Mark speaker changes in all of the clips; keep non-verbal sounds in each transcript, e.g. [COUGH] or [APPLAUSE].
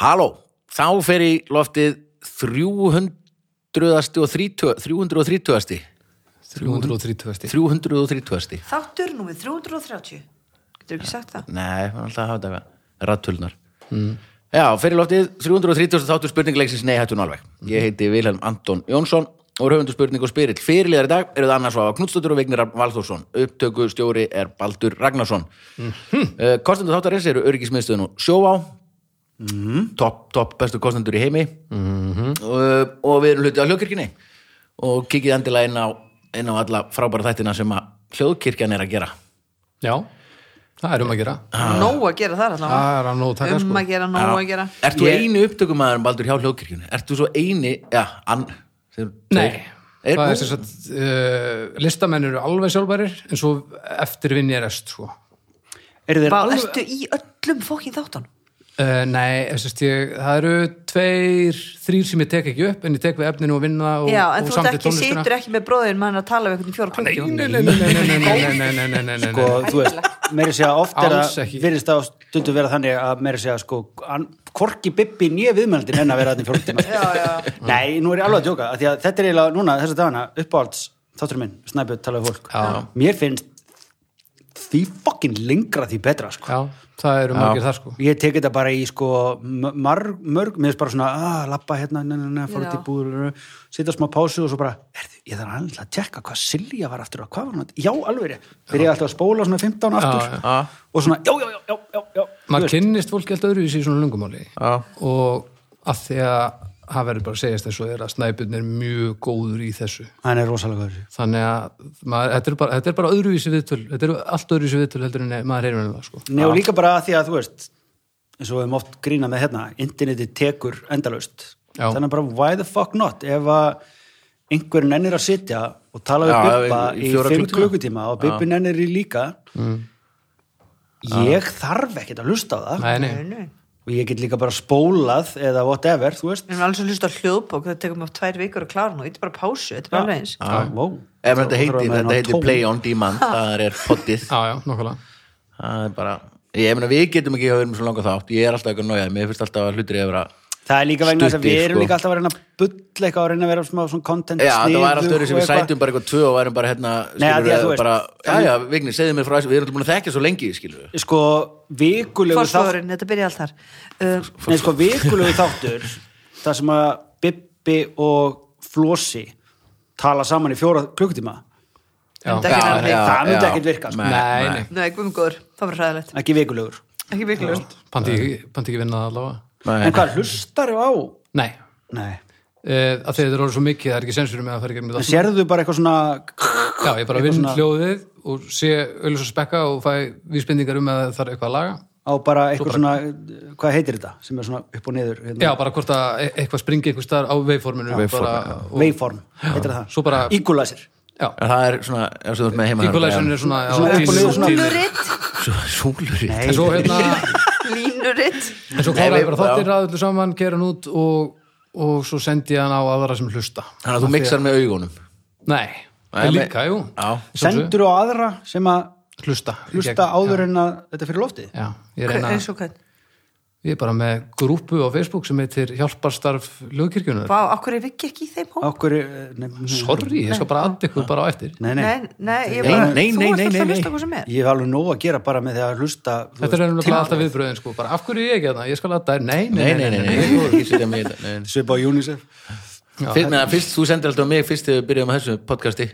Speaker 1: halló, þá fer í loftið 330 330
Speaker 2: 330.
Speaker 1: 330
Speaker 3: Þáttur númið 330 Getur ekki sagt það?
Speaker 1: Nei, það er alltaf að hafa þetta Rattulnar mm. Já, fyrir loftið 330 þáttur spurningleiksins Nei, hættu nálveg Ég heiti Vilhelm Anton Jónsson og er höfundur spurning og spyrill Fyrirliðar í dag eru það annars Vafa Knudstóttur og Vignir Valþórsson Upptöku stjóri er Baldur Ragnarsson mm -hmm. Kostendur þáttarins eru öryggismiðstöðun og sjóvá topp top bestu kostendur í heimi og, og við erum hluti á hljóðkirkjunni og kikið endilega inn á, inn á alla frábæra þættina sem að hljóðkirkjan er að gera
Speaker 2: Já, það er um að gera
Speaker 3: Nóg að gera þar allavega
Speaker 2: Það er að nóg að taka,
Speaker 3: Um
Speaker 2: sko.
Speaker 3: að gera, nóg að gera
Speaker 1: Ert þú
Speaker 2: Ég-
Speaker 1: einu upptökumæður Baldur hjá hljóðkirkjunni? Ert þú svo eini Já, ann þeir,
Speaker 2: Nei,
Speaker 1: er,
Speaker 2: það er sem sagt uh, listamenn eru alveg sjálfbærir en svo eftir vinn ég rest sko.
Speaker 4: Eru þeir
Speaker 3: Vá,
Speaker 4: alveg...
Speaker 3: ertu í öllum fókin þáttan?
Speaker 2: uh, Nei, sem sagt, ég, það eru tveir, þrýr sem ég tek ekki upp en ég tek við efninu og vinna og,
Speaker 3: Já, en
Speaker 2: og
Speaker 3: þú ert
Speaker 2: samdi
Speaker 3: ekki,
Speaker 2: tónlistina.
Speaker 3: situr ekki með bróðin mann að tala við einhvern í fjóra
Speaker 2: Nei,
Speaker 3: klukki
Speaker 2: nei, nei, nei, nei, nei, nei, nei, nei, nei, nei, nei,
Speaker 4: Sko,
Speaker 2: nei.
Speaker 4: þú veist, meiri segja oft er
Speaker 2: Alls
Speaker 4: að
Speaker 2: ekki.
Speaker 4: virðist það á stundu vera þannig að meiri segja sko, hann, korki bibbi nýja viðmjöldin en að vera þannig fjórum tíma.
Speaker 3: Já, já.
Speaker 4: Nei, nú er ég alveg að djóka, af því að þetta er eiginlega núna, þessa dagana, uppáhalds, þáttur minn, snæpjöld, talaði fólk.
Speaker 2: Já.
Speaker 4: Mér finnst því fokkin lengra því betra, sko.
Speaker 2: Já, það eru margir þar sko.
Speaker 4: Ég tek þetta bara í sko m- marg, mörg, mér finnst bara svona að lappa hérna, na, na, na, fara
Speaker 3: Já.
Speaker 4: út í búður sita smá pásu og svo bara herðu, ég þarf alveg að tjekka hvað Silja var aftur og hvað var hann, já alveg rétt þegar ég alltaf að spóla svona 15 aftur
Speaker 2: já.
Speaker 1: Já.
Speaker 4: og svona, já, já, já, já, já, já Þú
Speaker 2: maður
Speaker 4: veist,
Speaker 2: kynnist fólk helt öðru í sig svona lungumáli
Speaker 1: Já.
Speaker 2: og að því að það verður bara að segjast þessu er að snæpun er mjög góður í þessu
Speaker 4: hann er rosalega góður
Speaker 2: þannig að maður, þetta, er bara, þetta er bara öðru í sig viðtöl þetta eru allt öðru í sig viðtöl heldur en maður heyrður en það sko.
Speaker 4: Nei, og líka bara að því að þú veist eins og við höfum oft grína með hérna interneti tekur endalaust
Speaker 2: Já.
Speaker 4: þannig bara why the fuck not ef að einhver nennir að sitja og tala við
Speaker 1: Já,
Speaker 4: Bibba
Speaker 1: í- í
Speaker 4: í
Speaker 1: fjóra
Speaker 4: 5
Speaker 1: klukkutíma. Mm.
Speaker 4: klukkutíma og Bibbi nennir í líka ég þarf ekkert að hlusta á það
Speaker 2: nei, nei,
Speaker 3: Við
Speaker 4: og ég get líka bara spólað eða whatever, þú veist
Speaker 3: erum alveg svo hlust á hljóðbók, það tekum við tvær vikur að klára nú, þetta er bara pásu, þetta er bara alveg eins.
Speaker 4: ah, wow.
Speaker 1: Ef þetta
Speaker 4: Þá
Speaker 1: heitir,
Speaker 4: þarf að
Speaker 1: þetta
Speaker 4: meina
Speaker 1: heitir
Speaker 4: tón.
Speaker 1: Play on Demand Það er
Speaker 4: [LAUGHS]
Speaker 1: pottið
Speaker 2: já, já, nokkulega
Speaker 1: Það er bara Ég meina, við getum ekki að vera með svo langa þátt Ég er alltaf eitthvað nájaði, mér finnst alltaf að hlutir yfir að
Speaker 4: það er líka vegna þess að
Speaker 1: Stuttir,
Speaker 4: við erum
Speaker 1: sko.
Speaker 4: líka alltaf að reyna að bulla eitthvað og reyna að vera smá svona content
Speaker 1: Já, það var allt
Speaker 4: sniðug
Speaker 1: öðru sem við
Speaker 4: og eitthvað.
Speaker 1: sætum bara eitthvað tvö og værum bara hérna
Speaker 4: Nei, að því að þú
Speaker 1: við,
Speaker 4: veist-
Speaker 1: bara, Já, já, Vigni, segðu mér frá þessu Við erum búin að þekkja svo lengi, skilur við
Speaker 4: sko, vikulegu þátt
Speaker 3: Forsvöðurinn, þetta byrja allt þar. Um,
Speaker 4: Nei, sko, vikulegu þáttur þar sem að Bibbi og Flósi tala saman í fjóra klukkutíma
Speaker 3: Þetta er
Speaker 2: já.
Speaker 3: ekki nærri.
Speaker 4: Það myndi ekkert virka, sko.
Speaker 2: nei, nei,
Speaker 3: Nei, guðmgóður, það var hræðilegt.
Speaker 4: ekki vikulegur
Speaker 3: Ekki vikulust.
Speaker 2: pandi ekki, pandi ekki vinna það allavega
Speaker 4: en hvað, hlustar á?
Speaker 2: nei,
Speaker 4: Nei,
Speaker 2: uh, að þetta er orðið svo mikið það er ekki sensur með að fara í gegnum
Speaker 4: en
Speaker 2: þetta
Speaker 4: sérðu bara eitthvað svona
Speaker 2: já, ég bara vinn hljóðið og sé öllus og spekka og fæ vísbendingar um að það er eitthvað að laga
Speaker 4: á bara eitthvað svona hvað heitir þetta, sem er svona upp og niður
Speaker 2: Já,
Speaker 4: hérna,
Speaker 2: bara hvort að e- eitthvað springi eitthvað starf á veiforminu
Speaker 1: Waveform,
Speaker 2: bara, og,
Speaker 4: waveform, heitir það
Speaker 2: Svo bara,
Speaker 4: ígulæsir,
Speaker 2: já,
Speaker 1: Það er svona, ef þú ert með heima
Speaker 2: equalizern er svona, já,
Speaker 4: Svona upp og niður, svona-
Speaker 2: tíður.
Speaker 3: Línuritt,
Speaker 1: Súluritt
Speaker 2: En svo hérna,
Speaker 3: línuritt.
Speaker 2: en svo
Speaker 1: Nei,
Speaker 2: kláraði
Speaker 1: við-
Speaker 2: bara þáttir
Speaker 1: já.
Speaker 2: ræðullu saman, kera hann út og, og svo sendi ég hann á aðra sem hlusta.
Speaker 1: Þannig að þú mixar með augunum
Speaker 2: Nei,
Speaker 1: Nei,
Speaker 2: en
Speaker 1: nei.
Speaker 2: líka, jú.
Speaker 1: Já.
Speaker 2: Sjálfsögðu.
Speaker 4: sendur á aðra sem að
Speaker 2: Hlusta. í
Speaker 4: hlusta
Speaker 2: gegn.
Speaker 4: áður en að þetta er fyrir loftið
Speaker 2: Já, ég reyna,
Speaker 3: Eins og hvern.
Speaker 2: ég er bara með grúpu á Facebook sem heitir Hjálparstarf Ljóðkirkjunar.
Speaker 3: Vá, okkur er Viki ekki í þeim hóp?
Speaker 4: okkur, eh, nei, nei,
Speaker 2: Sorry, ég skal bara add ykkur bara á eftir.
Speaker 4: nei, nei.
Speaker 3: Nei, nei, ég
Speaker 1: Nei,
Speaker 3: bara,
Speaker 1: nei,
Speaker 3: þú
Speaker 1: nei,
Speaker 3: ert
Speaker 1: nei,
Speaker 3: alltaf
Speaker 1: nei,
Speaker 3: að hlusta
Speaker 1: nei.
Speaker 3: hvað sem er.
Speaker 4: ég hef alveg nóg að gera bara með því að hlusta þú
Speaker 2: Þetta er
Speaker 4: veist,
Speaker 2: ennum bara alltaf viðbröðin, sko, bara af hverju er ég ekki þarna, ég skal adda þér, nei,
Speaker 1: Nei, nei, nei, nei, nei, ekki setja mig í þetta, nei, nei.
Speaker 4: svipa á UNICEF
Speaker 1: Fyrst, neða, fyrst, þú sendir alltaf á mig fyrst þegar við byrjuðum að þessu podcasti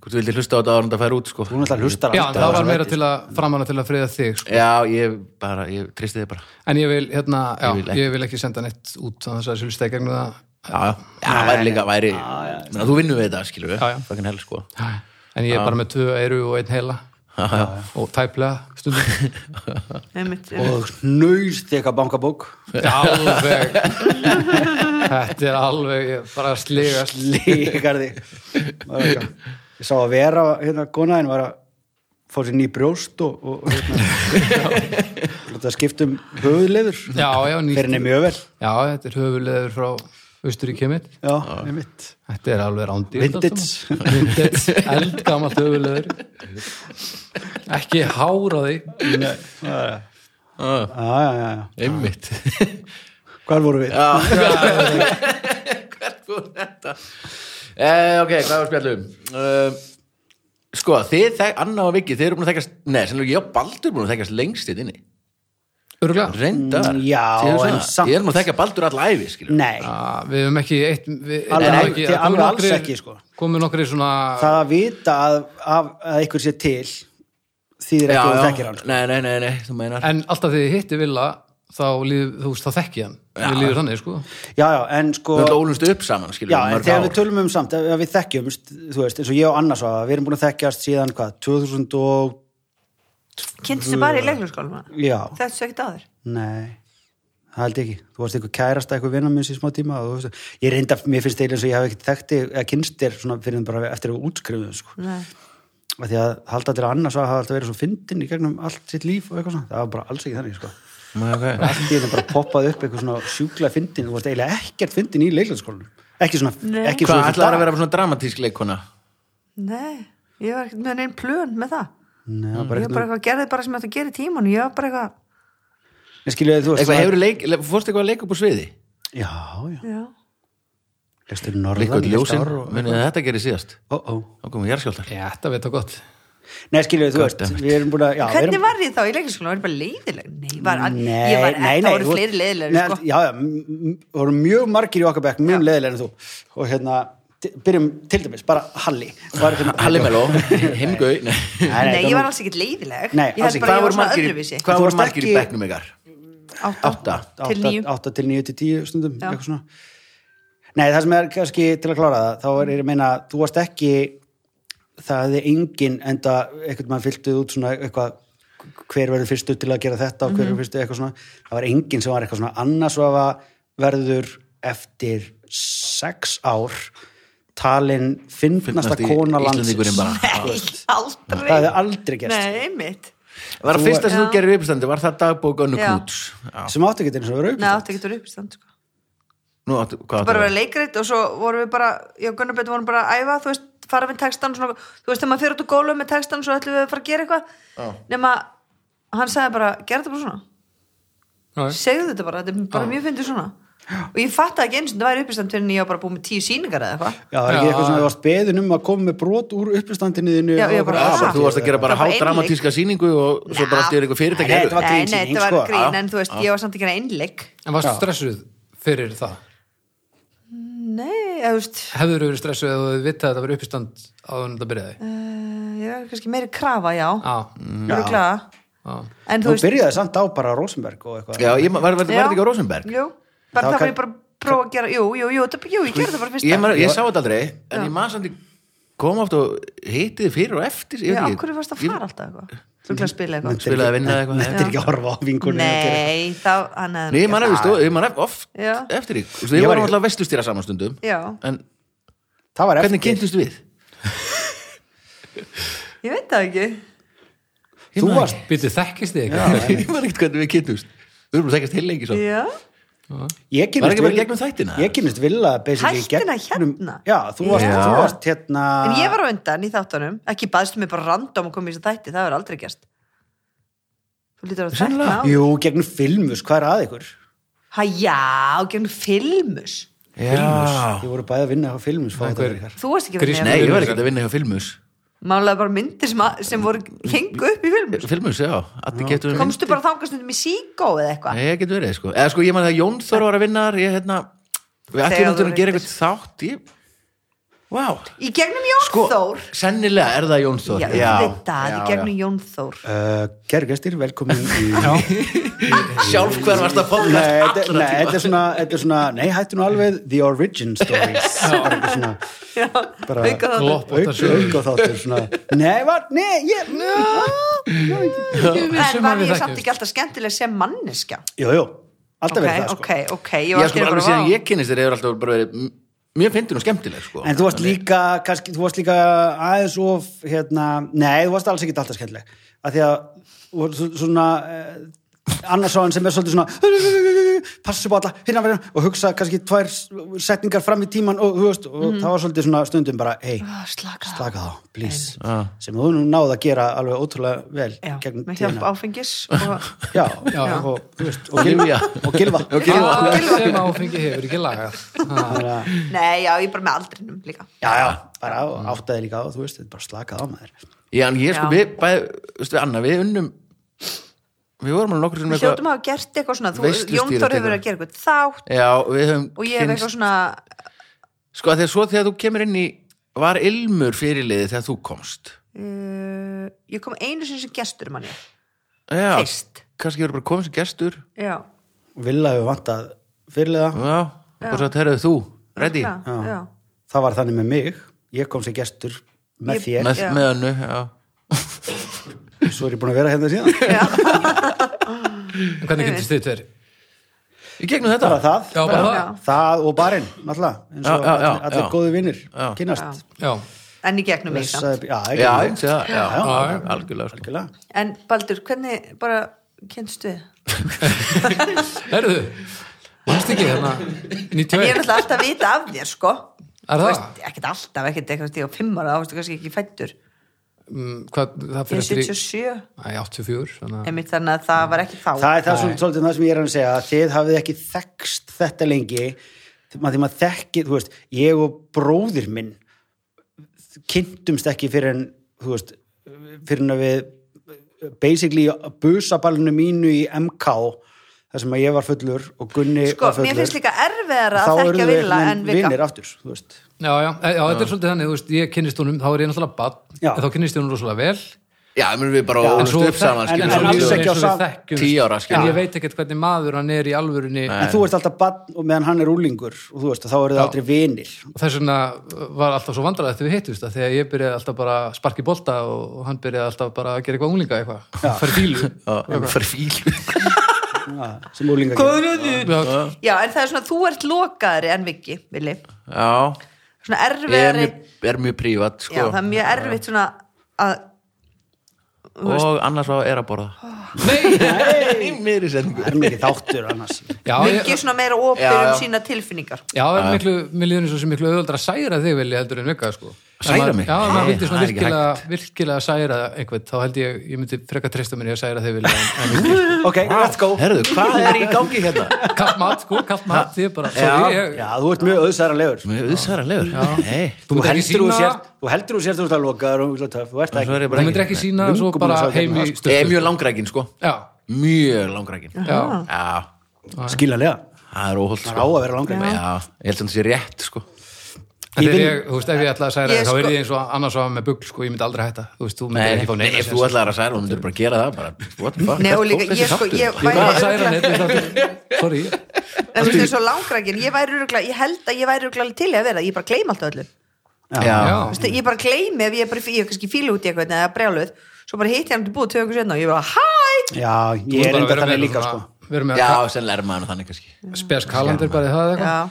Speaker 1: Hvort þú vildi hlusta á þetta áður en það færi út, sko
Speaker 4: Þú náttúrulega hlustar
Speaker 2: Já, en
Speaker 4: alltaf á
Speaker 2: það var
Speaker 4: þessum
Speaker 2: meira
Speaker 4: þætti.
Speaker 2: til að framanna til að friða þig, sko.
Speaker 1: Já, ég bara, ég tristi þið bara
Speaker 2: En ég vil, hérna, já,
Speaker 1: Ég
Speaker 2: ég
Speaker 1: vil
Speaker 2: vil
Speaker 1: ekki.
Speaker 2: ekki, senda neitt út þannig að þessu hlusta í gegnum það.
Speaker 1: Já, já, já, það væri líka, væri menna, Þú vinnum við þetta, skilur við,
Speaker 2: Já, já.
Speaker 1: fucking hell, [LAUGHS] sko
Speaker 2: En ég er bara með tvö eiru og einn heila og tæplega stundum.
Speaker 3: Einmitt, einmitt.
Speaker 4: og nöyst þekka bankabók
Speaker 2: alveg, þetta er alveg ég er bara að sligast.
Speaker 4: líkar því Var eitthvað. ég sá að vera hérna konaðin var að fá sér ný brjóst og, og og
Speaker 2: [LAUGHS]
Speaker 4: hérna þetta skiptum höfuðleður
Speaker 2: Já, já, nýtt.
Speaker 4: fyrir henni mjög vel
Speaker 2: Já, þetta er höfuleður frá Austuríki mitt.
Speaker 4: já, einmitt
Speaker 2: Þetta er alveg rándýrt.
Speaker 4: Vintage.
Speaker 2: allt um saman. Vintage, eldgamalt höfuleður. Ekki hár á því.
Speaker 4: já, já, já, já
Speaker 1: Einmitt
Speaker 4: Hvar voru við?
Speaker 1: Já, hvert fór þetta? [LAUGHS] Eh, ok, hvað var spjallum? Uh, sko, þið, þek, Anna og Viki, þið eru búin að þekkast, nei, sannlega ég og Baldur búin að þekkast lengst þitt inni.
Speaker 2: Öruglega.
Speaker 1: Reyndar.
Speaker 4: Mm, já,
Speaker 1: Þið eru
Speaker 4: en
Speaker 1: svona-
Speaker 4: samt.
Speaker 1: Ég er nú að þekka Baldur all æfi, skilur.
Speaker 4: Nei,
Speaker 2: Ah, við höfum ekki eitt... Við,
Speaker 4: Alveg
Speaker 2: það er
Speaker 4: ekki,
Speaker 2: það komu
Speaker 4: alveg alls
Speaker 2: nokkrir-
Speaker 4: ekki, sko.
Speaker 2: Komu nokkri svona...
Speaker 4: það að vita að, að, að einhver sé til þýðir ekki að þú þekkir hann sko.
Speaker 1: Nei, nei, nei, nei, þú meinar.
Speaker 2: En alltaf þegar ég hitti Villa, þá líður, þú veist, þá þekki ég hann. Við líður þannig, sko.
Speaker 4: Já, já, en sko
Speaker 1: Við ólumst upp saman, skilur,
Speaker 4: Já, en
Speaker 1: mörg
Speaker 4: þegar við
Speaker 1: ár.
Speaker 4: tölum um samt, ef ef við þekkjumst, þú veist, eins og ég og Anna svo, við erum búin að þekkjast síðan, hvað, 2000 og,
Speaker 3: Kynntu sér bara í leiknarskólum
Speaker 4: já,
Speaker 3: Þetta er ekkert aður
Speaker 4: nei, það held ég ekki, þú varst einhver kærasta, einhver vinnar minn í smá tíma, og þú veist, ég reynda, mér finnst eiginlega eins og ég hafi ekki þekkt þig, eða kynst þér svona fyrir en bara eftir að útskrifuðu, sko,
Speaker 3: Nei.
Speaker 4: af því að halda til að Anna svo hafa alltaf verið svo fyndin í gegnum allt sitt líf og eitthvað svona, það var bara alls ekki þannig, sko.
Speaker 1: Nei, ok.
Speaker 4: allt í þetta bara poppað upp eitthvað svona sjúkla fyndin, þú varst eiginlega ekkert fyndin í leiklandskólanum ekki svona,
Speaker 3: Nei.
Speaker 4: ekki
Speaker 1: Hvað,
Speaker 4: svona
Speaker 1: ætlaður að vera svona dramatísk leikona?
Speaker 3: Nei, ég var ekkert með neinn plön með það
Speaker 4: Nei,
Speaker 3: Ég
Speaker 4: það var bara
Speaker 3: var bara
Speaker 4: eitthvað,
Speaker 3: eitthvað, gerði bara sem þetta gerir tíman Ég var bara eitthvað,
Speaker 4: ég skiljaði þú varst
Speaker 1: Eitthvað,
Speaker 4: svona-
Speaker 1: hefur leik, le- fórstu eitthvað að leika upp á sviði?
Speaker 4: já, já,
Speaker 3: já
Speaker 4: leikstu norðan
Speaker 1: Líka
Speaker 4: í
Speaker 1: öll
Speaker 4: heilt
Speaker 1: ljósin,
Speaker 4: ár og-
Speaker 1: munið að þetta gerir síðast.
Speaker 4: ó, ó.
Speaker 1: Þá komum við jarðskjáltar.
Speaker 2: Já, þetta veit það gott.
Speaker 4: nei, skiljaði þú varst,
Speaker 1: Goddammit.
Speaker 4: við erum búin að já, við
Speaker 3: Hvernig
Speaker 4: erum,
Speaker 3: var ég þá í leiknarskólum? Var ég bara leiðileg? Nei, var,
Speaker 4: nei,
Speaker 3: ég var,
Speaker 4: nei, nei,
Speaker 3: það voru
Speaker 4: þú-
Speaker 3: fleiri leiðileg
Speaker 4: nei,
Speaker 3: sko.
Speaker 4: já, já, m- m- voru mjög margir í okkar bekk, mjög leiðilegir en þú og hérna, t- byrjum til dæmis bara Halli Var hérna-
Speaker 1: Halli Meló, [LAUGHS] heimgau. Nei.
Speaker 4: Nei,
Speaker 3: Nei, ég
Speaker 4: það-
Speaker 3: var alls ekkert leiðileg
Speaker 4: Nei,
Speaker 3: Ég
Speaker 4: alls
Speaker 3: held
Speaker 4: ekki.
Speaker 1: Hvað
Speaker 3: bara að
Speaker 1: voru
Speaker 3: ég var svona
Speaker 1: margir,
Speaker 3: öðruvísi
Speaker 1: hvað
Speaker 4: Þú
Speaker 1: voru
Speaker 4: varst
Speaker 1: margir í
Speaker 4: ekki-
Speaker 1: bekknum ykkar?
Speaker 3: Átta
Speaker 1: Átta.
Speaker 3: Til níu.
Speaker 4: 8 til 9 til 10 stundum
Speaker 3: Já.
Speaker 4: eitthvað svona Nei, það sem er kannski til að klára það þá er ég að meina, þú varst ekki það hefði engin enda eitthvað mann fylgtuð út svona eitthvað hver verður fyrstu til að gera þetta og hver
Speaker 3: Mhm.
Speaker 4: verður fyrstu eitthvað svona, það var engin sem var eitthvað svona annars var verður eftir 6 ár talin finnasta
Speaker 1: Fyndnasti
Speaker 4: kona
Speaker 1: Íslendingurinn
Speaker 4: landsins
Speaker 1: bara.
Speaker 3: Nei, aldrei
Speaker 4: það hefði aldrei gerst
Speaker 3: Nei, einmitt
Speaker 1: Var það
Speaker 4: Þú-
Speaker 1: fyrsta sem þú
Speaker 3: Já.
Speaker 1: gerir uppstandi, var það dagbók Önnu
Speaker 3: Já.
Speaker 1: Knúts? Já.
Speaker 4: sem áttu ekki til þess að vera
Speaker 3: Nei,
Speaker 4: auðvitað
Speaker 3: átti ekkert úr uppistand sko.
Speaker 1: Nú, áttu- hvað
Speaker 3: Bara
Speaker 1: áttu
Speaker 3: að
Speaker 1: það?
Speaker 3: vera leikrit og svo vorum við bara Ég og Gunnar Björn vorum bara að æfa Þú veist, fara við textan svona, Þú veist, þegar maður fyrir út og gólu með textan Svo ætlum við að fara að gera eitthvað Nefna, hann sagði bara, gera þetta bara svona
Speaker 2: Já,
Speaker 3: segðu þetta bara, þetta er bara mjög fyndið svona og ég fattaði ekki eins og þetta væri uppistand fyrir en ég var bara búið með tíu sýningar eða eitthvað
Speaker 4: Já, það er ekki
Speaker 2: Já.
Speaker 4: eitthvað svona, þú varst beðin um að koma með brot úr uppistandinu þínu
Speaker 3: Já, ég
Speaker 4: og-
Speaker 3: bara-
Speaker 1: Já, bara
Speaker 3: Ah.
Speaker 1: Þú varst að gera bara
Speaker 3: Það var bara
Speaker 1: hádramatíska sýningu og svo bara allt yfir eitthvað fyrirtæk
Speaker 4: Nei,
Speaker 1: heyrðu.
Speaker 4: þetta var-
Speaker 3: Nei, nei,
Speaker 4: grínsýning,
Speaker 3: þetta var
Speaker 4: sko.
Speaker 3: grín, en þú veist, ég var samt ekki að gera einleik
Speaker 2: en varstu
Speaker 4: Já.
Speaker 2: stressuð fyrir það?
Speaker 3: Nei, eða, þú veist
Speaker 2: Hefur þú verið stressuð eða þú vitað að þetta var uppistand áður en þetta byrjaði?
Speaker 3: uh, ég var kannski meiri krafa, já
Speaker 2: Já,
Speaker 3: Örugglega.
Speaker 2: já.
Speaker 3: en
Speaker 4: Þú
Speaker 3: þú veist,
Speaker 4: byrjaði samt á bara Rosenberg og eitthvað.
Speaker 1: Já, ég, ma- var, var, var
Speaker 3: Já.
Speaker 1: þetta ekki á Rosenberg?
Speaker 3: jú, bara
Speaker 4: Það var
Speaker 3: það var
Speaker 4: kann-
Speaker 3: ég bara að prófa að gera, jú, jú, jú, þetta, jú ég gerði það bara fyrst
Speaker 1: Ég, man, ég sá þetta aldrei, en ég maður samt ég kom oft og hitti þið fyrir og eftir ég
Speaker 3: Já,
Speaker 1: veit
Speaker 3: af
Speaker 1: ekki.
Speaker 3: hverju varst að
Speaker 1: Ég-
Speaker 3: fara alltaf eitthvað Þú ætlaði að spila eitthvað
Speaker 1: spilaði að vinna eða eitthvað.
Speaker 4: Þetta er ekki að horfa á vinkunni.
Speaker 3: Nei, þá, hann hefði
Speaker 1: Nei,
Speaker 3: gert
Speaker 1: maður
Speaker 3: það.
Speaker 1: hefði stóð, maður hefði sko, oft
Speaker 3: Já.
Speaker 1: eftir því. Þú veist, Ég
Speaker 4: Ég var
Speaker 1: var
Speaker 4: í-
Speaker 1: alltaf vestustýra saman stundum
Speaker 3: Já,
Speaker 1: En
Speaker 4: Það var eftir.
Speaker 1: hvernig kynntust við?
Speaker 3: ég veit það ekki
Speaker 1: Ég
Speaker 4: Þú
Speaker 1: man
Speaker 4: varst,
Speaker 2: Býtu, þekkist þið
Speaker 1: [LAUGHS]
Speaker 2: eitthvað?
Speaker 1: ekki. Ég var ekkert hvernig við kynntust Við erum að þekkast heil lengi svo
Speaker 3: Já,
Speaker 4: ég
Speaker 1: Var
Speaker 4: kynist
Speaker 1: ekki bara í gegnum þættina?
Speaker 4: Ég kynist Villa, basically.
Speaker 3: Þættina
Speaker 4: gegnum-
Speaker 3: hérna?
Speaker 4: Já, þú varst,
Speaker 1: Já.
Speaker 4: þú varst hérna.
Speaker 3: En ég var á undan í þáttunum, ekki baðstu mig bara random að koma í þessu þætti, það hefur aldrei gerst. Þú lítur að þættina á.
Speaker 4: Jú, gegnum filmus, hvað er að ykkur?
Speaker 3: Hæ, já, gegnum filmus.
Speaker 1: Já
Speaker 4: Ég voru bæði að vinna á filmus. fá þetta
Speaker 2: Einhver-
Speaker 4: fyrir.
Speaker 3: Þú varst ekki
Speaker 2: Grís-
Speaker 3: að
Speaker 1: Nei, ég var ekkert að vinna hjá Filmus
Speaker 3: Málaði bara myndir sem, að- sem voru hengu upp í filmus.
Speaker 1: Filmus, já, allir getur við
Speaker 3: Komstu bara þangast um í síkó eða eitthvað.
Speaker 1: Nei, ég getur verið, sko Eða sko, ég maður það að Jón Þór var að vinna þar Ég, hérna, við ætlum
Speaker 3: Þegar þú
Speaker 1: náttúrulega að gera
Speaker 3: reyndist.
Speaker 1: eitthvað þátt Ég, vá
Speaker 3: Í gegnum Jón
Speaker 1: Sko,
Speaker 3: Þór.
Speaker 1: sennilega er það Jón Þór
Speaker 3: Já, já, það, í gegnum Jón Þór.
Speaker 4: Uh, Kæru gestir, velkomin í... Nei,
Speaker 1: Sjálf hver varst að podcast
Speaker 4: þetta
Speaker 1: allra
Speaker 4: nei,
Speaker 1: tíma
Speaker 4: þetta er svona, þetta er svona, nei, hættu nú alveg The Origin Stories. Bara eitthvað svona
Speaker 3: Já,
Speaker 4: bara-
Speaker 3: auka þáttur.
Speaker 2: Glopp og þessu.
Speaker 4: auka þáttur svona, nei, var, nei, ég,
Speaker 3: En
Speaker 2: sem að
Speaker 3: var
Speaker 2: við
Speaker 3: ég
Speaker 2: þekkjumst.
Speaker 3: samt ekki alltaf skemmtileg sem manneskja?
Speaker 4: jú, jú,
Speaker 3: Ok,
Speaker 4: alltaf verið það, sko.
Speaker 3: ok, ok, ég
Speaker 1: Ég
Speaker 3: var
Speaker 1: sko bara alveg
Speaker 3: vá.
Speaker 1: síðan ég kynist þér hefur alltaf bara verið m- Mjög fyndin og skemmtileg, sko
Speaker 4: En þú varst líka, kannski, þú varst líka aðeins of, hérna, nei, þú varst alls ekki alltaf skemmtileg. Af því að, þú varst svo- svona, eh, annars á hann sem er svolítið svona, passa upp á alla hérna verður og hugsa kannski tvær s- setningar fram í tíman og, þú veist, og
Speaker 3: Mm.
Speaker 4: það var svolítið svona stundum bara hei,
Speaker 3: Ah, slaka á.
Speaker 4: slaka þá, please
Speaker 1: Ah.
Speaker 4: sem þú nú náði að gera alveg ótrúlega vel
Speaker 3: Já,
Speaker 4: gegn
Speaker 3: með hjálp
Speaker 4: tíðina.
Speaker 3: áfengis og
Speaker 4: Já,
Speaker 2: Já.
Speaker 4: og, þú veist, og gilva og
Speaker 1: [LAUGHS]
Speaker 4: gilva
Speaker 2: Allt sem áfengi hefur ekki lagað Ha.
Speaker 4: Þannig að-
Speaker 3: Nei, já, ég bara með aldrinum líka
Speaker 4: já, já, bara á- áttaði líka á þú veist, þetta er bara slakað á maður
Speaker 1: Já, en ég sko,
Speaker 3: Já.
Speaker 1: við, bæ, veistu, Anna, við unnum Við vorum alveg nokkur sem
Speaker 3: Við hljótum að hafa gert eitthvað svona þú-
Speaker 1: Veislustýra
Speaker 3: Jón Þór hefur
Speaker 1: tekur.
Speaker 3: verið að gera eitthvað þátt
Speaker 1: Já, við höfum
Speaker 3: og ég hef eitthvað svona
Speaker 1: Sko, þegar svo þegar þú kemur inn í Var ilmur fyrirliði þegar þú komst
Speaker 3: uh, Ég kom einu sinni sem gestur manni
Speaker 1: Já,
Speaker 3: Fyrst
Speaker 1: kannski ég voru bara komið sem gestur
Speaker 3: Já,
Speaker 4: og vilja hefur vantað fyrirlega
Speaker 1: Já, og svo þetta herðu þú, ready
Speaker 3: já, já.
Speaker 4: það var þannig með mig, ég kom sem gestur með
Speaker 3: Ég-
Speaker 4: þér,
Speaker 1: Með,
Speaker 3: Já.
Speaker 1: með hannu, já
Speaker 4: svo er ég búin að vera hérna síðan
Speaker 2: En hvernig getur þið tver?
Speaker 1: Ég gegnum þetta
Speaker 4: bara það,
Speaker 2: Já, bara það
Speaker 3: Já.
Speaker 4: það og barinn náttúrulega, eins og
Speaker 1: Já, já, já,
Speaker 4: allir, allir
Speaker 1: já.
Speaker 4: góðu vinnir
Speaker 1: Já.
Speaker 4: kynast
Speaker 2: Já,
Speaker 3: En í gegnum mig samt
Speaker 4: Blessaði- já, ekki
Speaker 1: Já,
Speaker 4: alveg.
Speaker 1: ég sé það, já,
Speaker 4: já.
Speaker 1: já, algjörlega sko.
Speaker 4: Algjörlega.
Speaker 3: En Baldur, hvernig bara kynst við?
Speaker 2: herðu Varst ekki hérna þarna
Speaker 3: En ég er
Speaker 2: 91
Speaker 3: náttúrulega alltaf að vita af þér, sko
Speaker 2: Er
Speaker 3: Þú
Speaker 2: það?
Speaker 3: veist, Ekkert alltaf, ekkert eitthvað stíð á fimm ára, þá varstu kannski ekki fættur
Speaker 2: Mm, Hvað, það
Speaker 3: Ég
Speaker 2: fyrir
Speaker 3: er
Speaker 2: eftir í
Speaker 3: 77,
Speaker 2: Æ, 84 svona.
Speaker 3: einmitt þannig að það var ekki þá
Speaker 4: það er það svona, svolítið það sem ég er að reyna að segja að þið hafið ekki þekst þetta lengi maður því maður þekki, þú veist ég og bróðir minn kynntumst ekki fyrir en þú veist, fyrir en að við basically busaballinu mínu í MK þar sem að ég var fullur og Gunni
Speaker 3: Sko,
Speaker 4: var
Speaker 3: mér
Speaker 4: fullur
Speaker 3: finnst líka erfiðara
Speaker 4: þá
Speaker 3: að
Speaker 4: eru
Speaker 3: þekkja
Speaker 4: þau
Speaker 3: Villa en Vika
Speaker 4: vinnir aftur þú veist.
Speaker 2: Já, já, já, þetta er svolítið þannig, þú veist, ég kynnist honum, þá er ég náttúrulega bad,
Speaker 4: Já.
Speaker 2: en þá kynnist ég honum rosalega vel,
Speaker 1: Já, ég munum við bara
Speaker 4: Já, en
Speaker 1: ólust
Speaker 2: svo
Speaker 1: upp saman
Speaker 4: en-
Speaker 1: skilur
Speaker 4: en
Speaker 1: við.
Speaker 4: alls
Speaker 1: Svo-
Speaker 4: ekki
Speaker 2: eins
Speaker 4: á
Speaker 2: og við
Speaker 4: sam-
Speaker 2: þekkjum,
Speaker 1: Tíu ára, skilur
Speaker 2: en
Speaker 1: við.
Speaker 2: ég veit ekkert hvernig maður hann er í alvörunni,
Speaker 4: en þú ert alltaf bann og meðan hann er úlingur og þú veist, þá eru þau aldrei vinnir
Speaker 2: og þess vegna var alltaf svo vandræðið þegar við hittust að þegar ég byrjaði alltaf bara að sparka í bolta og og hann byrjaði alltaf bara að gera eitthvað unglinga eitthvað, fara í
Speaker 1: [LAUGHS]
Speaker 2: bílu
Speaker 1: Já, um fyrir fíl
Speaker 4: Ah, sem úlingar gera.
Speaker 2: Já,
Speaker 3: Já, en það er svona, þú ert lokaðari en Viki, Vili
Speaker 1: Já,
Speaker 3: Svona
Speaker 1: ég er
Speaker 3: erfiðari
Speaker 1: mjög, er mjög prívat sko.
Speaker 3: Já, það er mjög erfitt svona að
Speaker 1: og annars var er að borða Nei, mér í sendingu
Speaker 4: það er mikið þáttur annars
Speaker 2: já,
Speaker 3: Viki
Speaker 2: ég,
Speaker 3: er svona meira opið
Speaker 1: Já, já.
Speaker 3: um sína tilfinningar
Speaker 2: já er miklu, mér líður eins og sem miklu auðvöldar að særa þig vel ég heldur en vika sko. Ef
Speaker 1: Særa
Speaker 2: maður-
Speaker 1: mig?
Speaker 2: Já, ef
Speaker 1: Nei,
Speaker 2: maður vildi
Speaker 1: það
Speaker 2: svona
Speaker 1: er ekki
Speaker 2: virkilega, virkilega særa einhvern, þá held ég, ég myndi freka treysta mér í að særa þig vel en, en Viki.
Speaker 4: [LAUGHS] ok, let's go
Speaker 1: Herðu, hvað er í gangi hérna?
Speaker 2: kallt mat, sko, kallt mat, ég er bara sorry,
Speaker 4: já,
Speaker 2: ég,
Speaker 4: já, þú ert mjög auðsæranlegur
Speaker 1: Mér er uðsæranlegur Nei,
Speaker 2: Þú
Speaker 4: þú
Speaker 2: myndir ekki
Speaker 4: heldur þú
Speaker 2: sýna-
Speaker 4: sért þú heldur þú sért þú ert að lokaður og úrlega töff, þú ert það
Speaker 1: svo er
Speaker 4: ekki
Speaker 1: ég
Speaker 2: það
Speaker 1: bara
Speaker 2: myndir ekki sína
Speaker 4: Löngu
Speaker 2: svo
Speaker 4: búin
Speaker 2: bara
Speaker 4: að sjá
Speaker 2: heim í
Speaker 1: Ég Ah.
Speaker 4: þetta.
Speaker 1: er
Speaker 2: stuttu
Speaker 1: mjög langrækin sko
Speaker 2: já,
Speaker 1: Mjög langrækin Já,
Speaker 2: já,
Speaker 4: skiljanlega,
Speaker 1: það er óholt
Speaker 4: það á
Speaker 1: sko
Speaker 4: að vera langar
Speaker 1: Já, ég held að það sé rétt sko
Speaker 2: En
Speaker 4: Ég
Speaker 2: þegar
Speaker 4: vinn-
Speaker 2: ég, þú veist, ef ég ætla að særa
Speaker 3: Ég
Speaker 2: þig, þá
Speaker 3: sko-
Speaker 2: er ég eins og annars var með bugl, sko, ég myndi aldrei hætta, þú veist, þú myndi
Speaker 1: Nei,
Speaker 2: ekki fá
Speaker 1: nei,
Speaker 2: neina
Speaker 1: ef þú ætlar að særa, þú myndir bara gera það bara, what the fuck,
Speaker 3: Nei, og
Speaker 1: hvert
Speaker 3: líka,
Speaker 1: fór þessi
Speaker 3: ég sko,
Speaker 1: þáttur?
Speaker 2: Ég
Speaker 3: ég væri
Speaker 2: var að særa
Speaker 3: örugglega-
Speaker 2: neitt, þú veist, sorry,
Speaker 3: En þú veist, svo langrækin, ég væri öruglega, ég held að ég væri öruglega til í að vera, ég bara gleym alltaf öllu
Speaker 1: Já,
Speaker 2: já,
Speaker 3: Vistu, Ég bara gleymi ef ég er bara, ég er kannski fílu út í eitthvað eða brjáluð, svo bara hitti hann til búið tvö okkur setna og ég bara, hæ!
Speaker 4: já, ég er enda þannig líka sko.
Speaker 2: Verður með
Speaker 1: já,
Speaker 2: að
Speaker 1: sennilega er maður þannig kannski Já,
Speaker 2: spes kalandir bara í það eða eitthvað.
Speaker 3: Já,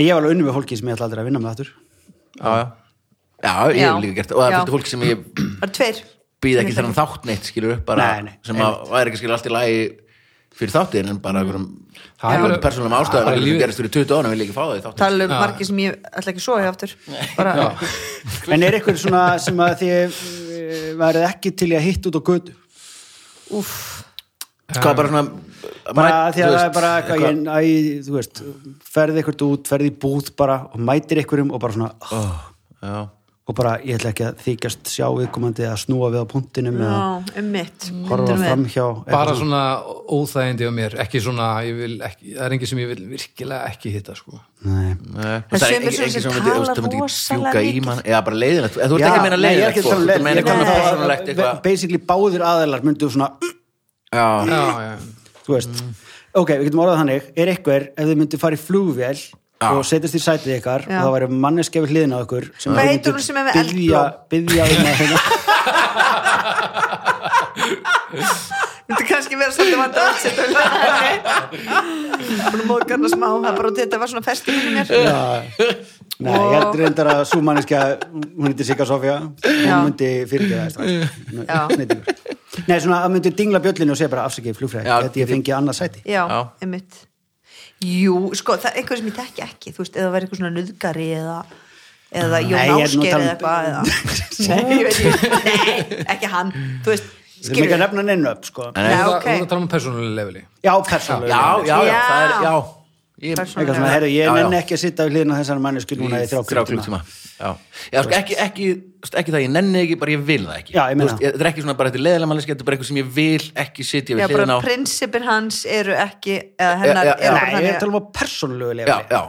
Speaker 4: en ég var alveg unni með fólki sem ég ætla aldrei að vinna með þáttur
Speaker 1: já, já, ég
Speaker 3: Já.
Speaker 1: hef líka gert það. Og það
Speaker 3: Já.
Speaker 1: er fyrir fólk sem ég
Speaker 3: það er tveir
Speaker 1: býð ekki þennan þátt neitt skilur upp bara
Speaker 4: Nei, nei,
Speaker 1: sem að væri ekki skilur allt í lagi fyrir þáttin en bara einhverjum
Speaker 2: Það er
Speaker 1: einhverjum
Speaker 2: bara-
Speaker 1: persónulegum
Speaker 2: það er bara
Speaker 1: ástæðum sem
Speaker 2: lífið.
Speaker 1: gerist fyrir 20 ára vil ekki fá það í þáttin
Speaker 3: tala um margir sem ég ætla ekki að sofa hjá aftur bara,
Speaker 4: en er eitthvað svona sem að þið eh, værið ekki til í að hitt út á götu
Speaker 1: hvað bara svona
Speaker 4: bara
Speaker 1: mæ-
Speaker 4: því
Speaker 1: þú
Speaker 4: að það
Speaker 1: veist,
Speaker 4: er bara eitthvað ég, æ, þú veist, ferði eitthvað út ferði í búð bara og mætir eitthvað og bara svona, oh,
Speaker 1: já,
Speaker 4: og bara ég ætla ekki að þykjast sjá viðkomandi að snúa við á punktinum
Speaker 3: já,
Speaker 4: eða
Speaker 3: um mitt
Speaker 4: horfa
Speaker 3: Myndum við.
Speaker 4: framhjá
Speaker 2: Bara svona óþægindi á mér, ekki svona, ég vil ekki, það er engin sem ég vil virkilega ekki hitta, sko.
Speaker 4: nei
Speaker 1: nei.
Speaker 3: Það
Speaker 1: það er
Speaker 3: sumir
Speaker 1: engin
Speaker 3: sem
Speaker 1: engin
Speaker 3: sem
Speaker 1: sem myndi- þú veist,
Speaker 3: tala
Speaker 1: það myndi ekki
Speaker 3: rosalega
Speaker 1: fjúka í
Speaker 3: mikið.
Speaker 1: mann eða bara leiðinlegt þú ert
Speaker 4: Já,
Speaker 1: ekki að meina
Speaker 4: nei, ég er
Speaker 1: leiðinlegt
Speaker 4: ekki
Speaker 1: fólk,
Speaker 4: að tala
Speaker 1: þú
Speaker 4: um
Speaker 1: ert að
Speaker 4: leiðilegt,
Speaker 1: meina eitthvað
Speaker 4: ég er að tala um
Speaker 1: persónulegt
Speaker 4: það
Speaker 1: eitthvað
Speaker 4: basically báðir aðeilar myndu svona
Speaker 1: já,
Speaker 2: Já, já,
Speaker 4: þú veist,
Speaker 1: Mm.
Speaker 4: ok, við getum orðað þannig er eitthvað, ef þið myndu fara í flugvél og setjast í sætið ykkar
Speaker 3: Já.
Speaker 4: og það væri manneskja við hliðina á ykkur sem
Speaker 3: Hvað
Speaker 4: þið
Speaker 3: heitir
Speaker 4: mynduð
Speaker 3: hún sem er með
Speaker 4: biðja, biðja um að
Speaker 1: [LAUGHS]
Speaker 4: hérna
Speaker 3: Þetta er kannski vera svolítið vanda aðsett Búin að móðka hana smá það er bara út í þetta var svona festi fyrir mér
Speaker 4: Nei, ég held reyndar að sú manneskja hún heitir Sigga Sofía
Speaker 3: Já.
Speaker 4: hún myndi fyrirgeða
Speaker 3: Já.
Speaker 4: það Nei, svona að myndi dingla bjöllinu og segja bara afsakið flugfræði,
Speaker 1: Já,
Speaker 4: þetta ég fengi annað sæti
Speaker 3: Já,
Speaker 1: Já.
Speaker 3: einmitt Jú, sko, það er eitthvað sem ég tekki ekki þú veist, eða væri eitthvað svona nöðgari eða, eða
Speaker 4: Nei,
Speaker 3: Jón
Speaker 4: ég er nú
Speaker 3: Ásker
Speaker 4: að
Speaker 3: eða eitthvað
Speaker 4: [LAUGHS] tala um-
Speaker 3: eða. Nei, ég veit ekki Nei, ekki hann, þú veist
Speaker 4: Við erum ekki að
Speaker 3: skilurðu?
Speaker 4: nefna neinu upp, sko.
Speaker 1: Nei.
Speaker 2: Þú
Speaker 3: Já,
Speaker 2: ert að-
Speaker 3: ok.
Speaker 2: þú ert að tala um persónulega leveli
Speaker 4: Já, persónulega.
Speaker 1: já, já, já,
Speaker 3: Já.
Speaker 1: það er, já ég,
Speaker 4: Eitthvað svona, herru,
Speaker 1: Já,
Speaker 4: ég
Speaker 1: já.
Speaker 4: nenni ekki að sitja við hliðin á þessari mannesku núna í þrjá klukkutíma.
Speaker 1: klukkutíma já, já sko, ekki, ekki, þú veist, ekki það ég nenni ekki, bara ég vil það ekki
Speaker 4: Já, ég meina.
Speaker 1: Þú þetta er ekki svona bara þetta er leðilega manneskja, þetta er bara eitthvað sem ég vil ekki sitja
Speaker 3: Já,
Speaker 1: við hliðin á
Speaker 3: bara prinsipin hans eru ekki eða hennar
Speaker 1: Já, já, já.
Speaker 3: eru
Speaker 4: Nei,
Speaker 3: bara
Speaker 4: ég er
Speaker 3: þannig
Speaker 4: að
Speaker 3: að-
Speaker 4: tala um að persónulegu
Speaker 1: já,
Speaker 4: lefni.
Speaker 1: já,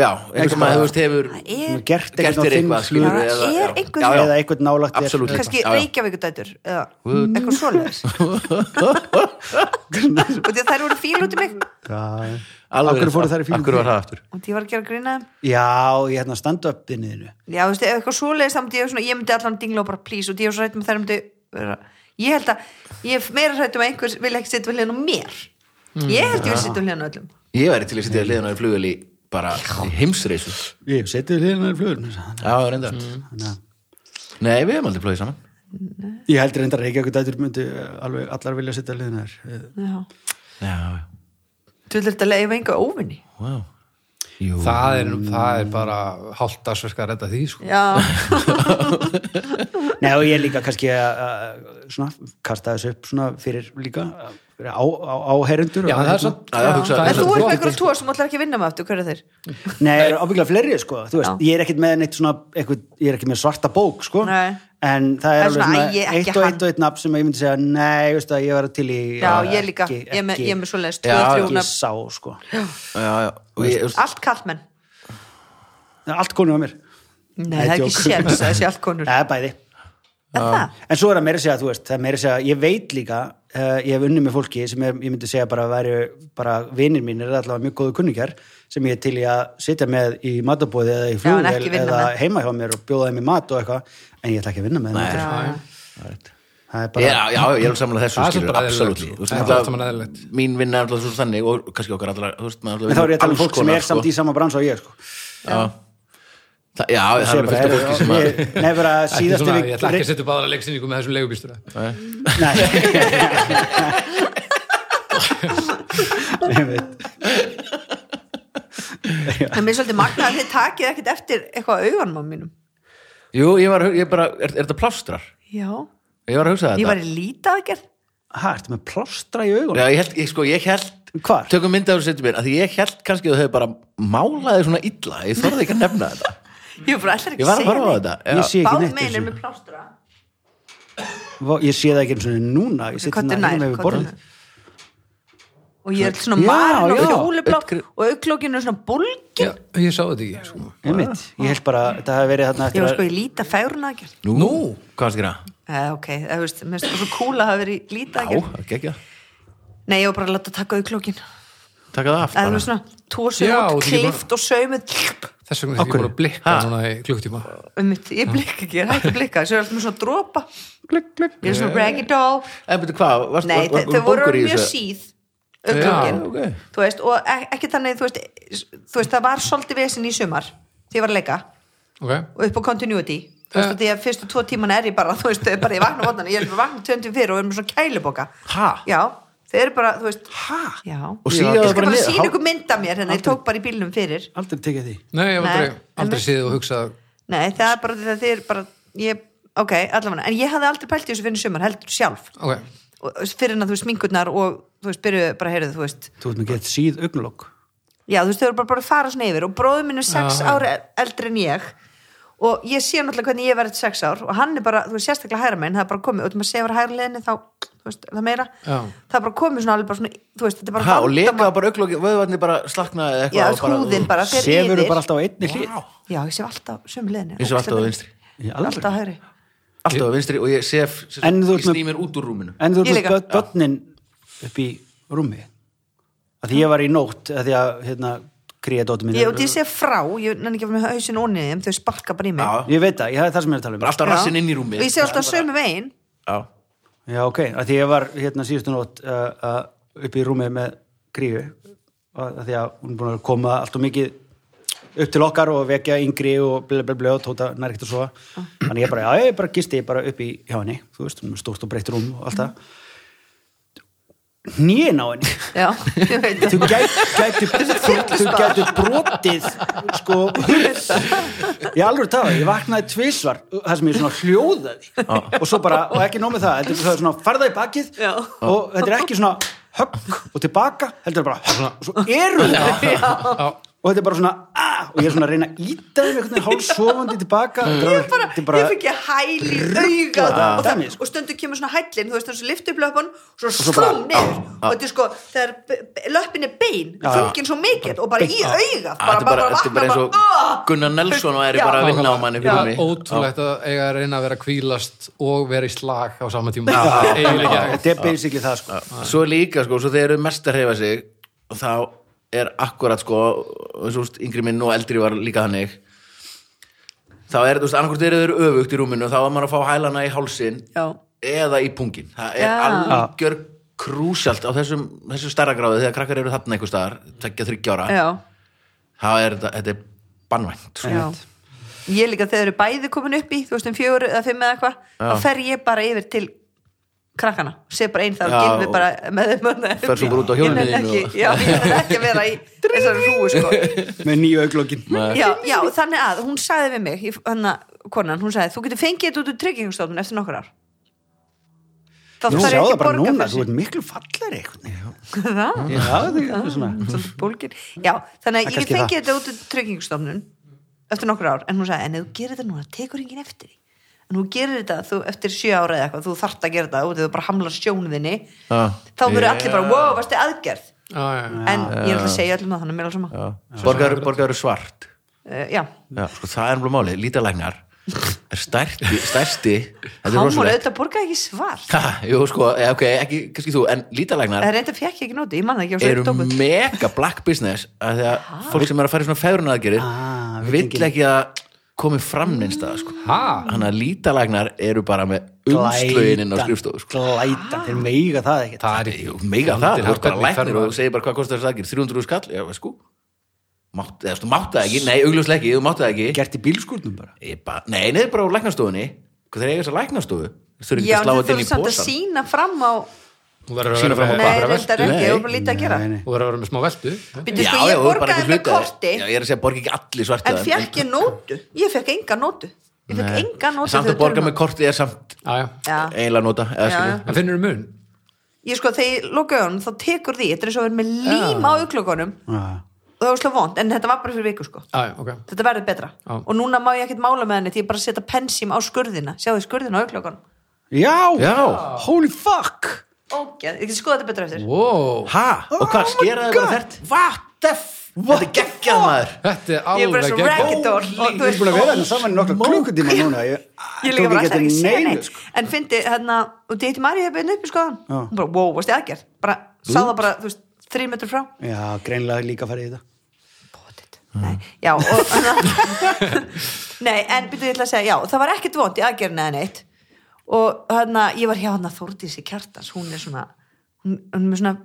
Speaker 1: já eitthvað sem að þú veist hefur
Speaker 3: er-
Speaker 4: Þú gert
Speaker 1: gert
Speaker 4: eitthvað á
Speaker 1: þér
Speaker 4: þinn
Speaker 1: eitthvað
Speaker 4: hlut
Speaker 1: skilur
Speaker 3: Já,
Speaker 1: eða,
Speaker 3: er
Speaker 1: já,
Speaker 3: einhver-
Speaker 1: já, já.
Speaker 4: eða eitthvað nálátt þér.
Speaker 1: Absolutt.
Speaker 3: kannski
Speaker 1: Já, já.
Speaker 3: Reykjavíkudætur eða eitthvað svoleiðis og því að þær voru fíl út í mig
Speaker 4: Já,
Speaker 1: Alveg
Speaker 4: Af hverju
Speaker 1: rétt.
Speaker 4: fóru þær í fílum?
Speaker 1: Af hverju var það aftur
Speaker 3: og því var að gera grína þeim
Speaker 4: Já, ég hérna standa upp þinniðinu.
Speaker 3: Já, þú veist, ef eitthvað svoleiðist, þá myndi ég svona, ég myndi allan dingla og bara please og því ég var svo rætt með þær myndi vera, ég held að, ég er meira rætt um að einhver vil ekki sitja við hljóna mér ég held ég vil sitja við hljóna öllum
Speaker 1: ég væri til að sitja við hliðin á í flugvel í bara í heimsreisu já,
Speaker 4: Ég seti við hliðin á flugur.
Speaker 1: reyndar
Speaker 3: Mm.
Speaker 1: nei, við hefum aldrei flugið saman
Speaker 4: Ég heldur reyndar ekki eitthvað dætur myndi eh, alveg allar vilja sitja við hliðin á þér. Eh,
Speaker 3: Já.
Speaker 1: já, já,
Speaker 3: Þú vil þetta leifa einhver óvinni
Speaker 1: wow Jú.
Speaker 2: það er, það er bara hálfdagsverka að redda því sko.
Speaker 3: Já,
Speaker 4: Nei og ég er líka kannski að að svona kasta þessu upp svona fyrir líka að fyrir á, á, áherendur
Speaker 2: já, það
Speaker 4: og-
Speaker 2: er samt
Speaker 1: Já, já, hugsaðu.
Speaker 2: það er samt
Speaker 3: en þú ert með
Speaker 2: gott.
Speaker 3: einhverjum tvo sem allar ekki að vinna með aftur, hver er þeir?
Speaker 4: Nei, það er ábygglega fleiri sko þú
Speaker 3: Já.
Speaker 4: veist, ég er ekkit með neitt svona eitthvað, ég er ekki með svarta bók sko
Speaker 3: Nei.
Speaker 4: en það
Speaker 3: Það er
Speaker 4: er alveg
Speaker 3: svona,
Speaker 4: svona
Speaker 3: æ, ég- ekki
Speaker 4: eitt og
Speaker 3: hann.
Speaker 4: eitt og eitt nafn sem ég myndi segja nei, veist það, ég var til í
Speaker 3: Já,
Speaker 4: að
Speaker 3: ég líka,
Speaker 4: ekki,
Speaker 3: ég er með,
Speaker 4: ekki-
Speaker 3: ég er með svoleiðist
Speaker 1: Já,
Speaker 3: tvö, þrjú
Speaker 4: ekki
Speaker 3: nöfn.
Speaker 4: sá sko
Speaker 1: já, já, og ég, þú veist,
Speaker 3: Allt kallmenn
Speaker 4: allt konum á mér,
Speaker 3: Nei, það er ekki
Speaker 4: djók.
Speaker 3: séns að þessi allt konur
Speaker 4: það er bæði
Speaker 3: Er það?
Speaker 4: En svo er það meira að segja, þú veist, það er meira að segja, ég veit líka, uh, ég hef unni með fólki sem er, ég myndi segja bara að væri, bara vinir mínir er allavega mjög góðu kunningjar sem ég er til í að sitja með í matabóði eða
Speaker 3: en
Speaker 4: í flugvél
Speaker 3: ekki vinna með.
Speaker 4: eða heima hjá mér og bjóða þeim í mat og eitthvað, en ég ætla ekki að vinna með þeim.
Speaker 3: Já,
Speaker 4: þetta
Speaker 3: já.
Speaker 4: er- Það er
Speaker 1: Já,
Speaker 4: bara,
Speaker 1: já, ég er samlega þessu
Speaker 2: Það er
Speaker 1: skilur,
Speaker 2: samt bara
Speaker 1: absolutt
Speaker 2: eðlilegt.
Speaker 1: Þú veist,
Speaker 2: Það er
Speaker 1: náttúrulega-
Speaker 2: allt saman eðlilegt.
Speaker 1: Mín vinna er alltaf svo þannig og kannski okkar allra þú veist, maður
Speaker 4: en þá er ég að tala um
Speaker 1: alls
Speaker 4: fólk sem
Speaker 1: konar,
Speaker 4: er samt í sama brans og ég, sko.
Speaker 1: Já, Þa, já það er
Speaker 4: Segja
Speaker 1: alveg
Speaker 4: bara,
Speaker 1: fyrsta
Speaker 4: "Heyrðu,
Speaker 1: fólki sem að
Speaker 4: ég- Nei, bara
Speaker 2: Ekki
Speaker 4: síðast
Speaker 2: svona, ég ætla ekki að setja upp aðra leiksýningu með þessum leigubýstur
Speaker 4: Nei Ég veit.
Speaker 3: En mér er svolítið magna að þið takið ekkert eftir eitthvað á augunum á mínum
Speaker 1: Jú, ég var, að hu- ég bara, er, er þetta plástrar?
Speaker 3: Já,
Speaker 1: Ég var að hugsa þetta
Speaker 3: ég var í lítadagerð
Speaker 4: Ha, ertu með plástra í augunum?
Speaker 1: Já, ég held, ég, sko, ég held
Speaker 4: Hvar?
Speaker 1: Tökum mynda af þessu setjum mér, að því ég held kannski að þau hefur bara málaði svona illa Ég þorði ekki að nefna þetta
Speaker 3: Ég var bara ætlar ekki
Speaker 1: Ég var að horfa á
Speaker 3: segja
Speaker 1: þetta
Speaker 4: Ég
Speaker 1: já.
Speaker 4: sé ekki
Speaker 3: Báð
Speaker 4: neitt
Speaker 3: megin
Speaker 4: þessu.
Speaker 3: er með plástra
Speaker 4: Vá, ég sé það ekki eins og núna ég sitt
Speaker 3: Kottu
Speaker 4: hérna
Speaker 3: nær,
Speaker 4: hérna við
Speaker 3: kottu
Speaker 4: borðið
Speaker 3: nær Og ég er svona
Speaker 4: Já,
Speaker 3: marinn og
Speaker 4: já.
Speaker 3: fjólublátt
Speaker 1: Öll-
Speaker 3: og auglókinu er svona bólgin
Speaker 2: ég sá þetta ekki sko.
Speaker 4: einmitt, ég held bara, þetta hafi verið þarna
Speaker 3: Ég
Speaker 4: eftir
Speaker 3: var sko
Speaker 4: að
Speaker 3: í líta færuna ekki
Speaker 1: Nú, hvað varstu að gera?
Speaker 3: Eh, ok, það veist, mér finnst það svo cool að hafa verið í líta
Speaker 1: Já, það gekkja
Speaker 3: Nei, ég var bara að láta taka auglókin
Speaker 1: Taka það af
Speaker 3: Það
Speaker 1: bara.
Speaker 3: var svona tósuð
Speaker 2: Já, þú
Speaker 3: út,
Speaker 2: getur bara-
Speaker 3: klift og saumuð
Speaker 2: þess vegna er þetta ekki bara að blikka núna í klukktíma
Speaker 3: um mitt, ég blikka ekki, ég er hægt að blikka þessu er alltaf með svona dropa
Speaker 4: glugg, glugg
Speaker 3: Ég er svona raggy doll
Speaker 1: En betur hvað, varst,
Speaker 3: Nei,
Speaker 1: var, var,
Speaker 3: þau
Speaker 1: var
Speaker 3: voru
Speaker 1: bólgur í
Speaker 3: mjög
Speaker 1: þessu?
Speaker 3: síð auglókin
Speaker 1: Já, ok.
Speaker 3: þú veist, og e- ekki þannig þú veist, þú veist, það var svolítið vesinn í sumar því ég var að leika
Speaker 2: okay.
Speaker 3: og upp á continuity þú veist,
Speaker 2: Ja.
Speaker 3: uh. því að fyrstu tvo tíman er ég bara [LAUGHS] þú veist, þau er bara ég vakna vatnana, ég er bara vakna tjöndum fyrir og er með svona kæluboka
Speaker 1: Ha?
Speaker 3: já, þau eru bara, þú veist
Speaker 4: Ha?
Speaker 3: já,
Speaker 1: Og
Speaker 3: ég
Speaker 1: síðan
Speaker 3: skal
Speaker 1: það bara
Speaker 3: bara
Speaker 1: niður,
Speaker 3: sína
Speaker 1: há-
Speaker 3: ykkur mynd af mér hérna, ég tók bara í bílnum fyrir
Speaker 4: aldrei tekið því
Speaker 2: nei, ég var
Speaker 3: Nei,
Speaker 2: aldrei, aldrei
Speaker 3: einmitt.
Speaker 2: síðið og hugsað
Speaker 3: nei, það er bara því að þið er bara ég, ok, allavega, en ég hafði aldrei pælt í þessu fyrir sumar, heldur sjálf
Speaker 2: ok,
Speaker 3: og, fyrir en að þú veist, minkurnar og þú veist, byrjuðu bara, heyrðu, þú veist
Speaker 4: þú ert með gett síð augnlokk
Speaker 3: Já, þú veist, þau eru bara, bara að fara svona yfir og bróður minn er sex
Speaker 2: Já, já.
Speaker 3: ára eldri en ég og ég sé náttúrulega hvernig ég verið sex ár og hann er bara, þú veist, sérstaklega hæra minn það er bara komið, og þú veist, sefur hæra leðinni þá þú veist, er það meira,
Speaker 2: Já.
Speaker 3: það er bara komið svona alveg bara svona, þú veist, þetta er bara
Speaker 1: Ha, og
Speaker 3: vandamál.
Speaker 1: leka bara auglóki, vöðvarnir bara slaknaði
Speaker 3: Já,
Speaker 1: eitthvað og
Speaker 3: húðin bara fer
Speaker 4: sefur
Speaker 3: yfir
Speaker 4: þú bara alltaf á einni hlið
Speaker 3: Já, ég sef alltaf sömu leðinni
Speaker 1: Ég sef alltaf á vinstri.
Speaker 4: Í alvöru?
Speaker 3: Alltaf á hæri
Speaker 1: alltaf á vinstri og ég sef, sef
Speaker 4: En þú
Speaker 1: ég
Speaker 4: ert með-
Speaker 1: sný mér út úr rúminu
Speaker 4: en þú
Speaker 3: Ég
Speaker 4: ert
Speaker 3: líka.
Speaker 4: með börn- börnin upp í rúmi að því ég var í nótt að því að hérna gríða dóttum mín
Speaker 3: Ég, og ég sef frá, ég nenni ekki að vera með hausin ónið þeim, þau sparka bara í mig
Speaker 1: Já,
Speaker 4: ég veit það, ég hafði það sem ég er að tala um
Speaker 1: bara alltaf
Speaker 3: Já.
Speaker 1: rassinn inn í rúmi
Speaker 3: Og ég sef alltaf sömu vegin
Speaker 1: Já,
Speaker 4: Já, ok, að því ég var hérna síðustu nótt uh, uh, upp í rúmið með grífi að því að hún er búin að koma allt og mikið upp til okkar og vekja yngri og blö, blö, blö og tóta nær ekkert að sofa þannig ég bara, já, ég bara gisti bara upp í hjá henni þú veist, hún er stórt og breytt rúm og allt það hnýin á henni
Speaker 3: já, [LAUGHS] ég veit
Speaker 4: þú
Speaker 3: það
Speaker 4: gæt, gæti þú, þú gæti brotið sko ég alveg tafa, ég vaknaði tvisvar það sem ég svona hljóðaði og svo bara, og ekki nóg með það, heldur það er svona farða í bakið
Speaker 3: Já.
Speaker 4: og þetta er ekki svona högg og tilbaka, heldur bara högg, og svo eru það
Speaker 2: Já.
Speaker 4: og þetta er bara svona ah, og ég er svona að reyna að íta þeim einhvern veginn hálfsofandi tilbaka
Speaker 2: Mm.
Speaker 3: Ég bara, ég fikk ég hæli
Speaker 1: sko.
Speaker 3: auga á það og, það,
Speaker 4: Dæmis.
Speaker 3: og stundu kemur svona hælin þú veist þannig að lyftu upp löpun og svo
Speaker 4: svo bara-
Speaker 3: slum niður og þetta er sko, þegar b- b- löppin er bein
Speaker 4: já.
Speaker 3: þungin svo mikill og bara í auga
Speaker 1: Þetta er bara, þetta er bara eins og
Speaker 3: "Ah!"
Speaker 1: Gunnar Nelson og er
Speaker 3: Já.
Speaker 1: bara að vinna á manni fyrir
Speaker 2: Það
Speaker 1: mig
Speaker 2: er ótrúlegt að eiga að reyna að vera að kvílast og vera í slag á sama tíma eiginlega ekki hægt.
Speaker 4: þetta er basically það sko
Speaker 1: svo er líka sko, svo þegar þau eru mest að hreyfa sig og þá er akkurat sko, og svo yngri minn og eldri var líka þannig þá er, þú veist, annarkvort eru þeir öfugt í rúminu þá er maður að fá hælana í hálsin
Speaker 3: Já.
Speaker 1: eða í pungin það er
Speaker 3: Já.
Speaker 1: algjör krúsjalt á þessum, þessum starra gráðu þegar krakkar eru þarna einhvers staðar, tveggja, þryggja ára
Speaker 3: Já,
Speaker 1: það er, þetta- þetta er bannvænt sko.
Speaker 3: já Ég líka þegar þau eru bæði komin upp í þú veist um fjögur eða fimm eða eitthvað þá fer ég bara yfir til krakkana sé bara einn þar og
Speaker 1: Já,
Speaker 3: gilfi
Speaker 1: og-
Speaker 3: bara með þeim þarna upp
Speaker 1: Fer svo
Speaker 3: í.
Speaker 1: bara út á
Speaker 3: Ég
Speaker 1: hjólinu
Speaker 3: nenni
Speaker 1: þínu
Speaker 3: ekki-
Speaker 1: og-
Speaker 3: Já, ég er ekki að vera í þessari rúi sko
Speaker 4: með nýju auglókin
Speaker 3: já, já, þannig að hún sagði við mig ég- hann að, konan, hún sagði þú getur fengið þetta út úr tryggingstofnun eftir nokkur ár þá
Speaker 4: Nú,
Speaker 3: þarf
Speaker 4: sjá
Speaker 3: ég
Speaker 4: það
Speaker 3: ekki að
Speaker 4: bara
Speaker 3: borga
Speaker 4: núna, þú
Speaker 3: fyrir
Speaker 4: ert miklu fallegri einhvern veginn.
Speaker 3: sig [LAUGHS] það,
Speaker 4: Já, það er svona
Speaker 3: svolítið bólgin já, þannig að ég
Speaker 4: Það
Speaker 3: get
Speaker 4: kannski
Speaker 3: fengið þetta út úr tryggingstofnun eftir nokkur ár, en hún sagði en ef þú gerir þetta núna, tekur enginn eftir því en þú gerir þetta þú, eftir sjö ára eða eitthvað þú þart að gera þetta út, eða þú bara hamlar sjónuðinni
Speaker 1: Já.
Speaker 3: þá verður
Speaker 1: Já.
Speaker 3: allir bara, wow, varstu aðgerð
Speaker 2: Já, já, já.
Speaker 3: en ég er alltaf að segja öllum það, þannig meðal sama já,
Speaker 1: borgar, borgar eru svart
Speaker 3: uh, já.
Speaker 1: Já, sko, það er mjög málið, lítalæknar er stærsti, stærsti þetta er
Speaker 3: hann voru
Speaker 1: rosalegt
Speaker 3: auðvitað borgaði ekki svart
Speaker 1: ha, Jú, sko, eh, ok, ekki, kannski þú en lítalæknar
Speaker 3: Það reynda fekk Eh, ég ekki nóti, ég man það ekki, ég var
Speaker 1: eru
Speaker 3: svo dómut
Speaker 1: mega black business af því að fólk sem er að fara í svona fegrun aðgerir
Speaker 4: Ah, vill
Speaker 1: vill
Speaker 4: enginn-
Speaker 1: ekki að komi fram minnst það sko.
Speaker 2: Ha?
Speaker 1: þannig að lítalæknar eru bara með umslögin inn á skrifstofu sko.
Speaker 4: glæta, þeir meiga það ekkert
Speaker 2: Það er
Speaker 1: Jú,
Speaker 2: ekki
Speaker 1: mega það,
Speaker 2: Aldrei
Speaker 1: þú ert bara
Speaker 2: hvernig fer
Speaker 1: læknir
Speaker 2: maður-
Speaker 1: og segir bara hvað kostar þess aðgerð 300 skall, já, veist sko Mátt, eða, þú mátt það ekki, nei, augljóslega ekki, þú mátt það ekki
Speaker 4: gert í bílskurnum bara
Speaker 1: Ég ba, nei, neður bara á læknastofunni Hvað þeir eiga þess að læknastofu? Þeir þurfum ekki
Speaker 3: Já,
Speaker 1: að
Speaker 3: en
Speaker 1: slá
Speaker 3: þú
Speaker 1: þetta inn í
Speaker 3: þurfum samt að
Speaker 1: posan
Speaker 3: sína fram á
Speaker 2: Þú verður að
Speaker 1: Sýna
Speaker 2: vera
Speaker 1: fram
Speaker 2: með-
Speaker 1: á
Speaker 3: Nei,
Speaker 1: bara
Speaker 2: bara
Speaker 1: veltu,
Speaker 3: reyndar ekki,
Speaker 1: nei.
Speaker 3: ég var bara lítið að gera
Speaker 4: Nei, nei.
Speaker 2: Þú verður að vera með smá veltu
Speaker 3: Býttu sko,
Speaker 1: bara
Speaker 3: ég borgaði
Speaker 1: eitthvað
Speaker 3: með
Speaker 1: hluta.
Speaker 3: korti
Speaker 1: Já, ég er að segja, borga ekki allir svarta
Speaker 3: En fekk ég nótu, ég fekk enga nótu Ég fekk enga nótu
Speaker 1: Samt
Speaker 3: þegar
Speaker 1: að borga
Speaker 3: tölum- um
Speaker 1: með korti er samt
Speaker 2: Já, já
Speaker 3: Já,
Speaker 1: eiginlega nota eða
Speaker 3: Já,
Speaker 1: skilur.
Speaker 3: já.
Speaker 2: En finnur þú mun?
Speaker 3: ég sko, þegar ég loka augunum þá tekur því, þetta er svo verið með lím á auglokunum
Speaker 4: Já.
Speaker 3: og það var slá vond, en þetta var bara fyrir viku sko
Speaker 2: Já, já, ok
Speaker 3: Þetta verður betra
Speaker 2: Já.
Speaker 3: og núna má ég ekkert mála með henni því ég bara setja pensím á skurðina Sjáðu skurðina á auglokunum
Speaker 4: Já,
Speaker 1: Já.
Speaker 4: holy fuck
Speaker 3: Ógeð, ég skoða þetta betra eftir
Speaker 2: Wow
Speaker 1: Ha? Og
Speaker 4: Oh
Speaker 1: hvað,
Speaker 4: my
Speaker 1: skeraði bara
Speaker 4: God.
Speaker 1: þert? What the f? Þetta er geggjað maður
Speaker 2: Þetta er
Speaker 3: Ég er bara
Speaker 2: alveg
Speaker 3: svo
Speaker 2: geggjað.
Speaker 3: raggador og þú
Speaker 4: Við erum búin að vera hérna saman í nokkla klukkutíma
Speaker 3: Ég-
Speaker 4: núna Ég,
Speaker 3: ég líka bara
Speaker 4: tók
Speaker 3: ætlaði ekki að segja
Speaker 4: neinu,
Speaker 3: neitt
Speaker 4: sko.
Speaker 3: en fyndi hérna, og þetta heitir Marja beinu upp í skoðan
Speaker 4: Já.
Speaker 3: hún bara, wow, varst ég aðgerð bara, sá það bara, þú veist, þrír metrur frá
Speaker 4: Já, greinlega líka farið í þetta
Speaker 3: Pottit. Nei, já,
Speaker 4: [LAUGHS]
Speaker 3: og hérna- nei, en byrjuðu ég ætla að segja já, það var ekkert vond í aðgerðin eða neitt og hérna, ég var hjá hérna Þórdísi Kjartans, hún er svona hún, hún er með svona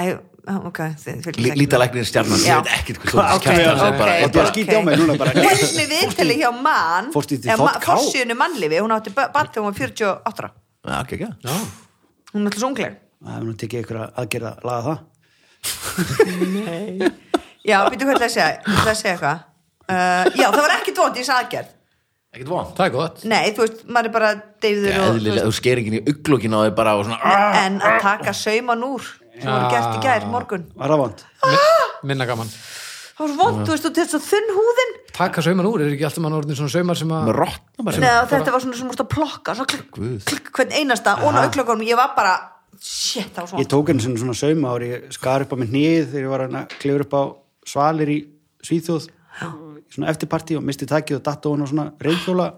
Speaker 3: æ, ok, þið fylgist ekki með.
Speaker 1: Lítalæknir stjarnan,
Speaker 3: Já.
Speaker 1: ég veit ekkert hvað þú
Speaker 4: Ok,
Speaker 1: kjartan
Speaker 3: ok.
Speaker 1: sem bara er
Speaker 4: Og það er
Speaker 1: bara-
Speaker 4: skítið á mig núna bara
Speaker 3: Hún er svona viðtali hjá mann
Speaker 4: Fórstu í því
Speaker 3: eða ma-
Speaker 4: þ.k.?
Speaker 3: forsíðunni mannlifi, hún átti bann þegar hún var 48 ára.
Speaker 1: Já, geggjað.
Speaker 2: Já
Speaker 3: hún er alltaf svo ungleg
Speaker 4: Það er nú tekið ykkur að aðgerða að laga það
Speaker 3: Já, býttu hvað ætlaði að segja, ég ætlaði að segja eitthvað uh, Já, það var ekki dvont í þess aðgerð
Speaker 1: Ekkert vond
Speaker 2: Það er gott
Speaker 3: Nei, þú veist, maður er bara deyður og þú
Speaker 1: Eðlilega,
Speaker 3: veist,
Speaker 1: þú sker ekki í ugglokkin á þau bara og svona ah,
Speaker 3: En að taka sauman úr sem voru gert í gær, morgun
Speaker 4: Var það vond?
Speaker 2: Min- Minna gaman
Speaker 3: Það var vont, þú veist, og þetta er svo þunn húðin
Speaker 2: Taka sauman úr, er ekki alltaf mann orðin svona saumar sem að
Speaker 1: með rottna bara
Speaker 3: Nei, og þetta var svona sem múst að plokka svo klikk,
Speaker 1: Guð.
Speaker 3: klikk, hvern einasta, ón á auklagunum Ég var bara, shit, það var
Speaker 4: Ég
Speaker 3: svona
Speaker 4: tók henni svona sauma ári Ég skar upp á minn hnið þegar ég var hérna að klifur upp á svalir í Svíþjóð Svona eftirparti og misti takið og datt á hann og svona reyðhjóla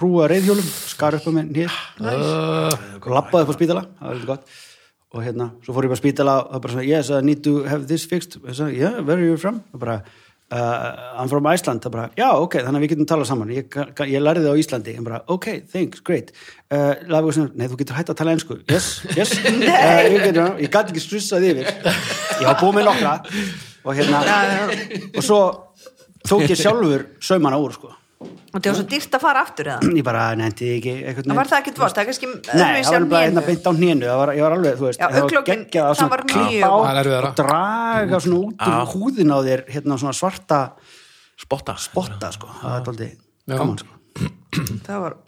Speaker 4: Rúa reyðhjólum, skar upp á minn hnið og lappaði upp á spítala það var eitthvað gott og hérna, svo fór ég bara á spítala og það bara svona, yes, I need to have this fixed og ég sagði, yeah, where are you from? það bara, uh, I'm from Iceland það bara, já, ok, þannig að við getum talað saman ég, ka- ka- ég lærði það á Íslandi, ég bara, ok, thanks great, uh, lafa eitthvað svona nei, þú getur hætt að tala ensku, yes,
Speaker 3: [LAUGHS]
Speaker 4: yes uh, ég, getur, ég gat ekki strussað yfir ég var búið með nokkra og hérna, og svo tók ég sjálfur saumana úr, sko
Speaker 3: og það var svo dýrt að fara aftur eða
Speaker 4: ég bara nefndi því ekki einhvern
Speaker 3: það
Speaker 4: veginn.
Speaker 3: var það ekkert vort, það er kannski
Speaker 4: Nei,
Speaker 3: öðruvísi
Speaker 4: það var
Speaker 3: af
Speaker 4: bara
Speaker 3: ménu.
Speaker 4: hérna beint á hnénu, það var, ég var alveg, þú veist
Speaker 3: Já,
Speaker 4: það var
Speaker 3: augnlokin,
Speaker 4: geggjað að
Speaker 3: það var
Speaker 4: svona klippa
Speaker 3: mjög-
Speaker 2: Það er
Speaker 4: á
Speaker 2: erfiðara.
Speaker 4: og draga svona út úr
Speaker 1: Já.
Speaker 4: húðin á þér, hérna svona svarta
Speaker 1: spotta
Speaker 4: botta, sko, það er aldrei
Speaker 2: Já.
Speaker 4: gaman, sko
Speaker 3: það var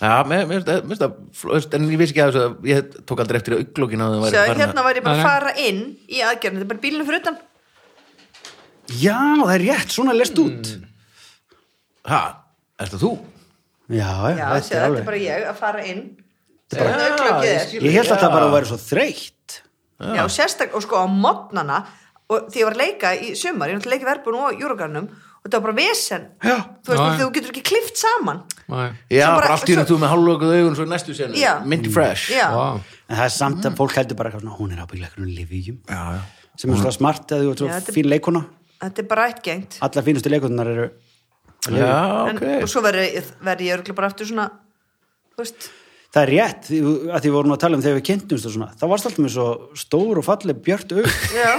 Speaker 1: Já, mér mér finnst það- mér finnst það flott, en ég vissi ekki að þessu að ég tók aldrei eftir auglókin að það væri
Speaker 3: Sjá,
Speaker 1: farin
Speaker 3: hérna var ég
Speaker 2: Nei,
Speaker 3: bara að
Speaker 2: nei.
Speaker 3: fara inn í aðgerðin, þetta er bara bílinu fyrir utan
Speaker 4: Já, það er rétt, svona lest út
Speaker 2: Mm.
Speaker 1: Ha, er það þú?
Speaker 4: Já,
Speaker 3: já,
Speaker 4: þetta
Speaker 3: sjá,
Speaker 4: er
Speaker 3: þetta
Speaker 4: alveg
Speaker 3: er bara ég að fara inn
Speaker 1: Já,
Speaker 3: Þetta er
Speaker 1: ég
Speaker 3: augnlokið er.
Speaker 1: skil-
Speaker 4: Ég held að
Speaker 1: Já.
Speaker 4: það bara væri svo þreytt
Speaker 3: Já, sérstak, og sko á modnana og því ég var að leika í sumar, ég var að leika í verbun og júrugarnum og þetta var bara vesen
Speaker 4: Já.
Speaker 3: þú veist,
Speaker 2: Já,
Speaker 3: því
Speaker 2: já.
Speaker 3: þú getur ekki klift saman
Speaker 2: Nei.
Speaker 1: Já,
Speaker 3: Svo bara-
Speaker 1: bara allt í hérna
Speaker 3: svo-
Speaker 1: þú með hálflökuð augun svo í næstu senu,
Speaker 3: Já.
Speaker 1: Minty Fresh
Speaker 3: já,
Speaker 2: Vá.
Speaker 4: En það er samt
Speaker 2: Mm.
Speaker 4: að fólk heldur bara eitthvað svona, hún er ábygglega einhvern livjum
Speaker 1: já, já.
Speaker 4: sem
Speaker 2: Mm.
Speaker 4: er svona smart að þú ert
Speaker 3: Já,
Speaker 4: svo
Speaker 3: þetta-
Speaker 4: fín leikona
Speaker 3: þetta er bara ættgengt
Speaker 4: Allar fínustu leikonar eru
Speaker 1: já
Speaker 3: en,
Speaker 1: Ah, ok
Speaker 3: og svo verði verði ég örugglega bara aftur svona þú veist,
Speaker 4: Það er rétt, því- að því við vorum að tala um þegar við kynntumst og svona, það varst alltaf með svo stór og falleg björt aug
Speaker 3: já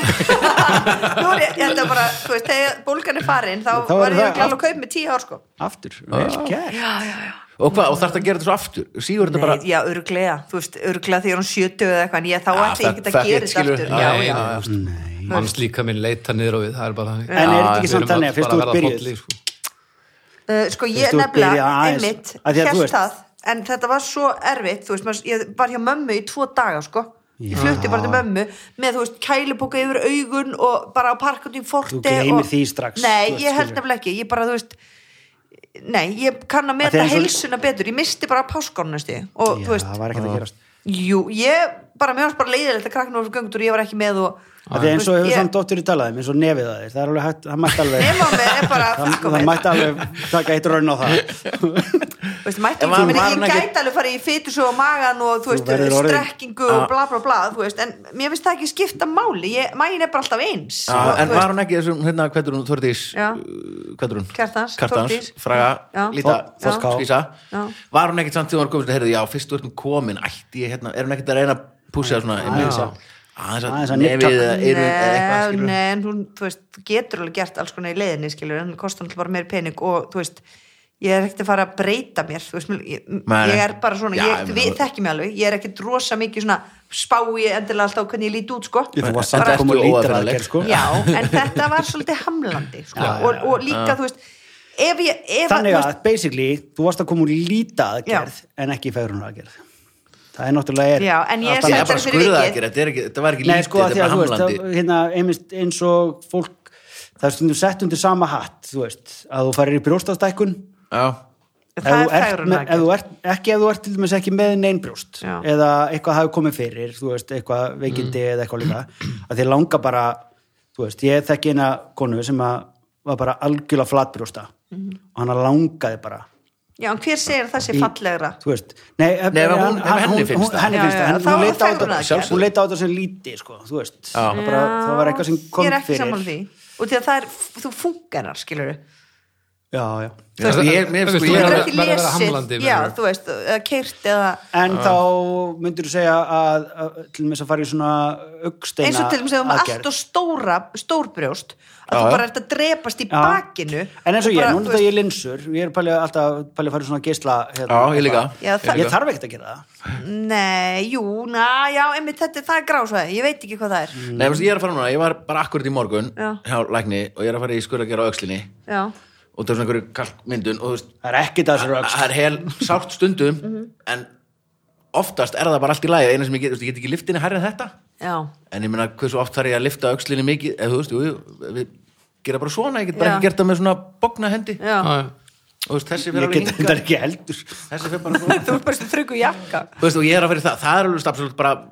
Speaker 3: [LAUGHS] Nú er ég, þetta var bara, þú veist, þegar bólgan er farin þá,
Speaker 4: Þá er
Speaker 3: var ég
Speaker 4: það
Speaker 3: örugglega alveg
Speaker 4: allt-
Speaker 3: að kaup með tíu ár sko
Speaker 4: aftur, vel gert
Speaker 1: Og hvað, og þarf það að gera þetta svo aftur? Sýgur
Speaker 3: Nei,
Speaker 1: þetta bara
Speaker 3: já, öruglega, þú veist, öruglega þegar hún 70 eða eitthvað, en ég þá
Speaker 1: Já,
Speaker 3: ætla ég
Speaker 1: það-
Speaker 3: ekki að
Speaker 1: það-
Speaker 3: gera þetta
Speaker 1: skilur-
Speaker 3: aftur
Speaker 1: já, já,
Speaker 3: já, já,
Speaker 1: já.
Speaker 4: Nei.
Speaker 2: manns líka minn leita niður á við það er bara þannig
Speaker 4: en er þetta
Speaker 1: Já,
Speaker 2: Við
Speaker 4: ekki
Speaker 2: erum
Speaker 4: samt þannig
Speaker 2: öll
Speaker 4: að
Speaker 2: bara
Speaker 4: fyrst þú
Speaker 2: að verða
Speaker 4: ert byrjuð
Speaker 2: hollið, sko.
Speaker 3: Uh, sko ég
Speaker 4: Þú veist, þú
Speaker 3: nefnilega,
Speaker 4: byrja aðeins.
Speaker 3: einmitt
Speaker 4: Af því að þú
Speaker 3: hérst
Speaker 4: veist-
Speaker 3: það, en þetta var svo erfitt þú veist, maður, ég var hjá mömmu í tvo daga sko, ég flutti bara til mömmu með, þú veist, kælibóka yfir augun og bara á parkundin forti
Speaker 4: Þú gleymir
Speaker 3: og...
Speaker 4: því strax,
Speaker 3: nei,
Speaker 4: þú veist,
Speaker 3: ég held
Speaker 4: skilur.
Speaker 3: nefnilega ekki, ég bara, þú veist nei, ég kann að
Speaker 4: Af því
Speaker 3: meta
Speaker 4: eins og-
Speaker 3: heilsuna betur, ég misti bara páskonnusti og, þú
Speaker 4: Já,
Speaker 3: veist,
Speaker 4: það var ekkert að gerast
Speaker 3: jú, ég bara, mér varst bara leiðilegt að krakkna úr göngur, ég var ekki með og,
Speaker 4: Það er eins og
Speaker 3: Þú
Speaker 4: hefur
Speaker 3: veist,
Speaker 4: samt dóttur í talað um, eins og nefið að þér, það er alveg hægt, það mætti alveg
Speaker 3: Nefið á mér er bara-
Speaker 4: það, það mætti alveg taka eitt raun á það
Speaker 3: Þú veist,
Speaker 1: En
Speaker 3: mætti ekki,
Speaker 1: var-
Speaker 3: meni,
Speaker 1: var
Speaker 3: ég
Speaker 1: hún ekki-
Speaker 3: gæti alveg farið í fytus og magan og þú
Speaker 4: Þú
Speaker 3: veist,
Speaker 4: verður orðin-
Speaker 3: strekkingu
Speaker 1: Ah.
Speaker 3: og bla bla bla, þú veist, en mér finnst það ekki skipta máli, ég, magin er bara alltaf eins
Speaker 1: Já, Ah, en var hún ekki þessum, hérna, hvernig hún, Þordís
Speaker 3: sko, Já.
Speaker 1: hvernig hún,
Speaker 3: Kjartans, Þórdís.
Speaker 1: Fraga,
Speaker 3: Já.
Speaker 1: Líta,
Speaker 4: Þor- Þorká.
Speaker 1: Skvísa
Speaker 3: Já.
Speaker 1: var hún ekki samt þegar hún var komin, heyrðu, já, fyrst þú ert komin ætti ég, hérna, er hún ekki að reyna að pússa svona, aðeins að aðeins
Speaker 4: Aðeins
Speaker 1: að
Speaker 4: að
Speaker 1: nefið
Speaker 4: neftakk.
Speaker 1: eða eyrun eða eitthvað,
Speaker 3: Nei,
Speaker 1: skilurðu.
Speaker 3: nei, en hún, þú veist, þú getur alveg gert alls konar í leiðinni, skilur, en það kostar alltaf bara meiri pening og, þú veist, ég er ekkert að fara að breyta mér, þú veist, mér- ég,
Speaker 1: Nei, nei.
Speaker 3: ég er bara svona,
Speaker 1: Já,
Speaker 3: ég,
Speaker 1: ég meina,
Speaker 3: við
Speaker 1: þú-
Speaker 3: þekki mig alveg, ég er ekkert rosa mikið svona spái endilega alltaf á hvernig ég líti út, sko.
Speaker 4: Ég, þú
Speaker 1: En
Speaker 4: var samt
Speaker 1: ertu
Speaker 4: að koma lítra að
Speaker 1: óaðfinnanleg?
Speaker 4: gera sko [LAUGHS]
Speaker 3: já, en þetta var svolítið hamlandi sko. og, og líka, þú veist ef ég, ef
Speaker 4: Þannig
Speaker 3: þú
Speaker 4: að, basically, þú varst að koma úr líta aðgerð
Speaker 3: Já.
Speaker 4: en ekki fegruna aðgerð Það er náttúrulega er
Speaker 3: Já, en ég er
Speaker 1: Það
Speaker 4: ástæðan.
Speaker 1: er
Speaker 3: Þetta
Speaker 1: bara
Speaker 3: fyrir
Speaker 1: skurða
Speaker 3: vikið.
Speaker 1: ekki, þetta er ekki, þetta var ekki
Speaker 4: Nei,
Speaker 1: lítið,
Speaker 4: sko, af
Speaker 1: þetta
Speaker 4: því
Speaker 1: er
Speaker 4: að
Speaker 1: bara
Speaker 4: þú veist,
Speaker 1: hamlandi.
Speaker 4: það, hérna, einmitt eins og fólk, það er stundum sett undir sama hatt, þú veist, að þú farir í brjóstastækkun
Speaker 1: Já,
Speaker 3: veist,
Speaker 4: ef
Speaker 3: það
Speaker 4: þú
Speaker 3: er
Speaker 4: ert
Speaker 3: fegrun
Speaker 4: með- ef
Speaker 3: aðgerð
Speaker 4: þú ert- ekki ef þú ert til dæmis ekki með neinn brjóst
Speaker 3: Já. Mm.
Speaker 4: eða eitthvað hafi komið fyrir þú veist, eitthvað veikindi eða eitthvað líka að þið langa bara þú veist, ég þekki eina konu sem að var bara algjörlega flatbrjósta
Speaker 3: Mm.
Speaker 4: og hana langaði bara
Speaker 3: já, en hver segir að það sé
Speaker 4: Í-
Speaker 3: fallegra
Speaker 4: þú veist, nei, ef,
Speaker 1: Nei, ef
Speaker 4: hann-
Speaker 1: hún- ef
Speaker 4: hann-
Speaker 1: henni
Speaker 4: hún-
Speaker 1: finnst
Speaker 4: hún-
Speaker 1: það.
Speaker 4: henni
Speaker 3: Já,
Speaker 4: finnst
Speaker 3: já,
Speaker 4: það, henni-
Speaker 3: þá
Speaker 4: hún
Speaker 3: er
Speaker 4: leita á
Speaker 3: það
Speaker 4: þetta
Speaker 3: fegrunaraðgerð.
Speaker 4: hún leita á þetta sem líti, sko, þú veist það, bara, það var eitthvað sem kom
Speaker 3: ég er ekki
Speaker 4: fyrir
Speaker 3: sammála því og því að það er, þú fungerar, skilur
Speaker 4: já, já.
Speaker 1: Þú veist, ég- mér-
Speaker 2: Þú veist,
Speaker 1: sko,
Speaker 3: þú
Speaker 1: ég-
Speaker 2: Bara-
Speaker 3: getur ekki
Speaker 2: bara vera
Speaker 3: lesið,
Speaker 2: hamlandi,
Speaker 3: já,
Speaker 2: meinarðu?
Speaker 3: þú veist eða keirt eða
Speaker 4: en þá myndir þú segja að, að til og með að fara í svona augsteina
Speaker 3: eins og til dæmis ef um
Speaker 4: aðgerð.
Speaker 3: allt og stóra stórbrjóst að
Speaker 1: Já,
Speaker 3: þú
Speaker 1: já.
Speaker 3: bara ert að drepast í
Speaker 4: Já.
Speaker 3: bakinu
Speaker 4: En eins og ég,
Speaker 3: bara, þú
Speaker 4: núna
Speaker 3: veist,
Speaker 4: þegar ég er linsur, ég er palið alltaf palið að fara í svona geisla hérna,
Speaker 1: Já, ég líka.
Speaker 3: Já, það-
Speaker 4: Ég þarf ekkert að gera það
Speaker 3: nei, jú, na, já, einmitt þetta það er grásvæði, ég veit ekki hvað það er
Speaker 1: nei, þú veist, ég er að fara núna, ég var bara akkurat í morgun
Speaker 3: Já.
Speaker 1: hjá lækni og ég er að fara í skurða á aukslinni
Speaker 4: Mm.
Speaker 3: já,
Speaker 1: og það er svona einhverju kalkmyndun og þú veist,
Speaker 4: Það er ekkert að þessu rögst
Speaker 1: það er hel sárt stundum
Speaker 3: Mhm.
Speaker 1: en oftast er það bara allt í lagi eina sem ég get, þú veist, ég get ekki liftinni hærri en þetta
Speaker 3: já
Speaker 1: en ég meina, hversu oft þarf ég að lifta aukslinni mikið, eða þú veist, jú, jú, við gera bara svona, ég get bara
Speaker 3: Já.
Speaker 1: ekki gert það með svona bogna hendi
Speaker 3: Já.
Speaker 2: Já, já.
Speaker 1: og þú veist, þessi fyrir
Speaker 4: Ég
Speaker 1: alveg
Speaker 4: get þetta
Speaker 1: hinga
Speaker 4: ekki heldur
Speaker 1: þessi fyrir bara svona [LAUGHS]
Speaker 3: [LAUGHS] þú er bara sem þryggu jakka
Speaker 1: Þú veist, og ég er að fyrir það, það er alveg absolutt bara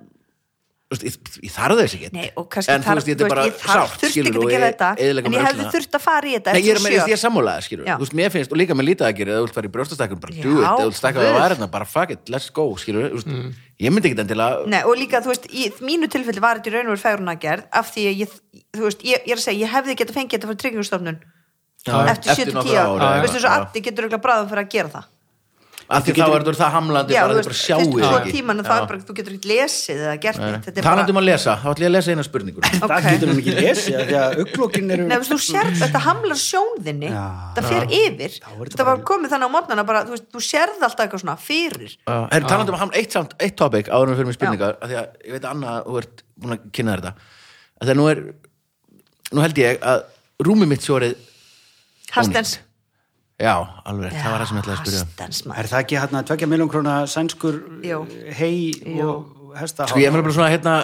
Speaker 1: þú veist, ég, ég þarf þess ekki
Speaker 3: Nei, og kannski
Speaker 1: en þú veist, ég er bara
Speaker 3: ég þarf,
Speaker 1: sárt,
Speaker 3: þurfti
Speaker 1: skilur
Speaker 3: ekki að gera þetta
Speaker 1: eyðilegga
Speaker 3: en
Speaker 1: mér
Speaker 3: ég hefði
Speaker 1: öxlina.
Speaker 3: þurft að fara í þetta
Speaker 1: Nei, ég er
Speaker 3: eftir
Speaker 1: með því
Speaker 3: sjö
Speaker 1: að sammálaða, skilur
Speaker 3: Já.
Speaker 1: Þú veist, mér finnst, og líka með lítið aðgerið eða þú vilt fara í brjóstastækun, bara do
Speaker 3: Já,
Speaker 1: it eða þú vilt stækka það
Speaker 3: guð.
Speaker 1: værið, bara fuck it, let's go, skilur mm. Ég myndi ekki endilega
Speaker 3: Nei, og líka, þú veist, í mínu tilfelli var þetta í raun og verið fegrunargerð af því að ég, þú veist, ég, ég er að segja ég hefði getað fengið þetta fyrir tryggingustofnun
Speaker 1: Já,
Speaker 3: eftir
Speaker 1: eftir
Speaker 3: 7-10
Speaker 1: nokkur
Speaker 3: ára,
Speaker 1: ár,
Speaker 3: veistu
Speaker 1: já,
Speaker 3: svo
Speaker 1: já.
Speaker 3: Addi getur auðvitað bráðum fyrir að gera það
Speaker 1: af því þá er þetta það hamlandi
Speaker 3: já,
Speaker 1: bara
Speaker 3: þú
Speaker 1: þið bara
Speaker 3: veist, fyrst
Speaker 1: sjáu
Speaker 3: tvo
Speaker 1: ekki
Speaker 3: tíman og það er bara, þú getur ekki lesið eða gert neitt, þetta er
Speaker 1: talandi um
Speaker 3: bara
Speaker 1: að lesa, þá ætlum ég að lesa eina spurningur
Speaker 3: [LAUGHS] Ok.
Speaker 4: það getur hann ekki lesið af því að uglokin eru
Speaker 3: Nei, þú veist, þú sér, þetta hamlar sjónðinni
Speaker 4: Já.
Speaker 3: þetta fer yfir,
Speaker 4: þetta
Speaker 3: þetta var komið þannig á mótnana bara, þú veist, þú sérð alltaf eitthvað svona fyrir,
Speaker 1: er talandi um að hamla eitt, samt, eitt topic áður en við fyrir mig spurningar af því að ég veit að Anna, þú ert búin að kynna þér þetta af því að nú er nú held ég að rúmið mitt sjórið
Speaker 3: hastens
Speaker 1: já, alveg, rétt, það var það sem ég ætlaði að spyrja um.
Speaker 3: hastens
Speaker 4: er
Speaker 3: maður,
Speaker 4: það ekki hann að tvekja miljón króna sænskur
Speaker 3: Jú.
Speaker 4: hei og hesta
Speaker 1: Sko ég er nefnilega svona hérna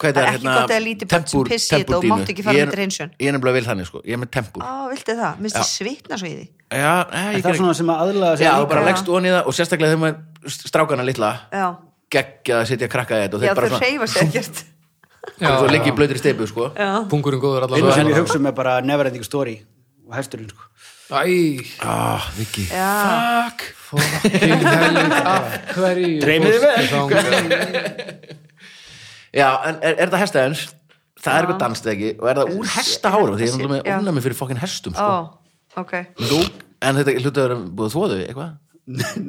Speaker 1: hvað þetta
Speaker 3: Það er
Speaker 1: er
Speaker 3: ekki
Speaker 1: hérna
Speaker 3: gott eða lítið barn sem
Speaker 1: tempur-
Speaker 3: pissi þetta og
Speaker 1: tempurdínu.
Speaker 3: mátti ekki fara Ah.
Speaker 1: Ég er-
Speaker 3: með dreinsun.
Speaker 1: Ég er nefnilega vil þannig sko, ég er með tempur
Speaker 3: á, viltu það, minnst þið svitna svo í því
Speaker 1: Já, nei,
Speaker 4: er
Speaker 1: ég
Speaker 4: það
Speaker 1: ger
Speaker 4: svona
Speaker 1: ekki
Speaker 4: sem að aðlaga sig
Speaker 1: Já, þú
Speaker 4: líka?
Speaker 1: bara
Speaker 3: Já.
Speaker 1: leggst onni í það og sérstaklega þegar maður strákana litla
Speaker 3: já,
Speaker 1: geggja að sitja að krakka í þetta og
Speaker 3: já
Speaker 1: þeir bara
Speaker 3: þau
Speaker 1: svona
Speaker 3: reyfa sér
Speaker 1: [LAUGHS]
Speaker 3: ekkert
Speaker 1: og svo liggi í blöytir steipu sko
Speaker 3: já,
Speaker 2: Pungurinn góður
Speaker 4: einu sem
Speaker 2: allavega
Speaker 4: ég hugsa um er bara neverending story og hesturinn sko [LAUGHS]
Speaker 2: Æ,
Speaker 1: Ah, Viki
Speaker 3: já,
Speaker 1: Fuck
Speaker 2: fucking helvit af hverju
Speaker 4: Dreymið þið
Speaker 2: fórstu þangað?
Speaker 1: Já, en er, er það hestaðins? Það er eitthvað danst eða ekki og er það úr hestahárum því ég er náttúrulega
Speaker 3: Já.
Speaker 1: með ofnæmi fyrir fokkin hestum
Speaker 3: ó,
Speaker 1: sko
Speaker 3: ok
Speaker 1: Lúk, en þetta hlutu að vera búið að þvóðu eitthvað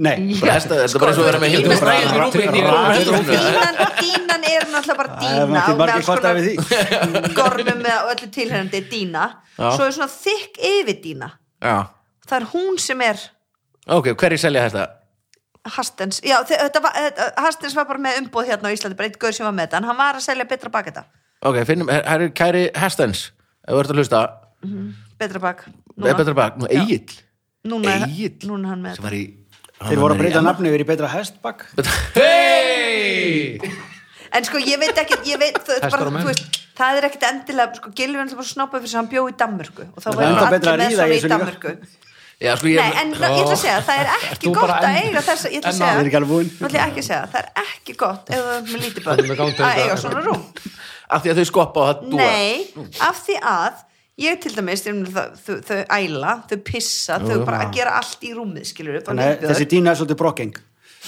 Speaker 4: nei,
Speaker 1: Bara hesta, er þetta bara eins og að vera með
Speaker 3: Sko,
Speaker 1: heilbrigt-
Speaker 3: dýnan-
Speaker 2: dýnan-
Speaker 1: bara- bara-
Speaker 2: dýnan-
Speaker 1: bara-
Speaker 3: dínan, dínan er náttúrulega bara
Speaker 4: það er
Speaker 3: dína
Speaker 4: ekki
Speaker 3: og með
Speaker 4: margir
Speaker 3: alls
Speaker 4: kvarta
Speaker 3: konar
Speaker 4: við því
Speaker 3: [LAUGHS] gormum með öllu tilherrandi dína
Speaker 1: Já.
Speaker 3: svo er svona þykk yfir dína
Speaker 1: Já,
Speaker 3: það er hún sem er
Speaker 1: ok, hverju selja hesta?
Speaker 3: Hastens, já, þe- þetta var, þetta- Hastens var bara með umbúð hérna á Íslandi, bara eitt gaur sem var með þetta en hann var að selja betra bak þetta
Speaker 1: Ok, finnum, hér er kæri hestens ef þú ert að hlusta,
Speaker 3: betra bak,
Speaker 1: er betra bak, nú Egil
Speaker 3: núna, er-
Speaker 1: Egill.
Speaker 3: núna er hann með
Speaker 1: sem var í hann
Speaker 4: þeir voru að
Speaker 1: var í-
Speaker 4: breyta nafni yfir í betra hestbakk
Speaker 2: Hey!
Speaker 3: þetta en sko ég veit ekki, ég veit það, er
Speaker 2: Hestar
Speaker 3: bara,
Speaker 2: og menn.
Speaker 3: þú veist, það er ekkit endilega, sko Gilvi er náttúrulega bara snoppað fyrir sem hann bjó í Danmörku og þá
Speaker 4: Það
Speaker 3: var
Speaker 4: er ennþá
Speaker 3: allir
Speaker 4: betra að
Speaker 3: með
Speaker 4: ríða
Speaker 3: svona
Speaker 4: í
Speaker 3: í
Speaker 4: þessu líka.
Speaker 3: Danmörku
Speaker 1: Já, sko, ég,
Speaker 3: Nei, en ég ætla að segja, það er
Speaker 2: Ert
Speaker 3: ekki
Speaker 2: þú
Speaker 3: gott
Speaker 2: bara
Speaker 3: að
Speaker 2: enn-
Speaker 3: eiga þess ég ætla
Speaker 2: enn að-
Speaker 3: að
Speaker 4: Ég er ekki
Speaker 3: segja,
Speaker 4: alveg búinn.
Speaker 3: Nú ætla ég ekki að segja það er ekki gott ef þú er með lítið
Speaker 2: Þetta er með
Speaker 3: börn
Speaker 2: gangtegunda.
Speaker 3: að eiga svona rúm
Speaker 1: af því að þau skoppa og það dúa
Speaker 3: Nei, af því að ég til dæmis, ég meina, þau, þau, þau æla þau pissa, þau bara að gera allt í rúmið skilur upp
Speaker 4: Þannig að þessi dína er svolítið brokkeng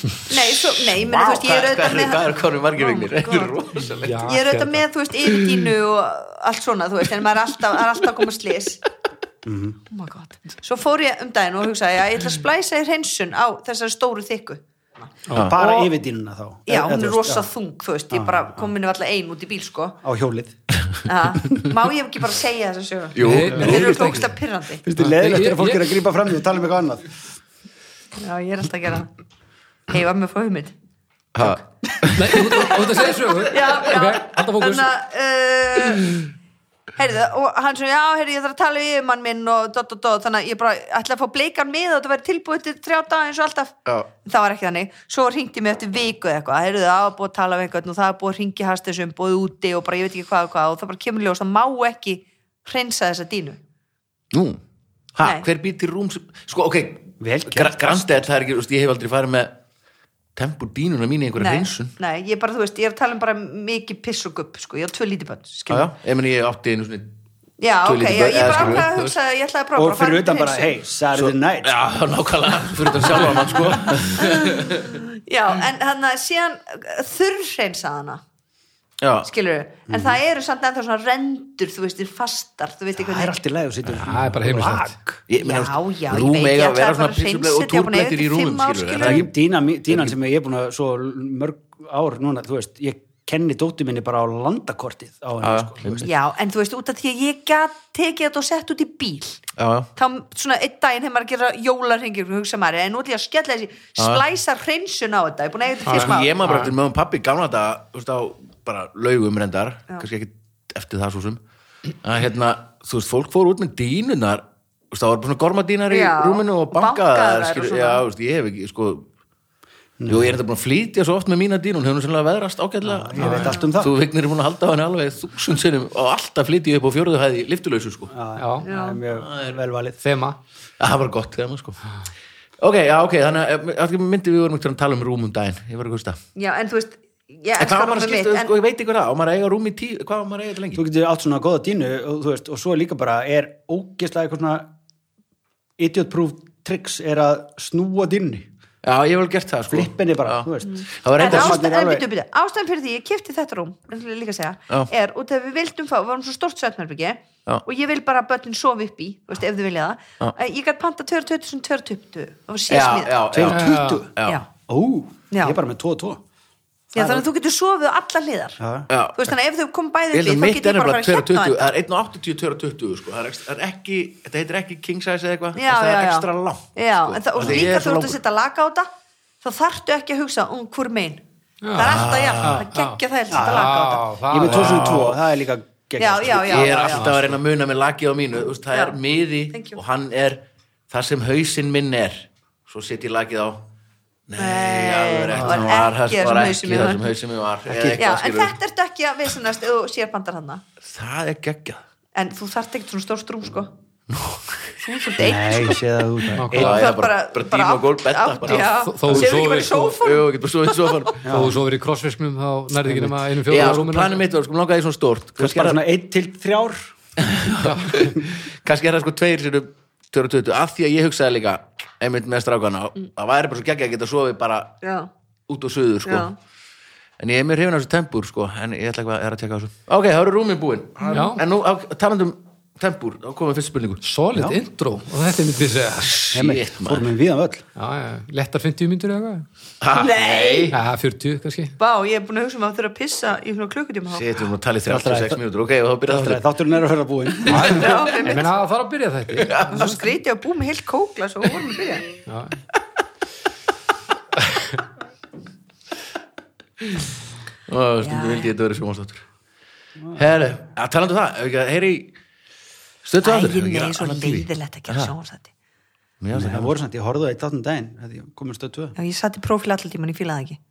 Speaker 3: Nei, svo, nei, meni, þú veist, ég er auðvitað með
Speaker 1: Hvað er konum margir vignir?
Speaker 3: Oh my
Speaker 1: Þetta er
Speaker 3: God.
Speaker 1: rosalega
Speaker 2: Já,
Speaker 4: Ah,
Speaker 3: ég er auðvitað
Speaker 2: hérna.
Speaker 3: með, þú veist, yfirdínu og allt svona, þú veist, en maður er alltaf, er alltaf að koma slis
Speaker 4: Mhm.
Speaker 3: oh my god svo fór ég um daginn og hugsaði að ég ætla að splæsa í hreinsun á þessari stóru þykku
Speaker 4: bara yfir dínuna þá
Speaker 3: já,
Speaker 4: Eða,
Speaker 3: hún
Speaker 4: þú
Speaker 3: er
Speaker 4: veist,
Speaker 3: rosa
Speaker 4: já, Ah,
Speaker 3: þung, þú veist, ég bara kom minni alltaf ein út í bíl, sko
Speaker 4: á hjólið
Speaker 3: ja. má ég ekki bara segja þessa sögur
Speaker 1: Jú,
Speaker 2: Nei,
Speaker 3: þeir
Speaker 2: ógeðslega
Speaker 3: eru
Speaker 2: ekki.
Speaker 3: tókst að pyrrandi
Speaker 4: finnst þið
Speaker 2: Ég-
Speaker 4: leðilegt
Speaker 2: ég-
Speaker 4: þegar fólk er að grípa fram því og tala um eitthvað annað
Speaker 3: já, ég er alltaf að gera það heifa með fóðum mitt
Speaker 1: ha,
Speaker 2: Nei, þú þú- þú ert að segja sögu
Speaker 3: já, já,
Speaker 2: Ok, halda fókus
Speaker 3: að uh, heyrðu, og hann svo, já, heyrðu, ég þarf að tala við mann minn og dot, dot, dot, þannig að ég bara ætla að fá bleikan með og þetta verið tilbúið til þrjá daga eins og alltaf
Speaker 1: Já.
Speaker 3: það var ekki þannig, svo ringdi mig eftir viku eða eitthvað, heyrðu, það var búið að tala við einhvern og það var búið að ringi hans þessum, búið úti og bara ég veit ekki hvað og hvað og það bara kemur ljós, það má ekki hreinsa þessa dínu
Speaker 1: nú Ha,
Speaker 3: Nei.
Speaker 1: hver býtir rúm sem, sko, ok
Speaker 4: Vel gert.
Speaker 1: Grandið, það er ekki, þú veist, ég hef aldrei farið með tempur dínuna mín í einhverja
Speaker 3: nei,
Speaker 1: hreinsun
Speaker 3: nei, ég bara, þú veist, ég er að tala um bara mikið piss og gupp, sko, ég á tvö lítið bönn
Speaker 1: Já, já, ég meni ég átti einu svona
Speaker 3: já,
Speaker 1: Tvö
Speaker 3: ok,
Speaker 1: lítil
Speaker 3: já,
Speaker 1: börn,
Speaker 3: ég
Speaker 1: eða
Speaker 3: bara
Speaker 1: skilur við,
Speaker 3: ákvaða að
Speaker 1: þú
Speaker 3: hugsa ég ætlaði að prófa
Speaker 4: og
Speaker 3: bara að fara
Speaker 4: fyrir
Speaker 3: út í
Speaker 4: utan bara,
Speaker 3: hreinsun.
Speaker 4: hey, Saturday night
Speaker 1: Já, [LAUGHS] nákvæmlega, fyrir þetta sjálfa mann, sko
Speaker 3: Já,
Speaker 1: Mm.
Speaker 3: en hann að síðan þurrreinsa hana,
Speaker 1: Já,
Speaker 3: skilur við en
Speaker 1: Mhm.
Speaker 3: það eru samt ennþá svona rendur þú veist, þér fastar, þú veist ekki
Speaker 4: það er allt í leið og situr
Speaker 2: Það er bara heimilislegt.
Speaker 4: Vak.
Speaker 1: Ég meina,
Speaker 3: Já,
Speaker 1: þú veist,
Speaker 3: já, ég
Speaker 1: rúm
Speaker 3: veit, ég
Speaker 1: eiga að
Speaker 3: ætlaði
Speaker 1: vera
Speaker 3: bara
Speaker 1: svona
Speaker 3: að
Speaker 1: písulega og
Speaker 3: hreinsa þetta, ég var búin að
Speaker 1: túrblettir í
Speaker 3: eiga þetta í
Speaker 1: rúmum,
Speaker 3: fimm ár,
Speaker 1: skilur
Speaker 3: skilurðu.
Speaker 1: við
Speaker 4: Ég- dínan mín- dínan sem ég er búin að svo mörg ár núna, þú veist, ég kenni dóttir minni bara á landakortið á henni,
Speaker 1: Já,
Speaker 4: sko,
Speaker 1: já,
Speaker 4: þú veist.
Speaker 3: Já, en þú veist, út af því að ég gat tekið þetta og sett út í bíl
Speaker 1: Já, já
Speaker 3: þá svona einn daginn hefur maður að gera jólarhengjur og hugsa maður, en nú ætlum ég að skella þessi splæsa hreinsun á þetta, ég er búin að eiga þetta
Speaker 1: Ég
Speaker 3: fyrst
Speaker 1: sko, ég
Speaker 3: maður
Speaker 1: maður bara eftir mögum pappi gamla þetta, þú veist, á bara laugum reyndar, kannski ekki eftir það svo sem að hérna, þú veist, fólk fór út með dínunar, þú veist, það var bara svona gormadínar í
Speaker 3: Já,
Speaker 1: rúminu og
Speaker 3: og bankaðar
Speaker 1: bankaðar
Speaker 3: og
Speaker 1: skilur,
Speaker 3: svona.
Speaker 1: já, þú veist, ég hef ekki, sko Jú, ég er þetta búin að flýtja svo oft með mína dínun, hefur hún sennilega veðrast ágætlega
Speaker 4: ég veit allt um það.
Speaker 1: Þú vignir er búin að halda á henni alveg þúsund sinnum og alltaf flýtja upp á fjóruðu hæði liftulausu, sko
Speaker 2: Já,
Speaker 4: það er mjög velvalið
Speaker 2: þema
Speaker 1: Það var gott, þegar maður, sko Ok, já, ok, þannig að eh, myndi við vorum ekki að tala um rúmum daginn, ég var að gusta
Speaker 3: Já, en þú veist, ég
Speaker 1: En hvað á
Speaker 3: elskar
Speaker 1: maður að
Speaker 3: rúmið
Speaker 1: skipta,
Speaker 3: mitt
Speaker 1: sko,
Speaker 3: en
Speaker 1: ég veit ekki hvað það, á maður að eiga rúm í tíu, hvað á maður að eiga þetta lengi?
Speaker 4: þú getur átt svona góða dínu og, þú veist, og svo líka bara er ógeðslega eitthvað svona idiotproof tricks er að snúa dínni
Speaker 1: Já, ég hef vel gert það sko.
Speaker 4: flippinni bara,
Speaker 1: Já.
Speaker 4: þú veist
Speaker 1: Það var
Speaker 3: En
Speaker 1: reynda
Speaker 4: ást-
Speaker 3: ástæðan,
Speaker 4: Sjónvarpið er
Speaker 3: en
Speaker 4: alveg-
Speaker 3: byrju, byrju, ástæðan fyrir því ég kefti þetta rúm ég ætla líka að segja,
Speaker 1: Já.
Speaker 3: er út af við vildum fá, við varum svo stórt svefnherbyggi
Speaker 1: Já.
Speaker 3: og ég vil bara að börnin sofa upp í þú veist, ef þau vilja
Speaker 1: Já.
Speaker 3: það, Eh, ég gætt panta 2020 2020 og sé
Speaker 1: Já,
Speaker 3: smíð
Speaker 1: já, já,
Speaker 4: Tveir- 20?
Speaker 1: já, já.
Speaker 4: ó,
Speaker 3: Já.
Speaker 4: ég er bara með 2 og 2
Speaker 3: Já, þannig að þú getur sofið á alla hliðar
Speaker 4: Já.
Speaker 1: Já.
Speaker 3: Þú veist, þannig að ef þau kom
Speaker 1: Ég
Speaker 3: bæði upp
Speaker 1: held
Speaker 3: í
Speaker 1: að
Speaker 3: þá
Speaker 1: mitt
Speaker 3: getur
Speaker 1: er
Speaker 3: ég bara
Speaker 1: bara 2
Speaker 3: að fara að hérna
Speaker 1: það er 1.80, 2.20 sko. það er ekstra, er ekki, þetta heitir ekki king size eða eitthvað,
Speaker 3: Já,
Speaker 1: það
Speaker 3: já,
Speaker 1: er
Speaker 3: já.
Speaker 1: ekstra langt
Speaker 3: Já,
Speaker 1: sko.
Speaker 3: en
Speaker 1: Af
Speaker 3: það, og svo
Speaker 1: því ég
Speaker 3: líka
Speaker 1: er svo
Speaker 3: þú ert að
Speaker 1: langur.
Speaker 3: setja laga á þetta þá þarftu ekki að hugsa um hver mein Það er alltaf jafn, það geggja það að setja laga á þetta
Speaker 4: ég er með 2002, það er líka sko. gegn
Speaker 3: Já, já, já,
Speaker 1: ég er
Speaker 3: já,
Speaker 1: alltaf að reyna að muna með lakið á mínu þú veist, það
Speaker 3: Já.
Speaker 1: er miði
Speaker 3: Thank you.
Speaker 1: og hann er það sem hausinn minn er svo set ég lakið á nei,
Speaker 3: Nei,
Speaker 1: alveg rétt,
Speaker 3: var
Speaker 1: hann var, það
Speaker 3: ekki það sem
Speaker 1: var ekki
Speaker 3: hausinn
Speaker 1: það
Speaker 3: minn var.
Speaker 1: sem hausinn minn var eða
Speaker 4: Ekki.
Speaker 3: Já,
Speaker 1: eitthvað,
Speaker 3: en
Speaker 1: skilurðu.
Speaker 3: þetta ertu ekki að visinast og sérbandar hana
Speaker 1: það er geggjað
Speaker 3: En þú þarft ekkert svona stórt rúm, sko Þú ert svolítið einn, sko.
Speaker 4: nei, sé það út
Speaker 2: Nákvæmlega.
Speaker 4: Einn-
Speaker 1: Já,
Speaker 3: þú
Speaker 1: já,
Speaker 3: þarft bara
Speaker 1: bara- bara dýna á gólf, bedda,
Speaker 3: átt-
Speaker 1: bara.
Speaker 3: já.
Speaker 2: Þó- þó þú
Speaker 3: Sefur ekki bara
Speaker 2: sofir,
Speaker 3: í
Speaker 2: sko.
Speaker 3: sófanum
Speaker 1: Jú, getur bara svo í
Speaker 4: [LAUGHS]
Speaker 1: sofanum
Speaker 2: Þó þú svo verið í crossfisknum þá nærði ekki nema einum
Speaker 1: Já,
Speaker 2: fjóðum
Speaker 1: sko, planið mitt var, sko, mig langaði í svona stórt
Speaker 4: þú veist
Speaker 1: kannski er,
Speaker 4: bara svona 1 til 3
Speaker 1: það- kannski er það sko tveir sérum 22, af því að ég hugsaði líka einmitt með strákana, það væri bara svo geggjað að geta sofið bara
Speaker 3: Já,
Speaker 1: út og suður sko.
Speaker 3: já
Speaker 1: en ég er mér hrifin af þessu tempur sko. en ég ætla eitthvað að er að tjekka á þessu ok, það eru rúmin búin
Speaker 2: Já.
Speaker 1: en nú, á- talandi um tempur, þá komum við fyrst spurningu
Speaker 2: Solid intro og þetta er mitt við segja
Speaker 1: shit maður
Speaker 4: fórum við viðan völl
Speaker 2: Já, já, lettar 50 myndur eða eitthvað
Speaker 1: Ha,
Speaker 3: Nei.
Speaker 2: Já, 40 kannski
Speaker 3: Bá, ég er búin að hugsa um að þurfa að pissa í svona klukkutíma þá.
Speaker 1: shit, við erum að tala í 36 mínútur ok, þá byrja
Speaker 4: Þátturinn-
Speaker 1: það
Speaker 4: þátturinn er að höra búinn
Speaker 3: Já,
Speaker 2: Ég
Speaker 3: einmitt.
Speaker 2: meina það þarf að byrja þetta
Speaker 3: Og Svo skríti að búið með heilt kókla Svo vorum við að byrja
Speaker 1: og stundum
Speaker 3: Já,
Speaker 1: vildi ég þetta verið sjómanstáttur herru, að talandi um það ef ekki að heyri stöttu aftur
Speaker 3: Ægir með svona byrðilegt að gera sjónvarsætti
Speaker 4: það voru samt, ég horfði á eitt þáttum daginn þegar ég komið stöð 2
Speaker 3: Já, ég satt í prófíl allir tíman, ég fílaði ekki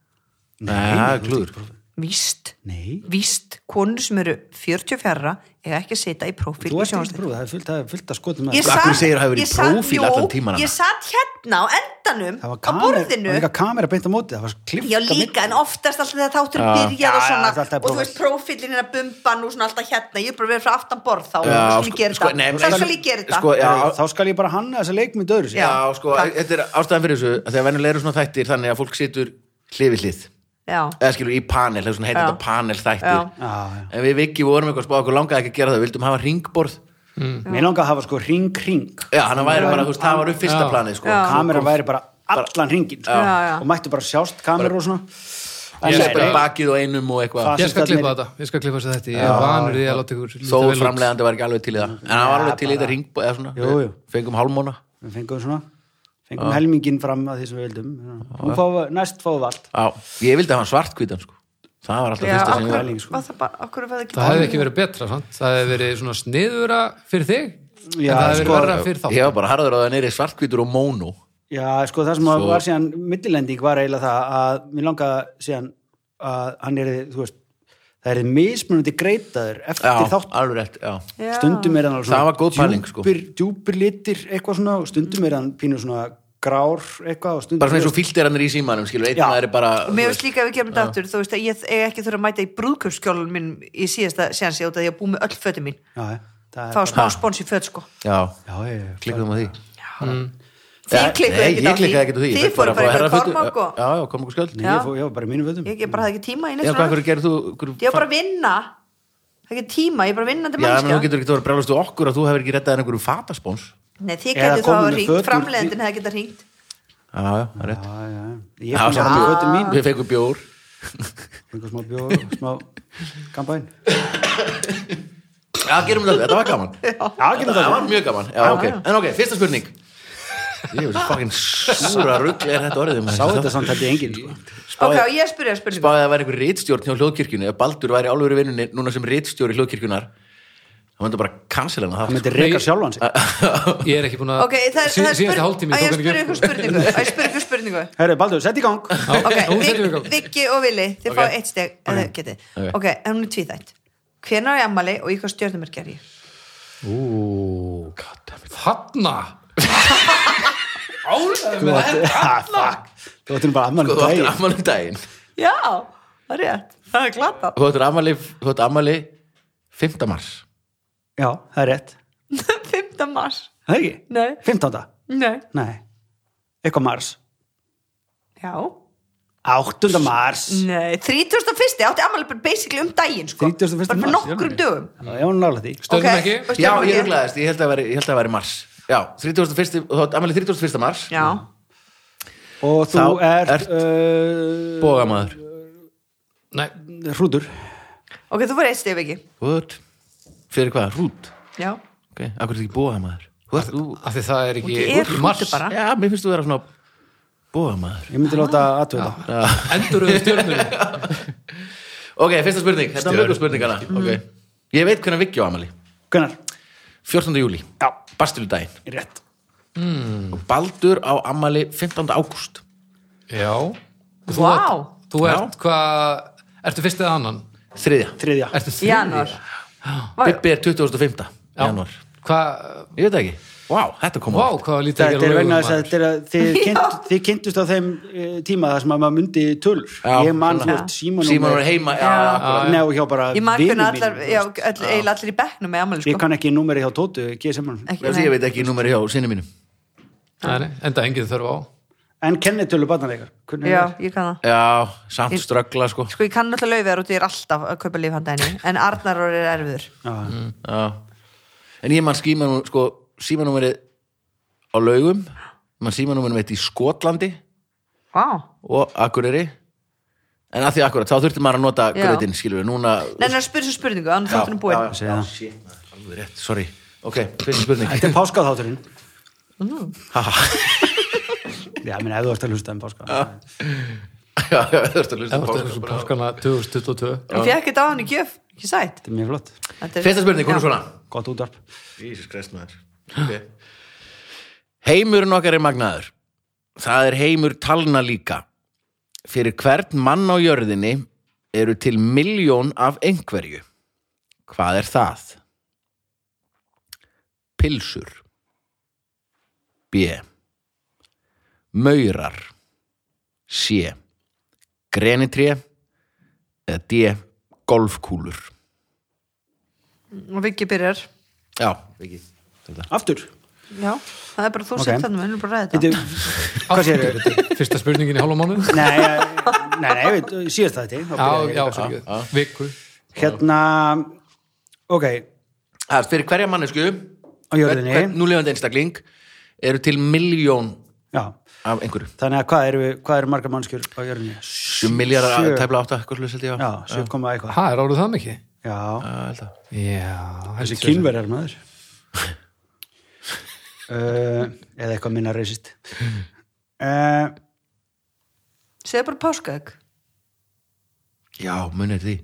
Speaker 1: það er klúður
Speaker 3: Víst,
Speaker 4: nei,
Speaker 3: víst, konur sem eru 44 eða ekki að sita í prófíl í
Speaker 4: þú ert ekki
Speaker 3: sjónvarsætti
Speaker 4: prófið, það er fullt, það er fullt að skotum
Speaker 3: Ég
Speaker 1: Af hverju
Speaker 3: satt-
Speaker 1: segirðu að hafa verið í
Speaker 3: ég satt-
Speaker 1: prófíl
Speaker 3: jú,
Speaker 1: allan tímann hana?
Speaker 3: Ég satt hérna á endanum
Speaker 4: það var
Speaker 3: á
Speaker 4: kamera, það
Speaker 3: borðinu
Speaker 4: var líka kamera beint á móti það var klift
Speaker 3: Já, líka, en oftast alltaf þegar þáttur
Speaker 1: Já.
Speaker 3: byrjað og
Speaker 4: Já, já,
Speaker 3: svona,
Speaker 4: þetta er
Speaker 3: og þú
Speaker 4: prófíl.
Speaker 3: veist, prófílinn er að bumba nú svona alltaf hérna, ég er bara verið frá aftan borð þá,
Speaker 1: Já,
Speaker 3: þá
Speaker 1: sko-
Speaker 3: skal ég gera
Speaker 1: sko,
Speaker 3: þetta.
Speaker 1: nei,
Speaker 3: Þá
Speaker 1: nei,
Speaker 3: skal ég gera þetta.
Speaker 1: sko, já,
Speaker 4: þá skal ég bara hanna þessa leikmynd öðru sér
Speaker 1: já,
Speaker 3: Já,
Speaker 1: sko,
Speaker 3: takk.
Speaker 1: þetta er ástæðan fyrir þessu að þegar venjulega eru svona þættir þannig að fólk situr hlifið hlið
Speaker 3: Já,
Speaker 1: eða skilur í panel, þess vegna heitir
Speaker 3: Já.
Speaker 1: þetta panel
Speaker 3: Já.
Speaker 1: þættir
Speaker 4: já.
Speaker 1: en við Viki vorum eitthvað að spá okkur langaði ekki að gera það við vildum hafa ringborð
Speaker 4: mér langar að hafa sko ring ring
Speaker 1: já, hann væri bara, þú veist, það var upp fyrsta
Speaker 2: Já.
Speaker 1: planið sko.
Speaker 3: Já.
Speaker 4: kameran væri bara allan ringin sko.
Speaker 3: Já, já.
Speaker 4: og mættu bara sjást kameru og svona
Speaker 1: ég
Speaker 4: En
Speaker 1: sé bara
Speaker 4: nei,
Speaker 1: í bakið og einum og eitthvað
Speaker 4: Fast.
Speaker 2: Ég skal klippa þetta, ég skal klippa þess að þetta Ég er vanur því að láta ykkur líta
Speaker 1: þó
Speaker 2: vel út.
Speaker 1: framlegandi var ekki alveg til í það en hann var alveg til í þetta ringborð eða svona,
Speaker 4: Jú,
Speaker 1: Við
Speaker 4: jú.
Speaker 1: fengum hálmóna
Speaker 4: við fengum svona fengum helmingin fram að því sem við vildum Nú fá, næst fáum við allt
Speaker 1: já, ég vildi hafa hann svartkvítan sko. það var alltaf
Speaker 3: já,
Speaker 1: fyrsta sem ég
Speaker 3: akkur,
Speaker 1: var
Speaker 4: pæling, sko.
Speaker 3: var það bara, akkur var það ekki
Speaker 2: Það hefði ekki verið betra, sant? það hefði verið svona sniðura fyrir þig en
Speaker 4: Já,
Speaker 2: það hefði verið
Speaker 4: sko-
Speaker 2: verra fyrir þá
Speaker 1: ég var bara harður á það neyri svartkvítur og mónu
Speaker 4: já sko það sem
Speaker 1: Svo-
Speaker 4: var síðan millilending var eiginlega það að mér langaði síðan að hann er þú veist það er mismunandi greitaður
Speaker 1: já,
Speaker 4: eftir þátt
Speaker 1: alveg rétt, já
Speaker 3: Já.
Speaker 4: stundum er hann alveg
Speaker 1: Það var góð pæling, sko.
Speaker 4: djúpir, djúpir litir eitthvað svona og stundum er hann pínu svona grár eitthvað og stundum
Speaker 1: bara svona eins og fíldirannir í símanum, skilur, einn
Speaker 4: Já.
Speaker 1: maður er bara
Speaker 3: Og Mér finnst líka að við gerum þetta aftur, þú veist að ég eiga ekki þurfa að mæta í brúðkursskjólun minn í síðasta séansi út af því að ég búið með öll fötum mín
Speaker 4: já, já, það
Speaker 3: fá
Speaker 4: er
Speaker 3: smá
Speaker 1: Ha.
Speaker 3: spons í föt sko
Speaker 1: já,
Speaker 4: bara, já, já,
Speaker 1: klikkuðum á því
Speaker 3: Þið
Speaker 1: Já, Mm.
Speaker 3: klikkuðu
Speaker 1: nei,
Speaker 3: ekkert á
Speaker 1: ég klikkaði ekkert á því
Speaker 3: Þið fóru bara eitthvað kormak
Speaker 1: og
Speaker 3: og
Speaker 1: já, já, kormak og skjöld
Speaker 4: Nei,
Speaker 1: já,
Speaker 3: Já.
Speaker 4: ég, fó, ég var bara í mínum vöðum
Speaker 3: ég bara hafði ekki tíma í neitt
Speaker 1: hvað hverju
Speaker 3: svona
Speaker 1: gerir þú hverju,
Speaker 3: Ég var bara að vinna Það er ekki tíma, ég er bara vinnandi
Speaker 1: já, menn þú
Speaker 3: mannskja
Speaker 1: getur ekki þú að brjálast við okkur að þú hefur ekki rettað einhverjum fataspons já,
Speaker 3: Nei, þið
Speaker 4: Eða
Speaker 3: getur þá að
Speaker 4: komið með
Speaker 3: ringt,
Speaker 4: fötur-
Speaker 3: framleiðendin hefði getað ringt
Speaker 1: já, það er rétt
Speaker 4: já, já,
Speaker 1: Já,
Speaker 4: ég fann
Speaker 1: svo
Speaker 4: bara í vöðum mín
Speaker 1: við fengum bjór
Speaker 4: einhver smá bjóð og smá kampæn
Speaker 1: já, gerum við það, þetta var
Speaker 3: [LAUGHS]
Speaker 1: gaman
Speaker 4: já, getur
Speaker 1: það
Speaker 4: það
Speaker 1: var mjög gaman, já, ok en ok, fyrsta spurning ég veist, fucking súra rugl er þetta orðið maður.
Speaker 4: sá þetta samt þetta í engin sko.
Speaker 3: Ok,
Speaker 1: Spáði-
Speaker 3: og ég spurði að spurningu
Speaker 1: spáði að það væri einhver rítstjórn hjá hljóðkirkjunni ef Baldur væri álveru vinnunni núna sem rítstjóri hljóðkirkjunnar þá myndi bara cancela hana
Speaker 4: hann
Speaker 1: það
Speaker 4: myndi reyka sjálfan sig
Speaker 2: Ég er ekki búin að
Speaker 3: Ok, það er,
Speaker 2: sí,
Speaker 3: það
Speaker 2: síðasta
Speaker 3: er spurning
Speaker 2: hálftími
Speaker 3: Að ég
Speaker 2: tók hann
Speaker 3: spurði
Speaker 2: ekki sko.
Speaker 3: ykkur spurningu Að ég
Speaker 1: [LAUGHS]
Speaker 3: spurði ykkur spurningu
Speaker 4: herru, Baldur, sett í [LAUGHS] gang
Speaker 3: Ok,
Speaker 2: Já, hún setur við í
Speaker 3: Vik-
Speaker 2: gang.
Speaker 3: Viggi og Vili, þið
Speaker 1: Ok.
Speaker 3: fá eitt steg ef þið getið.
Speaker 1: Ok.
Speaker 3: Ok, en hún er tvíþætt Hvenær er ammali og í hvað stjörnumörk er ég?
Speaker 2: Ú, goddammit. Þarna Ánægðu með þetta
Speaker 4: Ha, Ah, fuck. þú ættir bara afmælum
Speaker 1: þú áttir
Speaker 4: daginn
Speaker 1: afmæli um daginn
Speaker 3: Já, það er rétt Það er [LAUGHS] glata
Speaker 1: þú áttir afmæli, þú áttir afmæli 5. mars
Speaker 4: já, það er rétt
Speaker 3: 5. mars
Speaker 4: það er ekki,
Speaker 3: Nei,
Speaker 4: 15.
Speaker 3: nei
Speaker 4: nei, eitthvað mars
Speaker 3: já,
Speaker 4: 8. mars
Speaker 3: nei 31. átti ammali bara basically um daginn sko.
Speaker 4: 31.
Speaker 3: bara fyrir
Speaker 4: mars,
Speaker 3: nokkrum
Speaker 2: já.
Speaker 3: dögum
Speaker 4: Já, ég var nú nálægt því
Speaker 2: Stöðum
Speaker 3: Ok,
Speaker 2: ekki?
Speaker 3: og stjórnum
Speaker 1: Já, ég
Speaker 3: ekki.
Speaker 1: ruglaðist, ég held að væri, ég held að væri mars Já, 31. og þá amalið 31. mars
Speaker 3: já,
Speaker 4: Og þú
Speaker 1: Þá
Speaker 4: ert,
Speaker 1: ert-
Speaker 4: ert uh,
Speaker 1: Bógamaður
Speaker 2: Nei,
Speaker 4: hrútur
Speaker 3: ok, þú voru eitt stef ekki
Speaker 1: What? Fyrir hvað? Rút?
Speaker 3: já,
Speaker 1: Ok, akkur er þetta ekki bógamaður? Hvað er þú?
Speaker 2: af því það er ekki
Speaker 3: Ég er hrútur bara.
Speaker 1: Já, mér finnst þú vera svona bógamaður
Speaker 4: Ég myndi láta aðtöða
Speaker 2: Enduröðu stjörnum
Speaker 4: [LAUGHS]
Speaker 1: Ok, fyrsta spurning, þetta er mjög spurningana Ok, ég veit hvernig Viggjó amali
Speaker 4: Hvernar?
Speaker 1: 14. júli,
Speaker 4: Já,
Speaker 1: Bastildaginn
Speaker 4: rétt
Speaker 1: og Baldur á amali 15. ágúst
Speaker 2: Já Og Þú
Speaker 3: Vá.
Speaker 2: ert, þú ert hvað Ertu fyrst eða annan?
Speaker 1: Þriðja,
Speaker 4: Þriðja
Speaker 2: Ertu þriðji?
Speaker 3: januar
Speaker 1: Bibbi er 2005. januar
Speaker 2: Hvað,
Speaker 1: Ég veit það ekki, vá, þetta kom
Speaker 2: vá,
Speaker 1: óvart.
Speaker 2: hvað lítið
Speaker 4: Þetta er
Speaker 2: á lögum
Speaker 4: vegna þess að
Speaker 2: maður.
Speaker 4: þetta er að þið,
Speaker 3: Já.
Speaker 4: kynnt, þið kynntust á þeim eh, tíma þar sem að maður myndi tölur
Speaker 1: Já,
Speaker 4: Ég man
Speaker 1: svona.
Speaker 4: þú veist Símon
Speaker 1: Símon var heima, já,
Speaker 3: Já.
Speaker 1: akkurat.
Speaker 4: Nei og hjá bara
Speaker 3: ég man
Speaker 4: vinum
Speaker 3: hvernig allar,
Speaker 4: mínum,
Speaker 3: já,
Speaker 4: þú veist.
Speaker 3: all, eiginlega allir í bekknum með ammali
Speaker 4: Ég
Speaker 3: sko.
Speaker 4: kann ekki númeri hjá Tótu GSM-an.
Speaker 3: Ekki,
Speaker 1: Ég
Speaker 3: nei.
Speaker 1: veit ekki númeri hjá sinni mínum
Speaker 2: Nei, nei, Enda engin þörf á
Speaker 4: En kennitölu barnareikar
Speaker 3: já, ég kann það
Speaker 1: Já, samt ströggla sko
Speaker 3: sko, ég kann alltaf laufiðar út, ég er alltaf að kaupa líf handa henni en Arnar er erfiður
Speaker 1: Já. En ég man skímanum sko, símanúmerið á laugum man símanúmerið mitt í Skotlandi
Speaker 3: vá,
Speaker 1: og Akureyri en að því Akureyri, þá þurfti maður að nota
Speaker 3: Já.
Speaker 1: gröðin, skilur við, núna
Speaker 3: nei, nei, spyrir svo spurningu, þannig þáttunum búin
Speaker 1: já, já, shit, maður, alveg rétt, sorry Ok, fyrsta spurning [LAUGHS]
Speaker 4: Þetta er páskaþátturinn Já, minn ef þú ert að hlusta um páska
Speaker 1: Já, já, þú ert að hlusta
Speaker 2: Ef
Speaker 1: á
Speaker 2: ertu þessu
Speaker 1: bók.
Speaker 2: páskana 2022
Speaker 3: og fekk þetta á hann í gjöf, ekki sætt
Speaker 4: Þetta er mjög flott,
Speaker 3: Þetta er-
Speaker 1: Fyrsta spurning, hún er
Speaker 3: Já.
Speaker 1: svona
Speaker 4: gott útvarp
Speaker 1: Jesus Christ, maður okay. Heimurinn okkar er magnaður Það er heimur talna líka Fyrir hvern mann á jörðinni eru til miljón af einhverju Hvað er það? Pilsur B Maurar C Grenitré eða D Golfkúlur
Speaker 3: og Viki byrjar
Speaker 1: Já, ekki Þetta.
Speaker 4: Aftur,
Speaker 3: Já, það er bara þú
Speaker 4: Ok.
Speaker 3: sem þannig, við erum bara að ræða
Speaker 4: þetta
Speaker 3: þetta
Speaker 4: er, hvað séu þau?
Speaker 2: Fyrsta spurningin í hálfa mánuð
Speaker 4: Nei, eh, nei, nei, við síðast það þetta
Speaker 2: Já, já, fyrir Viku
Speaker 4: Hérna, ok,
Speaker 1: Það er fyrir hverja mannesku
Speaker 4: á jörðinni
Speaker 1: hvern núlefandi einstakling eru til miljón
Speaker 4: Já,
Speaker 1: af einhverju
Speaker 4: þannig að hvað eru, hvað eru margar mannskjur á jörðinni?
Speaker 1: 7 miljardar,
Speaker 4: Sjö.
Speaker 1: tæpla 8 eitthvað sluðis held ég
Speaker 4: Já, 7 koma eitthvað
Speaker 2: Ha, er árið það mikið?
Speaker 4: Já,
Speaker 1: Já,
Speaker 2: Já
Speaker 4: þessi kynverjar maður uh, Eða eitthvað minna reisist uh,
Speaker 3: Segðu bara páskaðeg
Speaker 1: já munið eftir því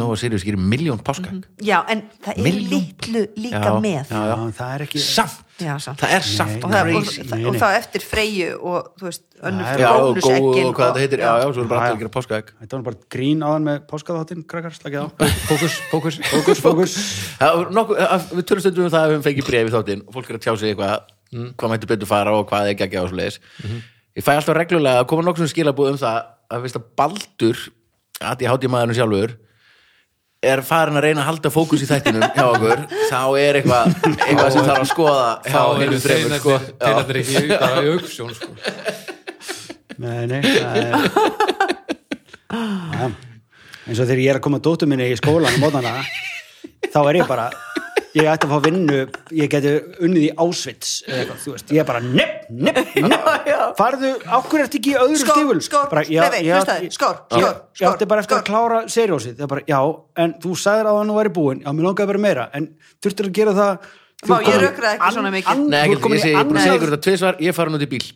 Speaker 1: Nóa Sirius gerir miljón páskak
Speaker 3: Já, en það er
Speaker 1: Milljón.
Speaker 3: litlu líka
Speaker 1: Já,
Speaker 3: með
Speaker 4: Já, það er ekki
Speaker 1: Samt,
Speaker 3: Já, samt.
Speaker 1: það er samt
Speaker 3: og, það, og,
Speaker 1: crazy
Speaker 3: það,
Speaker 4: Nei,
Speaker 3: og
Speaker 4: nei.
Speaker 3: þá eftir freyju og þú veist, önnur
Speaker 4: Já,
Speaker 1: Já, og góð
Speaker 3: bónuseggin
Speaker 1: og hvað þetta heitir Já, já, svo er bara
Speaker 4: sko. Já,
Speaker 1: allir
Speaker 4: já.
Speaker 1: að gera páskak
Speaker 4: Þetta var nú bara grín áðan með páskaðáttinn, krakkar, slakið á.
Speaker 2: [LAUGHS] Fókus, fókus
Speaker 4: Fókus, fókus.
Speaker 1: Það var nokkuð- að- Við tölum stundum um það að við höfum fengið bréfi þáttinn og fólk er að tjá sig eitthvað "Mm, hvað mættu betur fara og hvað er ekki að gefa svo leiðis
Speaker 4: Mhm.
Speaker 1: Ég fæ alltaf reglulega að koma nokkuð skilabúð um það að veist að Baldur að ég hátíð maðurinn sjálfur er farin að reyna að halda fókus í þættinum hjá okkur, þá er eitthvað eitthvað sem þarf að skoða hjá
Speaker 2: Þá
Speaker 1: hinum
Speaker 2: eru
Speaker 1: þreymur, sko.
Speaker 2: þeirnarnir Þeirnarnir ekki bara í auksjón sko.
Speaker 4: Nei, nei, það er... Já, eins og þegar ég er að koma dóttu minni í skólan á mótana, þá er ég bara, ég ætti að fá vinnu, ég geti unnið í ásvits, eða eitthvað, þú veist, ég er bara, nepp, nepp,
Speaker 3: [LAUGHS]
Speaker 4: nepp, farðu, okkur ert ekki í öðru
Speaker 3: Skór,
Speaker 4: stíful?
Speaker 3: skór, nei, nei, hlustaðu, skór, skór,
Speaker 4: Ég
Speaker 3: skór,
Speaker 4: átti bara eftir
Speaker 3: skór.
Speaker 4: að klára seriósið, það er bara, já, en þú sagðir að hann væri búin, já, mér langaði bara meira, en þurftir að gera það, þú
Speaker 3: Vá, ég
Speaker 4: ert komin í
Speaker 3: rökraði ekki
Speaker 4: ann-
Speaker 3: svona mikið.
Speaker 4: ann-
Speaker 1: Nei,
Speaker 4: þú ert
Speaker 1: ekki,
Speaker 4: komin
Speaker 1: ég
Speaker 4: í
Speaker 1: segi, ég er búin að segja
Speaker 4: annað-
Speaker 1: ykkur þetta tvisvar, ég er farin út í bíl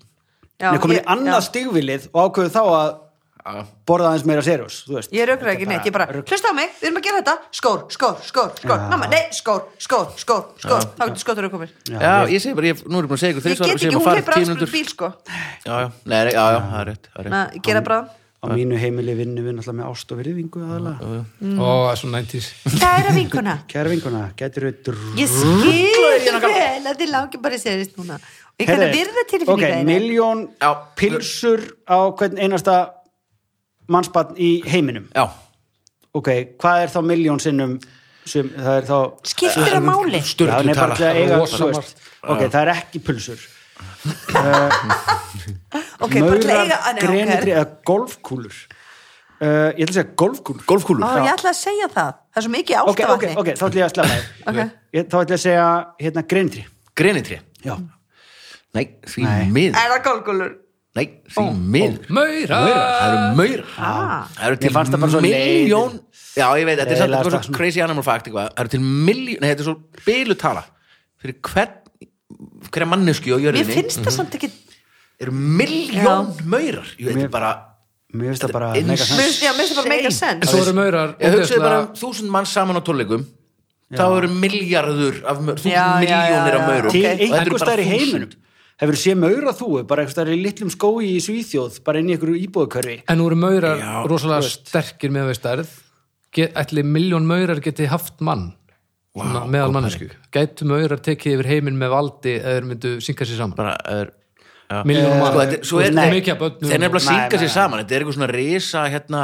Speaker 3: Já,
Speaker 4: Nei, komin í
Speaker 3: ég-
Speaker 4: annað
Speaker 3: já.
Speaker 4: stigvilið og ákveðu þá að borða aðeins meira serjós, þú veist.
Speaker 3: Ég raukur ekki neitt, ég bara, hlusta á mig, við erum að gera þetta Skór, skór, skór, skór,
Speaker 4: Já.
Speaker 3: mamma, nei, skór, skór, skór, skór Þá getur skóttur að komið
Speaker 1: Já, ég segi bara, ég, nú er ég búin að segja ykkur
Speaker 3: Ég
Speaker 1: tvisvar
Speaker 3: get
Speaker 1: og
Speaker 3: ekki,
Speaker 1: segja
Speaker 3: hún
Speaker 1: bara farið
Speaker 3: hefur
Speaker 1: tíu
Speaker 3: aðspyrir
Speaker 1: mínútur
Speaker 3: bíl, sko
Speaker 1: Já, já, nei, já, já, það er rétt, það er rétt.
Speaker 3: Na, Ég gera bara
Speaker 4: Á mínu heimili vinnu við náttúrulega með ást og virðingu aðalega.
Speaker 2: Ó, svo 90s
Speaker 3: Kæra vinkuna
Speaker 4: Kæra vinkuna, getur við drú...
Speaker 3: Ég skil vel að þið langi bara í serist núna og ég kann að virða
Speaker 4: Ok,
Speaker 3: tilfinninga
Speaker 4: miljón
Speaker 1: Já.
Speaker 4: pilsur á hvern einasta mannsbarn í heiminum.
Speaker 1: Já,
Speaker 4: Ok, hvað er þá miljón sinnum sem það er þá...
Speaker 3: skiptir það máli
Speaker 4: Já, nei,
Speaker 1: sturlu
Speaker 4: bara
Speaker 1: tala
Speaker 4: til að eiga,
Speaker 2: Rosa
Speaker 4: þú veist. Ok, það er ekki pulsur.
Speaker 3: ok, ok, bara til að eiga að- nei, ok.
Speaker 4: grenitri eða golfkúlur uh, ég ætla að segja golfkúlur
Speaker 1: Golfkúlur?
Speaker 3: Ó,
Speaker 4: Já.
Speaker 3: ég ætla að segja það, það er svo mikið
Speaker 4: ok,
Speaker 3: ástavatni
Speaker 4: ok, ok, þá ætla ég að sleppa þér Ég- þá ætla ég að segja hérna grenitri
Speaker 1: Grenitri?
Speaker 4: já,
Speaker 1: Nei, því miður
Speaker 3: Er það gólgulur?
Speaker 1: Nei, því miður
Speaker 2: Maura.
Speaker 1: Það eru maur
Speaker 3: Ah.
Speaker 1: Það eru
Speaker 4: Mér fannst það bara svo
Speaker 1: til miljón Já, ég veit, þetta er samt
Speaker 4: Leiðilega
Speaker 1: þetta var svo
Speaker 4: strax.
Speaker 1: crazy animal fact eitthvað Það eru til miljón, nei, þetta er svo bylutala fyrir hvern hverja mannesku á
Speaker 3: Mér
Speaker 1: jörðinni
Speaker 3: finnst það samt ekki Mér
Speaker 1: eru miljón maurar Jú, þetta er bara
Speaker 4: mér finnst það bara
Speaker 1: Þetta er
Speaker 4: mega sens.
Speaker 3: finnst- já, mér finnst það bara mega
Speaker 1: Shame.
Speaker 3: sens.
Speaker 2: Svo eru maurar
Speaker 1: Ég hugsaði
Speaker 2: ógeðslega-
Speaker 1: bara um þúsund mann saman á tónleikum þá eru miljardur af maur, þúsund
Speaker 3: Já, já, já,
Speaker 1: miljónir af
Speaker 3: já.
Speaker 1: maurum
Speaker 4: til
Speaker 1: Og þetta eru bara
Speaker 4: einhver staðar í
Speaker 1: þúsund.
Speaker 4: heiminum hefur séð maura þúu, bara einhver staðar í litlum skói í Svíþjóð, bara inn í einhverju íbúðkörfi
Speaker 2: En nú eru maurar
Speaker 1: Já,
Speaker 2: rosalega sterkir með við stærð Get, ætli miljón maurar geti haft mann wow, meðal mannesku gætu maurar tekið yfir heiminn með valdi eða þeir myndu synka sér saman
Speaker 1: bara er,
Speaker 2: miljón
Speaker 1: sko,
Speaker 2: mann,
Speaker 1: þetta, er- svo er
Speaker 4: nei.
Speaker 2: mikið af börnum
Speaker 1: þeir nefnilega
Speaker 4: Nei,
Speaker 1: synga
Speaker 4: nei,
Speaker 1: sér
Speaker 4: nei.
Speaker 1: saman þetta er eitthvað svona risa hérna,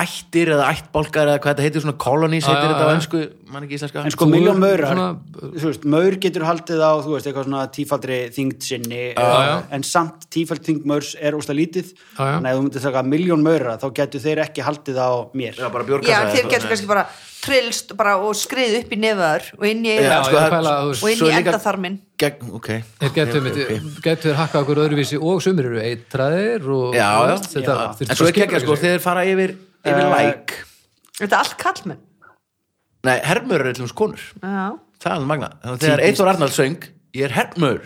Speaker 1: ættir eða ættbálkar eða hvað þetta heitir svona kolonís
Speaker 2: Já,
Speaker 1: heitir
Speaker 2: já,
Speaker 1: þetta á
Speaker 2: já.
Speaker 1: ennsku, mann ekki íslenska
Speaker 4: en sko
Speaker 2: Þú-
Speaker 4: miljón maurar
Speaker 2: svona-
Speaker 4: þú veist, maur getur haldið á þú veist, eitthvað svona tífaldri þyngd sinni eh,
Speaker 2: já.
Speaker 4: en samt tífald þyngd maurs er ósla lítið
Speaker 2: Já, já.
Speaker 4: en ef þú myndir taka miljón maura þá getur þeir ekki haldið á mér
Speaker 1: Já, bara
Speaker 3: Já,
Speaker 1: bjórkassa
Speaker 3: þeir getur kannski bara trillst bara og skrið upp í nefaður og inn í
Speaker 2: Já,
Speaker 3: eyrað
Speaker 1: sko,
Speaker 2: ég er að pæla, þú veist,
Speaker 3: og inn í endaþarmin
Speaker 1: gegn, ok
Speaker 2: þeir gætu, okay. gætu þeir hakka okkur öðruvísi og sumir eru eitraðir og
Speaker 1: já, já,
Speaker 2: þetta
Speaker 1: já.
Speaker 2: þurfti
Speaker 1: en svo
Speaker 2: bara
Speaker 1: er gegn
Speaker 2: að
Speaker 1: sko
Speaker 2: skipuleggja sig.
Speaker 1: þeir fara yfir yfir
Speaker 4: Eh,
Speaker 1: læk
Speaker 3: Þetta er allt kallmenn
Speaker 1: nei, hermur er allum skonur
Speaker 3: Já,
Speaker 1: það er alveg magna, þannig að þegar Eithor Arnald söng ég er hermur,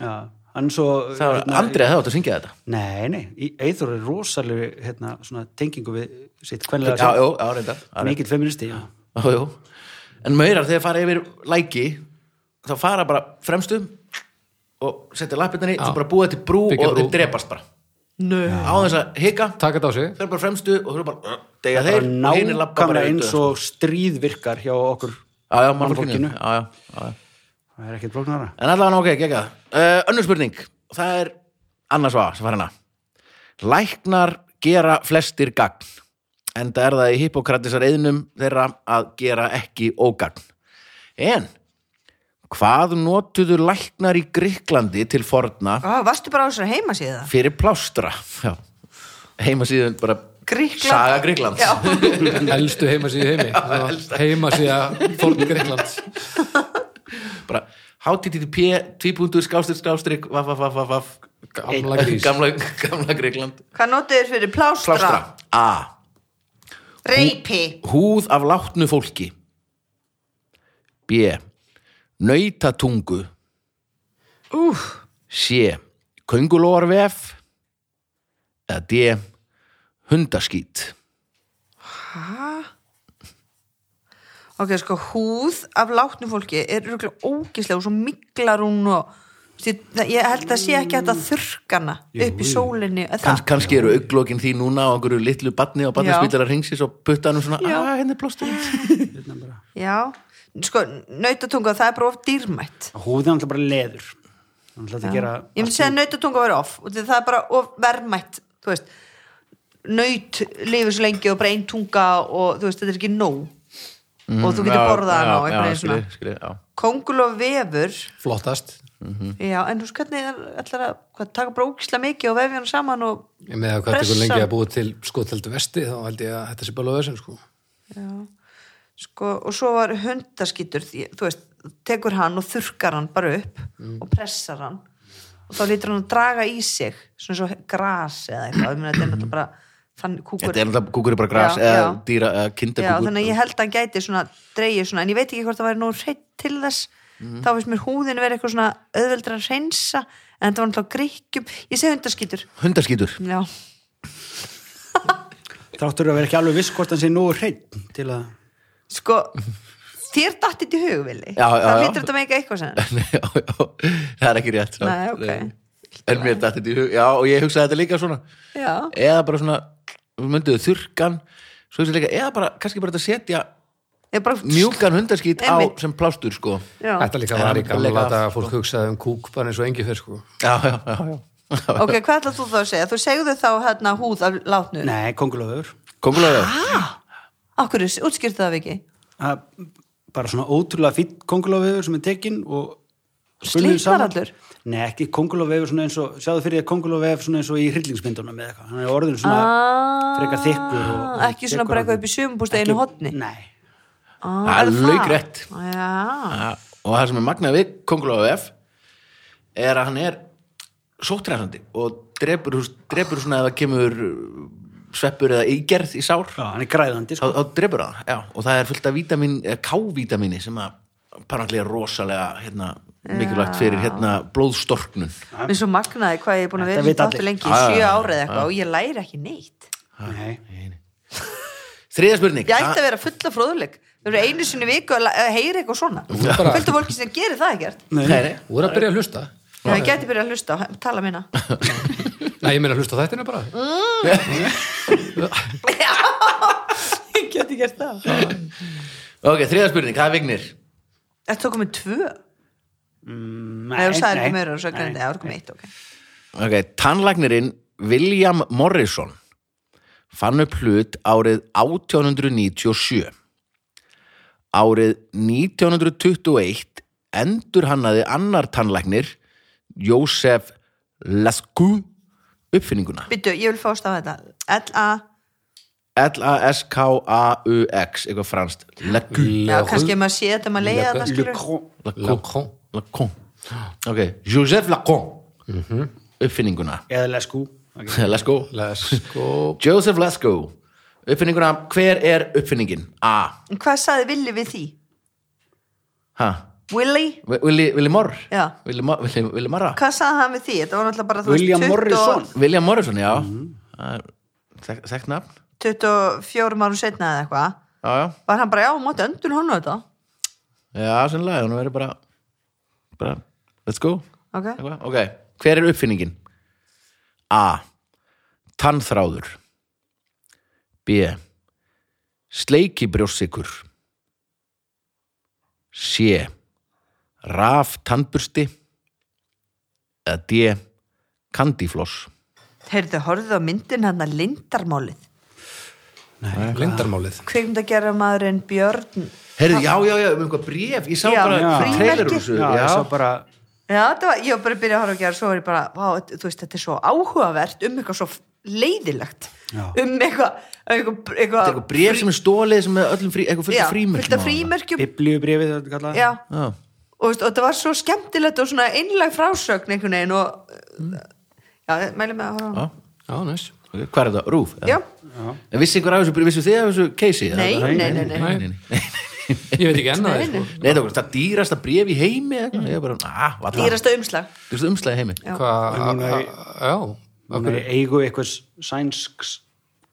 Speaker 4: já, hann svo hérna,
Speaker 1: það var Andrið það átt að syngja þetta
Speaker 4: nei, nei, Eithor er rosalegu hérna, svona tengingu við sitt kvenlega
Speaker 1: já,
Speaker 4: sjálf.
Speaker 1: já, já, reyndar já, reyndar.
Speaker 4: mikill feministi já.
Speaker 1: Jú, jú. En maurar þegar fara yfir læki þá fara bara fremstu og setja lappirnar í svo bara búa til brú
Speaker 2: Byggja
Speaker 1: og
Speaker 2: brú.
Speaker 1: þeir drepast bara
Speaker 3: nö
Speaker 1: á þess að hika,
Speaker 2: taka þetta á sig
Speaker 1: [LAUGHS] þeir eru bara fremstu og þeir eru bara uh, degja þeir
Speaker 4: bara
Speaker 1: og hinir labba bara sko.
Speaker 4: nákvæmlega
Speaker 1: yfir
Speaker 4: eins
Speaker 1: dauðans.
Speaker 4: og stríð virkar hjá okkur
Speaker 1: já, já, mannfólkinu
Speaker 4: mannfólkinu.
Speaker 1: já, já, já, já.
Speaker 4: það er ekkert blóknara
Speaker 1: En allavega ok, gegga uh, Önnur spurning, það er annars vafa sem fara hana Læknar gera flestir gagn en það er það í hippokratisar eðnum þeirra að gera ekki ógagn En hvað notuðu læknar í Gríklandi til forna
Speaker 3: Ó, Varstu bara á þessari heimasíðu það?
Speaker 1: fyrir plástra Já, heimasíðun bara
Speaker 3: Gríkland
Speaker 1: Saga Gríklands
Speaker 3: Já,
Speaker 2: elstu heimasíðu í
Speaker 1: [LAUGHS]
Speaker 2: heimi heimasíða fórn Greiklands
Speaker 1: bara http tvíbúndur skástrík skástrík vaff, vaff, vaff, vaff
Speaker 2: Gamla grís.
Speaker 1: Gamla, gamla Gríkland
Speaker 3: hvað notuðu þér fyrir plástra?
Speaker 1: Plástra, a
Speaker 3: Reipi
Speaker 1: húð af látnu fólki B nautatungu
Speaker 3: Úf,
Speaker 1: C köngulóarvef eða D hundaskít
Speaker 3: ok, sko, húð af látnu fólki er rúklega ógislega og svo miklar hún og Því- það- ég held að sé ekki hægt að þurrka hana upp í sólinni eða
Speaker 1: Kans,
Speaker 3: það.
Speaker 1: kannski eru auglókin því núna á einhverju litlu batni og batnarspílara hringsis og putta hann um svona
Speaker 3: Já.
Speaker 1: að henni blóstur
Speaker 3: Já, sko, nautatunga það er bara of dýrmætt
Speaker 4: húðin er alltaf bara leður hann ætlaði að gera
Speaker 3: Ég myndi segja að nautatunga verið off og það er bara of verðmætt þú veist, naut lifir svo lengi og bara ein tunga og þú veist, þetta er ekki nóg
Speaker 4: Mm,
Speaker 3: og þú getur borðað hana og einhvern veginn svona Kónguló vefur
Speaker 2: flottast
Speaker 4: Mm.
Speaker 3: Já, en þú veist hvernig er allar að hvað, taka bara ógislega mikið og vefja hann saman og
Speaker 2: Ég með að hvað tekur lengi
Speaker 3: Pressa.
Speaker 2: að búa til skoteldu vesti þá held ég að þetta sé bara löðasinn sko.
Speaker 3: já, sko, og svo var hundaskítur, því, þú veist tekur hann og þurkar hann bara upp
Speaker 1: Mm.
Speaker 3: og pressar hann og þá lítur hann að draga í sig svona svo gras eða eitthvað, ég meina þetta er náttúrulega bara þannig kúkur
Speaker 1: Þetta er alltaf kúkur er bara gras
Speaker 3: Já,
Speaker 1: eða
Speaker 3: já.
Speaker 1: dýra eða
Speaker 3: já, þannig að
Speaker 1: kinderkúkur
Speaker 3: ég held að hann gæti svona dreigið svona, en ég veit ekki hvort það væri nú hreitt til þess
Speaker 1: Mm.
Speaker 3: þá finnst mér húðin verið eitthvað svona auðveldur að reynsa en þetta var náttúrulega gríkjum, ég segi hundaskítur
Speaker 1: Hundaskítur [LAUGHS]
Speaker 3: já,
Speaker 4: þráttur að vera ekki alveg viss hvort hann sé nú hreitt til að
Speaker 3: sko þér datt þetta í hug, Vili
Speaker 1: Já, já,
Speaker 3: það
Speaker 1: já.
Speaker 3: hlýtur þetta með ekki
Speaker 1: [LAUGHS]
Speaker 3: eitthvað sem
Speaker 1: Nei, já, já, það er ekki rétt samt.
Speaker 3: Nei, ok.
Speaker 1: Nei. en mér dætti þetta í hug já, og ég hugsaði þetta líka svona
Speaker 3: já,
Speaker 1: eða bara svona, við mynduðu þurrkan svo þessi líka, eða bara, kannski bara þetta setja
Speaker 3: ég bara
Speaker 1: mjúkan hundaskít á
Speaker 3: Einmitt.
Speaker 1: sem plástur sko
Speaker 3: já.
Speaker 2: Þetta líka
Speaker 1: En það
Speaker 2: var
Speaker 1: er
Speaker 2: í gamla
Speaker 1: bara
Speaker 2: daga
Speaker 1: leika
Speaker 2: að fólk hugsaði um kúk bara eins og engi fyrr sko.
Speaker 1: já, já, já,
Speaker 4: [LAUGHS]
Speaker 1: já.
Speaker 3: ok, hvað ætlað þú þá að segja? þú segðu þá hérna húð af látnu
Speaker 4: nei, kongulóður
Speaker 1: kongulega
Speaker 3: okkur, útskýrtu það ekki
Speaker 4: bara svona ótrúlega fýtt kongulóður sem er tekin og spunnið
Speaker 3: Slitnar
Speaker 4: saman.
Speaker 3: allur?
Speaker 4: Nei, ekki kongulóvef er svona eins og, sjáðu fyrir því að kongulóvef svona eins og í hryllingsmyndunum eða eitthvað, hann er orðin svona
Speaker 3: Ah,
Speaker 4: frekar þykkur og, og
Speaker 3: ekki svona
Speaker 4: þykkur
Speaker 3: bara eitthvað
Speaker 4: orðinn.
Speaker 3: upp í sumumbústeginu
Speaker 4: Ekki-
Speaker 3: hotni
Speaker 4: Nei,
Speaker 1: Það er laukrétt.
Speaker 3: Ah, já,
Speaker 1: Ja, og það sem er magnað við Kongulóa F er að hann er sóttræðandi og drepur, þú veist, drepur svona ef það kemur uh, sveppur eða ígerð í sár
Speaker 4: Já, hann er græðandi
Speaker 1: þá,
Speaker 4: sko.
Speaker 1: þá drepur það, já, og það er fullt af vítamin, K-vítamini sem að parantlega er rosalega hérna, mikilvægt fyrir hérna blóðstorknun
Speaker 3: mér er svo magnaði hvað ég er búin að
Speaker 4: Þetta
Speaker 3: vera í
Speaker 4: vita
Speaker 3: þáttu
Speaker 4: allir. Ah,
Speaker 3: lengi í sjö árið eitthvað og ég læri ekki neitt
Speaker 4: Nei.
Speaker 1: þriða spurning
Speaker 3: ég ætti að vera fulla fróðuleg við erum einu sinni í viku að la- að heyra eitthvað svona
Speaker 2: bara-
Speaker 3: fylgdu fólki sem gerir það ekkert
Speaker 1: Nei, nei.
Speaker 2: Þú er að byrja að hlusta
Speaker 3: Já, ég geti byrjað að hlusta á tala um minna
Speaker 4: [LAUGHS]
Speaker 2: Nei, ég meina að hlusta á þættinu bara
Speaker 1: Mm.
Speaker 3: ég geti gert það
Speaker 1: ok, þriða spurning, það er vignir
Speaker 3: Þetta tók með tvö Nei,
Speaker 4: Nei,
Speaker 3: þú sagði ekki
Speaker 4: nei,
Speaker 3: meira og svo
Speaker 4: nei.
Speaker 3: grænti Það var komið eitt, ok
Speaker 1: Ok, tannlagnirinn William Morrison fann upp hlut árið 1897. Árið 1921 endur hannaði annar tannlagnir, Jósef Lascu, uppfinninguna.
Speaker 3: Byttu, ég vil fást á þetta L-A,
Speaker 1: L-A-S-K-A-U-X, eitthvað franskt. Lascu.
Speaker 3: já, kannski ef maður sé þetta maður leiða þetta
Speaker 4: Le
Speaker 3: skilur
Speaker 4: Cro-
Speaker 2: Lacon
Speaker 1: Lacon. Ok, Jósef Lacon, uppfinninguna.
Speaker 4: eða Lesku okay.
Speaker 1: Lascu.
Speaker 2: Lesko
Speaker 1: Joseph Lasco uppfinninguna, hver er uppfinningin? A.
Speaker 3: En Hvað sagði Willi við því?
Speaker 1: Ha?
Speaker 3: Willi?
Speaker 1: Wi- Willi, Willi Morr?
Speaker 3: Já.
Speaker 1: Willi, Mo- Willi, Willi Marra?
Speaker 3: Hvað sagði hann við því? Þetta var náttúrulega bara þú veist,
Speaker 4: William
Speaker 3: 20 og-
Speaker 4: Morrison
Speaker 1: William Morrison, já Það er þek- Þekkt nafn
Speaker 3: 24 árum setna eða eitthvað
Speaker 1: Já, já,
Speaker 3: Var hann bara, já, mátti öndur hann þetta
Speaker 1: já, sannlega, hún verður bara bara, let's go
Speaker 3: Ok,
Speaker 1: Eitthvað? Ok, hver er uppfinningin? A. Tannþráður B. Sleikibrjóssikur C. Raf tannbursti eða D. Kandifloss
Speaker 3: heyrðu, horfðu á myndin hann að lindarmálið
Speaker 2: Lindarmálið
Speaker 3: Kveikmynda gera maðurinn Björn
Speaker 1: Herðu, já, já, já, um eitthvað bréf Ég sá
Speaker 3: Já,
Speaker 1: bara
Speaker 4: já.
Speaker 1: trailer úr
Speaker 3: frímerki.
Speaker 1: þessu
Speaker 4: Já, ég sá bara
Speaker 3: Já, þetta var, ég var bara að byrja að horfa að gera svo var ég bara, vá, þetta- þú veist, þetta er svo áhugavert um eitthvað svo leiðilegt
Speaker 4: Já.
Speaker 3: um eitthvað eitthvað, eitthvað,
Speaker 1: Þetta er eitthvað bréf sem er stólið sem er öllum frí, eitthvað fullt
Speaker 3: já,
Speaker 1: af frímerkjum
Speaker 3: fullt af
Speaker 1: á hana.
Speaker 3: frímerkjum
Speaker 4: biblíubrifið þetta er kallað.
Speaker 3: já,
Speaker 1: Já,
Speaker 3: og, veist, og þetta var svo skemmtilegt og svona einlæg frásögn einhvern veginn og
Speaker 4: Mm.
Speaker 3: já, mælum með að horfa á
Speaker 1: já,
Speaker 3: hana.
Speaker 2: Já, næs
Speaker 1: ok, hvað er þetta? Rúf? eða?
Speaker 3: já,
Speaker 1: En vissi einhver af þessu, vissu þið af þessu Casey?
Speaker 3: nei,
Speaker 1: Eða-
Speaker 3: nei, nei, nei, nei.
Speaker 1: nei, nei.
Speaker 2: Ég veit ekki enna það
Speaker 3: Nei,
Speaker 2: sko.
Speaker 1: Nei, það var það dýrasta bref í heimi eða eitthvað, ég er bara, "Ah, að, hvað það?
Speaker 3: dýrasta umslag
Speaker 1: Dýrasta umslæði heimi.
Speaker 2: Hvað
Speaker 4: En hún er-
Speaker 2: Já,
Speaker 4: hún er í eigu eitthvað sænsks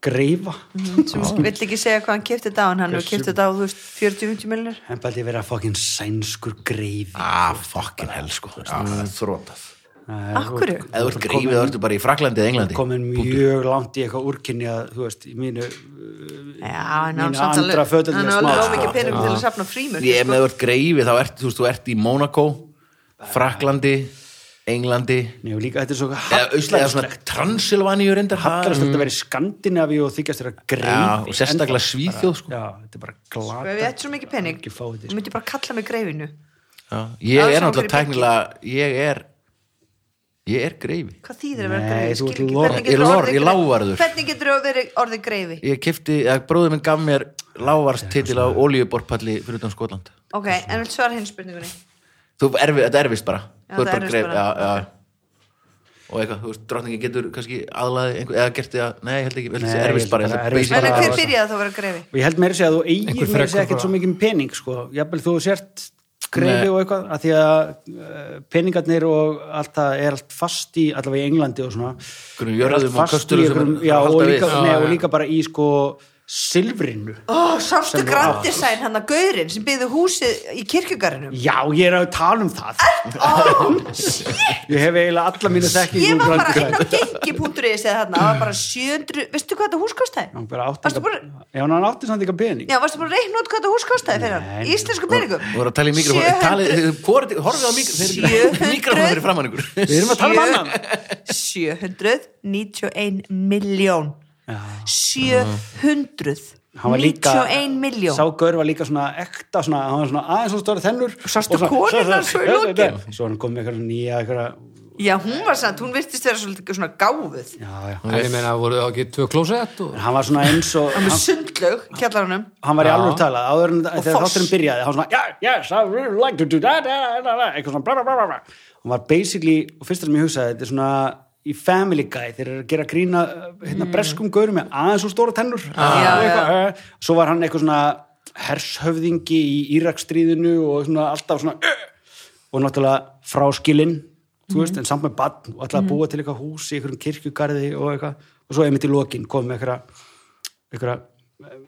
Speaker 4: greifa
Speaker 3: sem vill ekki segja hvað hann kipti þetta á en hann hefur kipti þetta á, þú veist, 40-50 miljonir
Speaker 4: en bælt ég vera fokkin sænskur greifi
Speaker 1: Ah, fucking hell, sko. Já, það er þrótað. Ah.
Speaker 3: akkur,
Speaker 1: Eða þú ert grífið, þú ert bara í Fraklandi eða Englandi.
Speaker 4: komin mjög langt í eitthvað úrkynni að þú veist, í mínu
Speaker 3: já, en hann
Speaker 4: Mínu
Speaker 3: samt alveg-
Speaker 4: andra fötin
Speaker 3: hann
Speaker 4: er
Speaker 3: er
Speaker 4: smá,
Speaker 3: alveg
Speaker 4: sko.
Speaker 3: ómikið penum til að safna sko. frímörk
Speaker 1: Ég, ef þú ert grífið, þá ert, þú veist, þú ert í Monaco, Fraklandi, Englandi,
Speaker 4: Nei, og líka þetta er svo
Speaker 1: eða Íslandi,
Speaker 4: hallarslegt
Speaker 1: svona Transilvaníu reyndar. Mm.
Speaker 4: hallarslegt að vera í Skandinavi og þykjast þér að greifi
Speaker 1: Já, og sérstaklega
Speaker 4: ennþá.
Speaker 1: Svíþjóð, sko.
Speaker 4: já, þetta er bara
Speaker 3: og ef ég ætti
Speaker 4: glata
Speaker 3: svo mikið pening
Speaker 4: Ekki fá þetta, sko.
Speaker 3: þú myndi ég bara kalla mig greifinu
Speaker 1: Já,
Speaker 3: Já,
Speaker 1: ég er
Speaker 3: sem
Speaker 1: náttúrulega
Speaker 3: fyrir Birgi.
Speaker 1: tæknilega, ég er, ég er grífið.
Speaker 3: hvað þýðir að vera
Speaker 4: Nei,
Speaker 3: greifi Skil
Speaker 4: þú ert
Speaker 3: ekki,
Speaker 4: lor-
Speaker 3: hvernig
Speaker 1: ég
Speaker 3: getur
Speaker 1: lor-
Speaker 3: orðið
Speaker 1: ég
Speaker 3: greifi?
Speaker 1: lávarður.
Speaker 3: hvernig getur þú verið orðið greifi
Speaker 1: Ég kefti, eða bróðið minn gaf mér lávarst titil á olíuborpalli fyrir utan Skotland.
Speaker 3: ok, en vil svara hinn spurningunni
Speaker 1: Þú, erfi, þetta er erfist bara.
Speaker 3: Já,
Speaker 1: Þú ert
Speaker 3: það er
Speaker 1: bara
Speaker 3: erfist
Speaker 1: greif,
Speaker 3: bara.
Speaker 1: já, já. Og eitthvað, þú veist, drottningin getur kannski aðlaði einhver, eða gert því að, nei, ég held ekki, ég held
Speaker 4: Nei,
Speaker 1: ekki
Speaker 4: ég
Speaker 1: erfist
Speaker 4: held
Speaker 1: bara.
Speaker 4: bara
Speaker 1: þetta er
Speaker 4: erfist
Speaker 1: basic
Speaker 3: en
Speaker 4: bara-
Speaker 1: bara
Speaker 3: hver byrjaði þá að vera greifi
Speaker 4: og ég held meira að segja að þú
Speaker 2: Einhver
Speaker 4: eigir meira að segja
Speaker 2: frekur
Speaker 4: ekkert
Speaker 2: frá-
Speaker 4: svo mikið pening sko, jafnvel þú sért greifi
Speaker 1: Nei.
Speaker 4: og eitthvað, að því að uh, peningarnir og allt það er allt fast í, allavega í Englandi og svona
Speaker 1: Einhverjum jörðum
Speaker 4: er allt
Speaker 1: og
Speaker 4: fast í
Speaker 1: kösturum sem
Speaker 4: einhverjum-
Speaker 1: er-
Speaker 4: já,
Speaker 1: halda
Speaker 4: og,
Speaker 1: við.
Speaker 4: líka,
Speaker 1: Já,
Speaker 4: nei,
Speaker 2: já.
Speaker 4: og líka bara í sko silfrinu
Speaker 3: ó, sástu grandisæn hann að gaurin sem byggði húsið í kirkjugarðinum
Speaker 4: já, ég er að tala um það [LAUGHS] ég hef eiginlega alla mínu þekkingu um
Speaker 3: ég
Speaker 4: úr
Speaker 3: var bara
Speaker 4: Grandi
Speaker 3: inn á gengi.is eða þarna, það var bara 700 veistu hvað þetta hús
Speaker 4: Hann
Speaker 3: kostaði?
Speaker 4: bara átti
Speaker 3: Varstu
Speaker 4: enga- já, en hann átti samt eitthvað pening
Speaker 3: já, varstu bara að reikna út hvað þetta hús kostaði fyrir
Speaker 4: Nei,
Speaker 3: hann
Speaker 4: nei.
Speaker 3: í íslensku peningum
Speaker 1: Þú voru að tala í mikrofónu,
Speaker 3: 700
Speaker 1: talið, þið- hvor, þið- horfið á mikrofónu,
Speaker 3: 700
Speaker 1: mikrofónu fyrir framann ykkur.
Speaker 4: [LAUGHS] við erum að tala um annan
Speaker 3: 791 miljón 700
Speaker 4: hann var líka
Speaker 3: 91 milljón.
Speaker 4: sá gaur var líka svona ekta svona, hann var svona aðeins svona stóra þennur
Speaker 3: sástu
Speaker 4: og svona-
Speaker 3: konuna svo í
Speaker 4: svo-
Speaker 3: lokin.
Speaker 4: svo- svo hann kom með eitthvað nýja eitthvað,
Speaker 3: Já, hún var samt, hún virtist vera svolítið svona gáfuð
Speaker 4: já, já.
Speaker 2: En ég meina, voru það ekki tvö klósett og...
Speaker 4: hann var svona eins og
Speaker 3: með
Speaker 4: hann,
Speaker 3: sundlaug, kjallar honum
Speaker 4: hann var í
Speaker 2: Já.
Speaker 4: alveg talað áður en þegar
Speaker 3: foss.
Speaker 4: þátturinn byrjaði hann var svona, yeah, yes, I really like to do that da, da, da, da," eitthvað svona, bla, bla, bla, bla, bla hann var basically, og fyrst sem ég hugsaði þetta er svona í Family Guy, þeir eru að gera grína hérna breskum gaurum með aðeins og stóra tennur
Speaker 3: Já,
Speaker 4: Og Ah. eitthvað, eh, svo var hann eitthvað svona hershöfðingi í Írakstríðinu og svona alltaf svona eh, og náttúrulega fráskilinn þú veist, en samt með badn og alltaf að búa til eitthvað hús í einhverjum kirkjugarði og eitthvað og svo einmitt í lokin kom með einhverja einhverja eh,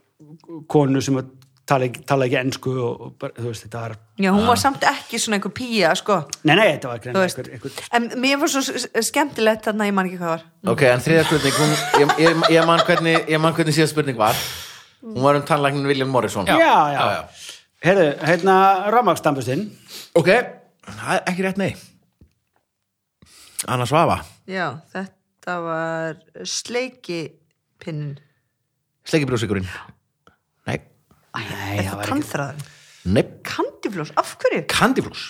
Speaker 4: konu sem að tala, ekki- tala ekki ensku og, og bara, þú veist, þetta var
Speaker 3: Já, hún var samt ekki svona einhver pía, sko
Speaker 4: nei, nei, þetta
Speaker 3: Þú
Speaker 4: var greinilega
Speaker 3: veist,
Speaker 4: einhver, einhver
Speaker 3: en mér var svo s- s- skemmtilegt þarna, ég man ekki hvað var
Speaker 1: Ok, en þriða spurning hún, ég, ég, ég, man hvernig, ég man hvernig síða spurning var Hún var um tannlæknin William Morrison
Speaker 4: já, já, Heyrðu, hérna rafmagstambustinn
Speaker 1: Ok, það er ekki rétt nei Anna Svava
Speaker 3: Já, þetta var sleikipinnin
Speaker 1: Sleikibrjósikurinn Nei,
Speaker 4: nei, það
Speaker 3: Eitthvað
Speaker 4: var
Speaker 3: tannþræðan
Speaker 1: nei,
Speaker 3: Kandiflós, af hverju?
Speaker 1: kandiflús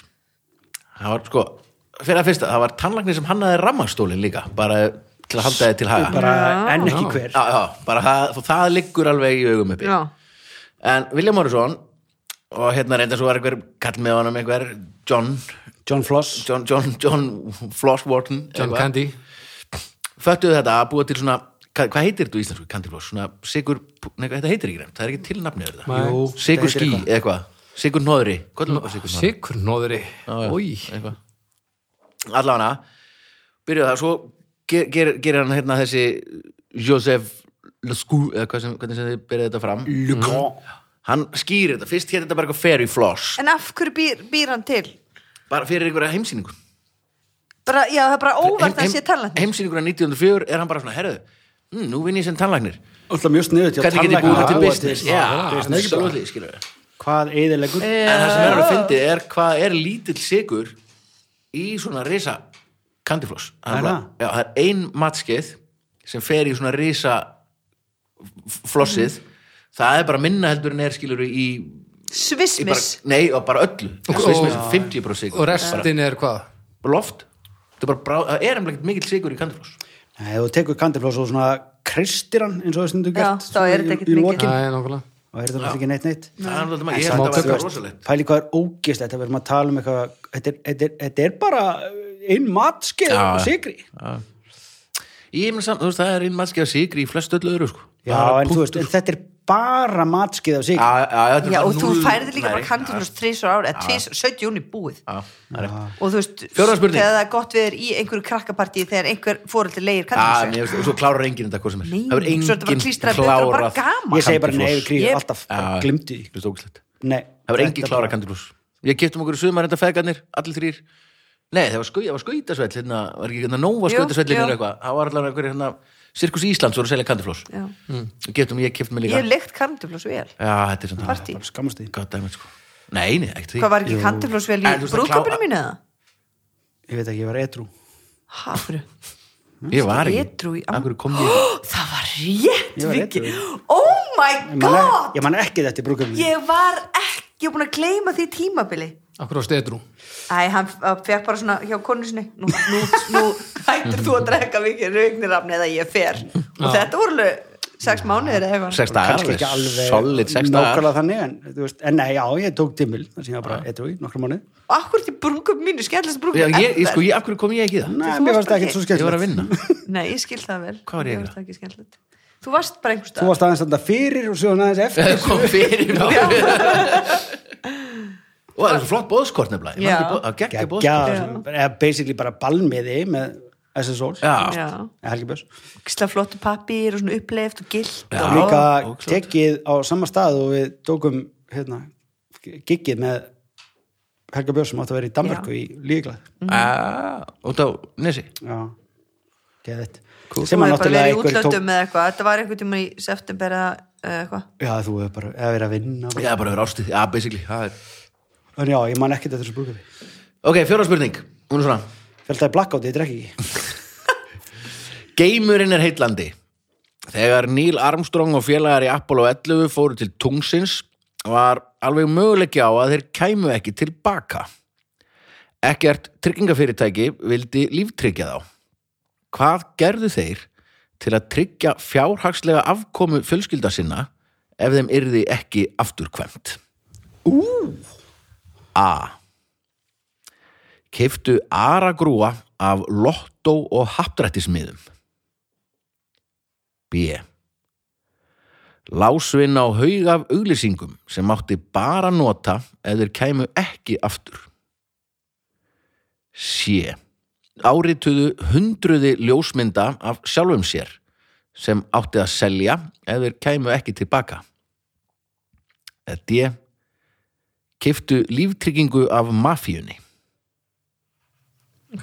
Speaker 1: Það var sko, fyrir að fyrsta Það var tannlæknir sem hannaði rammastólin líka Bara til að halda þið til haga
Speaker 4: bara
Speaker 3: Já.
Speaker 4: enn ekki hver
Speaker 1: Já, já, bara það, það liggur alveg í augum uppi
Speaker 3: Já,
Speaker 1: En William Morrison og hérna reynda svo var einhver kall með honum einhver John
Speaker 4: John Floss
Speaker 1: John, John, John Floss Wharton
Speaker 2: John
Speaker 1: eitthvað.
Speaker 2: Candy
Speaker 1: föttuðu þetta að búa til svona hvað, hvað heitir þetta í íslensku kandifloss svona sigur, nei hvað þetta heitir ekki nefnt það er ekki tilnafni yfir
Speaker 2: Nei. Jú,
Speaker 1: þetta sigur ský eða eitthvað, sigur nóðri allavega,
Speaker 2: Sikurnóðri Új,
Speaker 1: byrjuðu það svo ger, ger, gerir hann hérna þessi Joseph Lescou eða hvað sem, hvernig sem þið byrjuðu þetta fram Mhm.
Speaker 4: Lucon
Speaker 1: hann skýrir þetta, fyrst hér þetta bara eitthvað fairy floss
Speaker 3: en af hverju býr, býr hann til?
Speaker 1: bara fyrir einhverja heimsýningu
Speaker 3: Bara, já, það er bara óvart að
Speaker 1: Heim-
Speaker 3: hann sé talandi
Speaker 1: heimsýninguna 1904 er hann bara svona, herðu mm, nú vinn ég sem tannlæknir
Speaker 4: alltaf mjög sniðut hjá
Speaker 1: hvernig get ég
Speaker 4: tannlækna
Speaker 1: búið
Speaker 4: að
Speaker 1: til
Speaker 4: búa
Speaker 1: business
Speaker 4: til-
Speaker 1: já,
Speaker 2: Já,
Speaker 1: business, absolutely, skilur við
Speaker 4: hvað eðilegur
Speaker 3: Eh.
Speaker 1: en það sem er alveg fyndið er hvað er lítill sigur í svona risa kandifloss
Speaker 4: Það er
Speaker 1: bara- já, það er ein matskeið sem fer í svona risa f- flossið það er bara minna heldur en er skilur við í, í bara,
Speaker 3: Svismis
Speaker 1: nei, og bara öllu
Speaker 2: Og-
Speaker 1: Svismis
Speaker 2: og-
Speaker 1: 50% sigur
Speaker 2: og restin er hvað?
Speaker 1: Bara loft Það er bara brá- það er emlega mikill sigur í kandifloss
Speaker 4: Nei, ef þú tekur kandiflós og svona kristir hann eins og það
Speaker 3: Já,
Speaker 4: stundum gert
Speaker 3: þá er þetta
Speaker 4: í-
Speaker 3: ekkert
Speaker 4: í
Speaker 3: mikið.
Speaker 4: lokin,
Speaker 2: Nei, nákvæmlega
Speaker 4: og er þetta náttúrulega ekki neitt neitt
Speaker 1: Það er alveg
Speaker 4: En
Speaker 1: maður, ég
Speaker 4: samt,
Speaker 1: held að
Speaker 4: þú
Speaker 1: það var
Speaker 4: veist,
Speaker 1: rosalegt
Speaker 4: pæli hvað er ógist þetta verðum að tala um eitthvað þetta er, þetta er, þetta er bara einn matskeið
Speaker 1: Já,
Speaker 4: og
Speaker 1: já.
Speaker 4: sigri já,
Speaker 1: Ég meina samt, þú veist, það er einn mannskja sigri í flest öllu öðru, sko Bara
Speaker 4: en, þú veist, en þetta er bara matskeið af
Speaker 1: Já,
Speaker 4: sigri
Speaker 1: já, já, þetta er
Speaker 3: Já,
Speaker 1: bara
Speaker 3: og þú
Speaker 1: núll-
Speaker 3: færði líka
Speaker 1: Nei,
Speaker 3: bara kandiflós trísur ári, eða tvísur, 70 júni búið
Speaker 1: Já, það er rétt
Speaker 3: og þú veist,
Speaker 1: Fjórða spurning.
Speaker 3: þegar það er gott við er í einhverju krakkapartíi þegar einhver fóröldi leir
Speaker 1: Já,
Speaker 3: kandiflós
Speaker 1: Ah, mér finnst, og svo klárar enginn þetta hvað sem er
Speaker 3: Nei,
Speaker 1: Það er
Speaker 3: svo er þetta bara
Speaker 1: enginn
Speaker 3: klístrað betur og bara gaman.
Speaker 4: ég segi bara nei, við
Speaker 3: Ég-
Speaker 4: krýðum alltaf
Speaker 1: Já.
Speaker 4: glimti því
Speaker 1: Þú veist ógæslegt
Speaker 4: Nei,
Speaker 1: Það var
Speaker 4: þetta
Speaker 1: enginn klára kandifloss Ég kiptum okkur í sumar enda fegarnir, allir þrýr Nei, það var, skau, það var skautasvell hérna, var ekki hérna Nóa
Speaker 3: Jú,
Speaker 1: skautasvell
Speaker 3: jú.
Speaker 1: hérna eitthvað, það var allavega einhverjir hérna Sirkus Íslands voru að selja kandifloss
Speaker 3: Já.
Speaker 1: Við kiptum, ég kiptum mig
Speaker 3: Ég
Speaker 1: líka
Speaker 3: hef leikt kandiflós vel
Speaker 1: Já, þetta er svona
Speaker 3: partí,
Speaker 4: bara skammast því,
Speaker 1: God damn it, sko Nei, nei, ekkert því
Speaker 3: hvað var ekki kandiflós vel í
Speaker 1: En þú veist, það
Speaker 3: brúðköpunum
Speaker 1: klá-
Speaker 3: mínu eða?
Speaker 4: ég veit ekki, ég var edru
Speaker 3: Hafru,
Speaker 1: Ég var ekki
Speaker 3: edrú í am-
Speaker 1: Akkur kom ég
Speaker 3: það var rétt
Speaker 4: Ég var
Speaker 3: Viki.
Speaker 4: edrú.
Speaker 3: oh my
Speaker 4: ég man,
Speaker 3: god
Speaker 4: ek- ég man ekki þetta í brúkum
Speaker 3: ég var ekki, ég er búin að gleyma því tímabili
Speaker 2: Akkur á stedrú
Speaker 3: Æ, hann fekk bara svona hjá konu sinni nú, nú, nú hættir þú að drekka mikið raugnirafni eða ég fer og þetta voru alveg sex mánuðir eða eitthvað
Speaker 1: [GASPS] Sex dagar,
Speaker 4: kannski ekki alveg
Speaker 1: solid sex dagar
Speaker 4: nákvæmlega þannig en, þú veist, en nei, já, ég tók tímil þannig að ég var bara edru í nokkra mánu
Speaker 3: Akkur til brúkum mínu, skemmtilegst brúkum
Speaker 1: Já, ég, ég, sko, ég, af hverju kom ég ekki í það?
Speaker 4: Nei,
Speaker 3: þú varst
Speaker 4: mér varst
Speaker 3: bara
Speaker 4: ekki
Speaker 3: ekki-
Speaker 4: svo
Speaker 1: Ég var
Speaker 4: skemmtilegt
Speaker 1: að vinna
Speaker 3: Nei, ég skil það vel
Speaker 1: Hvað var ég að
Speaker 3: varst ekki skemmtilegt Þú varst bara einhvers
Speaker 4: Þú
Speaker 3: stað
Speaker 4: varst aðeins þetta fyrir og svo aðeins eftir
Speaker 1: Það kom fyrir Og það er svo flott bóðskort nefnilega Ég man ekki
Speaker 3: Já.
Speaker 1: boð- Það geggja bóðskort
Speaker 4: Geggjað, eða basically bara ballmiði með SSO
Speaker 1: Já,
Speaker 3: Já,
Speaker 4: Helgi Björns
Speaker 3: kisla flottu pappir og svona uppleift og gilt
Speaker 1: Já.
Speaker 4: og líka
Speaker 1: ógeðslegt.
Speaker 4: tekið á sama stað og við tókum hérna, giggið með Helga Björns sem átti að vera í Danmarku í Líklað
Speaker 1: Ah, út á nesi
Speaker 4: Já, geðið
Speaker 3: Þú
Speaker 4: sem að
Speaker 3: hefði bara
Speaker 4: náttúrulega
Speaker 3: verið í
Speaker 4: einhver tók
Speaker 3: útlöndum eða eitthvað Þetta var einhvern tímann í september eða eða eitthvað
Speaker 4: Já, þú hefur bara eða verið að vinna bara.
Speaker 1: Já, bara verið ástið, já, basically það er...
Speaker 4: En já, ég man ekkert eftir þessu brúkaði
Speaker 1: Ok, fjóra spurning, hún er svona
Speaker 4: Fjöldaði blakkátti, ég drekki ekki
Speaker 1: Geimurinn er heitlandi Þegar Neil Armstrong og félagar í Apollo 11 fóru til tungsins var alveg möguleiki á að þeir kæmu ekki tilbaka. Ekkert tryggingafyrirtæki vildi líftryggja þá. Hvað gerðu þeir til að tryggja fjárhagslega afkomu fjölskylda sinna ef þeim yrði ekki afturkvæmt? Ú! A. Keiftu aragrúa af lottó og happdrættismiðum. B. Lásvinn á haug af auglýsingum sem mátti bara nota ef þeir kæmu ekki aftur. C. Árituðu hundruði ljósmynda af sjálfum sér sem átti að selja ef þeir kæmu ekki tilbaka. Eða D. Kiftu líftryggingu af mafíunni.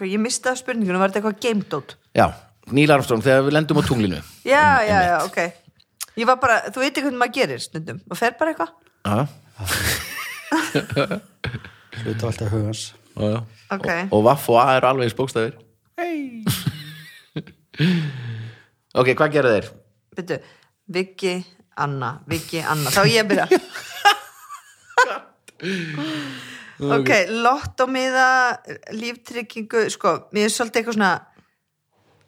Speaker 3: Ég misti af spurningunum, var þetta eitthvað gamedót?
Speaker 1: Já, Neil Armstrong þegar við lendum á tunglinu.
Speaker 3: Já,
Speaker 4: Mm,
Speaker 3: já, já, ok Ég var bara, þú veitir hvernig maður gerir stundum og fer bara eitthvað
Speaker 1: Já,
Speaker 4: hluta alltaf hugans
Speaker 1: já, já.
Speaker 3: Ok,
Speaker 1: og vaff og a eru alveg spókstafir [LAUGHS] ok, hvað gera þeir?
Speaker 3: byrju, Viki, Anna, Viki, Anna Þá ég að
Speaker 4: [LAUGHS]
Speaker 3: byrja Ok, lottómiða, líftryggingu Sko, mér er svolítið eitthvað svona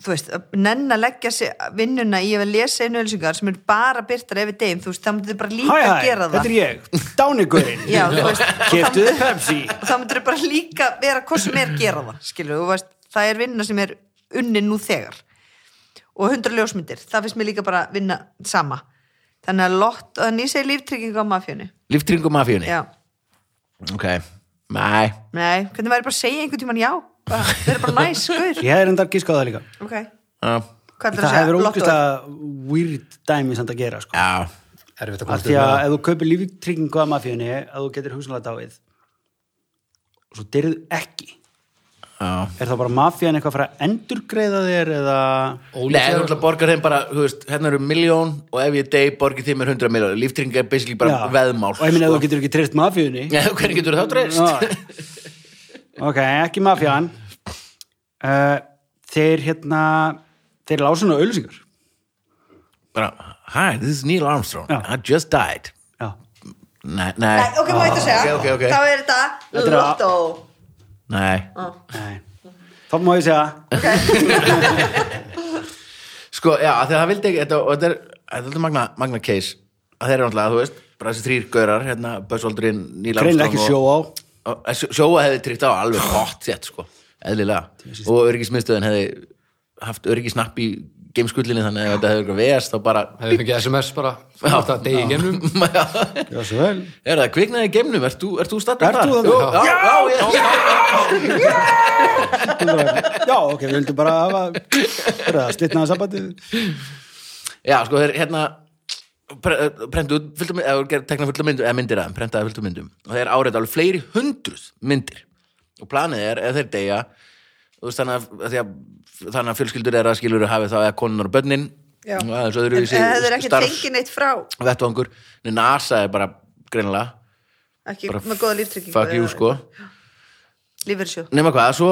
Speaker 3: þú veist, að nenn að leggja sig vinnuna í að lesa einu ölsingar sem eru bara byrtar ef við deyjum, þú veist, þá myndir bara líka
Speaker 4: hæ hæ,
Speaker 3: gera það
Speaker 4: þetta er ég, dánigurinn
Speaker 3: Já, þú veist, og þá
Speaker 4: keftuði Pepsi
Speaker 3: og þá myndir þau bara líka vera hvað sem er gera það, skilur þú veist, það er vinna sem er unni nú þegar og 100 ljósmyndir það finnst mér líka bara vinna sama þannig að lott, að nýsa í líftrygging á mafjunni
Speaker 1: líftringu mafíunni?
Speaker 3: já,
Speaker 1: ok, nei
Speaker 3: nei, hvernig væri bara að segja einhvern tímann já Bara- það er bara næs, guður
Speaker 4: ég hefði reyndar gískað það líka
Speaker 3: ok,
Speaker 1: já,
Speaker 3: hvað er
Speaker 4: það
Speaker 3: það að
Speaker 4: hefur
Speaker 3: segja,
Speaker 4: ógust
Speaker 3: lottóið
Speaker 4: að weird dæmi samt að gera sko.
Speaker 1: já,
Speaker 2: Erfitt að
Speaker 4: af
Speaker 2: komast upp
Speaker 4: því að
Speaker 2: með það.
Speaker 4: ef þú kaupir líftryggingu af mafíunni að þú getur hugsanlega dáið og svo dyrðu ekki
Speaker 1: já.
Speaker 4: er þá bara mafían eitthvað að fara að endurgreiða þér eða
Speaker 1: Nei, þú ætla að borga þeim bara, þú veist, hérna eru miljón og ef ég dey borgið þeim er 100 miljón líftringa er basically bara
Speaker 4: Já.
Speaker 1: veðmál sko.
Speaker 4: og ég
Speaker 1: [LAUGHS]
Speaker 4: minna ef þú getur ekki treyst mafíunni
Speaker 1: Já, hvernig getur það treyst?
Speaker 4: Já. ok, ekki mafjan uh, þeir hérna þeir lásun á auðlýsingar
Speaker 1: [LAUGHS] Bara, hi, this is Neil Armstrog
Speaker 4: Já.
Speaker 1: I just died
Speaker 4: já,
Speaker 1: Nei, nei,
Speaker 3: nei, ok, má ég þetta segja
Speaker 1: Ok, ok, ok.
Speaker 3: þá er þetta
Speaker 4: Þetta er að-
Speaker 3: lottó
Speaker 1: nei.
Speaker 4: nei þá má ég segja,
Speaker 1: Sko, já, af því að það vildi ekki þetta, og þetta er, þetta er magna, magna case að þeir eru náttúrulega, þú veist, bara þessi þrýr gaurar hérna, Bössaldurinn, Níl
Speaker 4: greinlega ekki sjó á
Speaker 1: og, að sjó- Sjóa hefði tryggt á alveg hot sett, sko, eðlilega og öryggismiðstöðin hefði haft öryggisnapp í gameskullinni þannig að ef þetta hefði eitthvað veðast þá bara
Speaker 2: Hefði fengið SMS bara Þetta degi í genum
Speaker 1: [LAUGHS]
Speaker 4: já, svo vel
Speaker 1: er það kviknaði í geimnum, ert þú, ert þú stattur
Speaker 4: Ert þú
Speaker 1: Jú,
Speaker 4: þarna?
Speaker 1: Já, já, já, já,
Speaker 4: já, ok, við vildum bara hafa fyrir að slitnaða sabbatið
Speaker 1: Já, sko, þeir hérna pre- prentu út fullt af myndum, eða gerðu- tekna fullt af myndum, eða myndir aðeim, prentaði fullt af myndum og þeir áreita alveg fleiri hundruð myndir og planið er, ef þeir deyja þú veist þannig að, af því að þannig að fjölskyldur er að skilur hafi þá eða konunar og bönnin
Speaker 3: Já.
Speaker 1: og aðeins
Speaker 3: en
Speaker 1: öðruvísi
Speaker 3: það er ekki
Speaker 1: starf
Speaker 3: tengið neitt frá
Speaker 1: vettvangur en NASA er bara greinilega
Speaker 3: ekki
Speaker 1: Bara
Speaker 3: með góða líftryggingu
Speaker 1: fuck you sko
Speaker 3: lífverðsjóð
Speaker 1: nema hvað, svo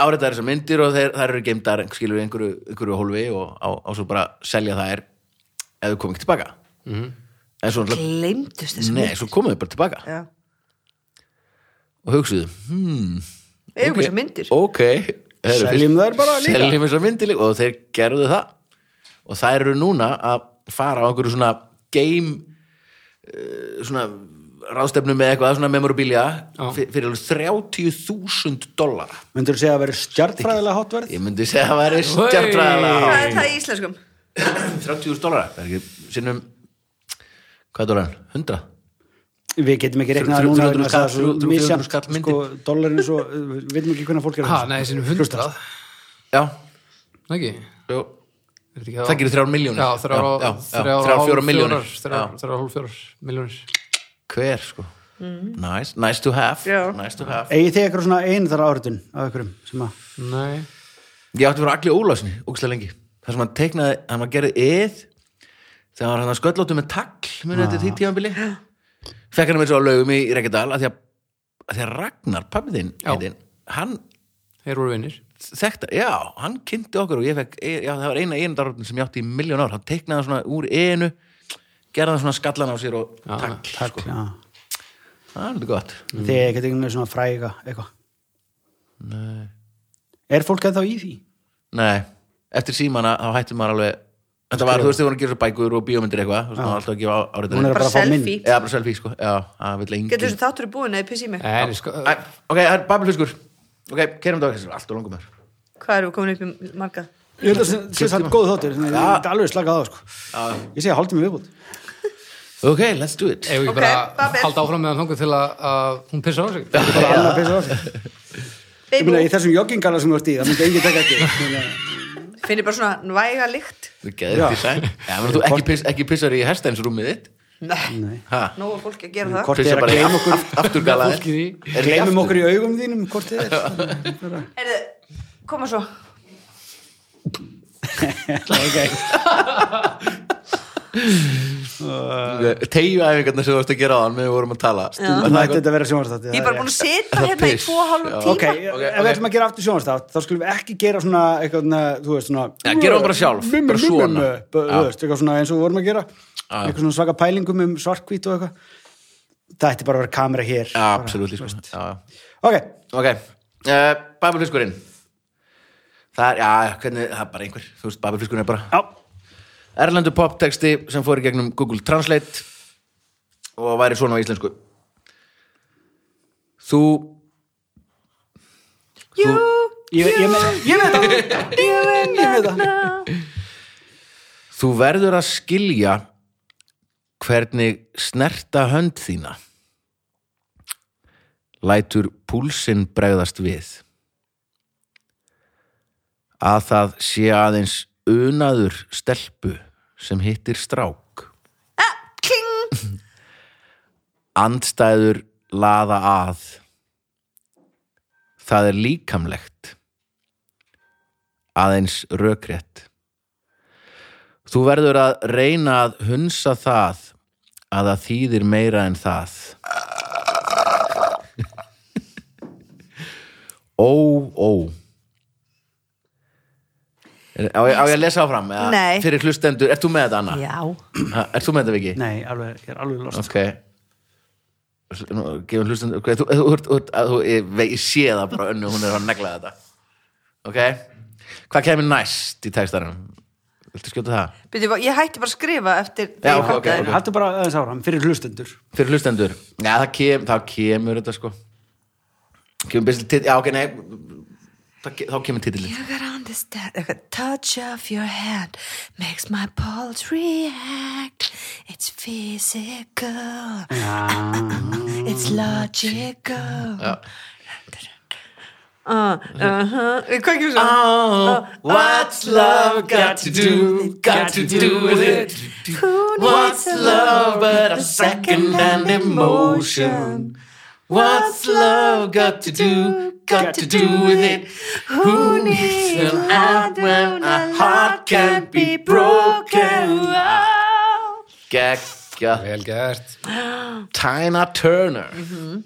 Speaker 1: áreita þessar myndir og þeir, þær eru geimdar skilur í einhverju, einhverju hólfi og á, á svo bara selja þær ef þau komið ekki tilbaka mm
Speaker 4: Mhm.
Speaker 1: -hmm. en svo náttúrulega
Speaker 3: glemdust þessum
Speaker 1: Nei, svo komuðu bara tilbaka
Speaker 3: já
Speaker 1: og hugsuðu hmm,
Speaker 3: Eigum
Speaker 1: ok,
Speaker 3: þessar myndir.
Speaker 1: ok, heyrðu,
Speaker 4: Seljum
Speaker 1: fyrst-
Speaker 4: þær bara líka.
Speaker 1: Seljum þessar myndir líka og þeir gerðu það og þær eru núna að fara á einhverju svona game uh, svona ráðstefnu með eitthvað svona memorabilia
Speaker 2: Já.
Speaker 1: fyr- fyrir alveg 30.000 dollara
Speaker 4: myndur þú segja að vera stjartfræðilega hotverð
Speaker 1: ég myndi segja að það væri stjartræðalega
Speaker 3: Hvað er það í íslenskum?
Speaker 1: 30.000 dollara, það er ekki sinnum hvað er dólaran? 100?
Speaker 4: við getum ekki reiknað
Speaker 1: Þrjú-
Speaker 4: núna
Speaker 1: þrjú-
Speaker 4: vegna þess að það er
Speaker 1: þrjú-
Speaker 4: svo
Speaker 1: þrjú-
Speaker 4: misjafnt,
Speaker 1: skall myndin.
Speaker 4: sko, dollarinn svo, við veitum ekki hvernig fólk er
Speaker 2: Ha, nei, sinni hundrað
Speaker 1: Já,
Speaker 2: Nei, ekki
Speaker 1: jú
Speaker 2: Er þetta ekki á-
Speaker 1: Það gerir þrjár milljónir.
Speaker 2: Já, þrjár og-
Speaker 1: Já, já, já.
Speaker 2: þrjár og
Speaker 1: Þrjár,
Speaker 2: hálf-
Speaker 1: fjórar milljónir.
Speaker 2: fjórar, Þrjár þrjár og hálf fjórar miljónir
Speaker 1: hver sko nice, nice to have
Speaker 3: Já.
Speaker 1: nice to have
Speaker 4: Egið þið eitthvað svona einu þar áritun af ykkurum sem að
Speaker 2: Nei
Speaker 1: ég átti að vera allir ólásni, ógislega lengi þar sem hann teiknaði, hann var gerðið eð þegar hann var hann að sköllóttu með tagl munið þetta því tímanbili fekk hann með svo á laugum í Reykjadal að því að, að, því að Ragnar, pabbi þinn
Speaker 2: Já.
Speaker 1: heitinn, hann
Speaker 2: Þeir voru vinnir
Speaker 1: þekkta, já, hann kynnti okkur og ég fekk, e, já, það var eina einandarrótin sem ég átti í miljón ár, hann teiknaði svona úr einu gerði hann svona skallan á sér og takk,
Speaker 4: takk, já
Speaker 1: það er alveg gott
Speaker 4: þegar ég geti ekki með svona fræga eitthvað
Speaker 1: Nei.
Speaker 4: er fólk eða í því?
Speaker 1: Nei, eftir símana þá hættir maður alveg Þetta var, þú veist, þið voru að gera svo bækur og bíómyndir eitthvað þú veist, maður var alltaf að gefa
Speaker 4: hún er
Speaker 1: áriðinu
Speaker 4: bara að fá mynd
Speaker 3: selfie.
Speaker 1: Já, bara selfie, sko, já, það vil engin
Speaker 3: Getur þessu þáttur er búin eða ég pissi í mig?
Speaker 2: En, sko,
Speaker 1: Æ, Ok, það er babilhuskur Ok, kerum þetta okkar, allt og langum þar
Speaker 3: Hvað erum við komin upp í marga?
Speaker 4: ég held að það sé samt góð þáttur þannig að ég get alveg slakað á sko. ég segja hálftími viðbútt
Speaker 1: Ok, let's do it
Speaker 2: ef
Speaker 3: Ok,
Speaker 2: ég bara
Speaker 3: Babel.
Speaker 2: halda áfram meðan þangur til að, að hún pissa á sig
Speaker 4: það er bara annað að pissa á sig ég meina
Speaker 3: Baby,
Speaker 4: í þessum joggingala sem þú ert í það myndi engin
Speaker 1: [LAUGHS]
Speaker 4: taka eftir Ég meina,
Speaker 3: finnir bara svona væga lykt
Speaker 1: Þú geðir
Speaker 4: Já. [LAUGHS]
Speaker 1: design Já, menn þú ekki, piss, ekki pissar í herstænsrúmið þitt
Speaker 3: Nei,
Speaker 4: nei.
Speaker 1: Ha,
Speaker 3: nóg er fólki að gera það
Speaker 4: hvort þið
Speaker 1: pissar
Speaker 4: er að
Speaker 1: bara í
Speaker 4: gleyma okkur
Speaker 1: aft- afturgalaðir.
Speaker 2: Fólkið í.
Speaker 1: Er ekki
Speaker 4: gleymum
Speaker 1: aftur-
Speaker 4: okkur í augum þínum hvort þið er [LAUGHS] Þannig að bara-
Speaker 3: Heyrðu, koma svo
Speaker 1: Teygjuæfingarnar Eh, sem þú varst að gera á hann við vorum að tala
Speaker 4: það mætti þetta að vera sjónvarstátt
Speaker 3: Ég er bara búin að sitja hérna í
Speaker 1: Piss.
Speaker 3: tvo og hálfum
Speaker 1: Já.
Speaker 3: tíma
Speaker 4: ok, ef við ætlum að gera aftur sjónvarstátt þá skulum við ekki gera svona eitthvað, svona, þú veist, svona
Speaker 1: Já, gerum það bara sjálf,
Speaker 4: Mum,
Speaker 1: bara
Speaker 4: mum,
Speaker 1: svona.
Speaker 4: mum, mum, bara,
Speaker 1: Já.
Speaker 4: þú veist, eitthvað svona eins og við vorum að gera eitthvað svona svaka pælingum um svartkvít og eitthvað það ætti bara að vera kamera hér
Speaker 1: Já, absolutt sko. Já, já
Speaker 4: ok,
Speaker 1: Ok, uh, babelfiskurinn Það er, já, hvernig, það er bara einhver Þú veist, babelfiskurinn er bara
Speaker 4: já,
Speaker 1: Erlendu poptexti sem fór í gegnum Google Translate og væri svona á íslensku Þú
Speaker 3: Jú,
Speaker 4: ég, ég, með, ég
Speaker 1: [LAUGHS]
Speaker 4: með það
Speaker 3: ég vil
Speaker 4: ég með það
Speaker 1: Þú verður að skilja hvernig snerta hönd þína lætur púlsinn bregðast við að það sé aðeins unaður stelpu sem hittir strák
Speaker 3: Kling,
Speaker 1: andstæður laða að það er líkamlegt aðeins rökrétt þú verður að reyna að hunsa það að það þýðir meira en það ó, ó Er- á ég, á ég að lesa áfram eða?
Speaker 3: Nei.
Speaker 1: fyrir hlustendur, ert þú með þetta Anna?
Speaker 3: já
Speaker 1: Ha, ert þú með þetta Viki?
Speaker 4: nei, alveg, ég er alveg lost
Speaker 1: ok Nú, gefum hlustan okay, þú, þú, þú, þú, þú, ég, vei- ég sé það bara á önnu hún er að negla þetta ok, hvað kemur næst í textarum viltu skjóta það?
Speaker 3: Byrju, Ég hætti bara að skrifa eftir
Speaker 1: Já,
Speaker 3: þegar ég
Speaker 1: ok,
Speaker 3: fattaði.
Speaker 1: ok, ok.
Speaker 4: haldur bara aðeins áram fyrir hlustendur
Speaker 1: fyrir hlustendur, já það, kem, það kemur þetta sko kemur byrst til, já ok, nei það, ke- þá kemur titillin
Speaker 3: You gotta understand The touch of your hand Makes my pulse react It's physical
Speaker 1: Ah.
Speaker 3: It's logical uh, uh-huh. Hvað ekki svo?
Speaker 1: oh, what's love got to do got to do with it
Speaker 3: Who needs
Speaker 1: What's
Speaker 3: a
Speaker 1: love but a second-hand emotion? What's love got to do, got to do with it?
Speaker 3: Who needs
Speaker 1: an
Speaker 3: an
Speaker 1: out when a heart can be broken?
Speaker 3: Wow.
Speaker 1: Gekka,
Speaker 2: Vel gert
Speaker 1: Tina Turner Mm-hmm.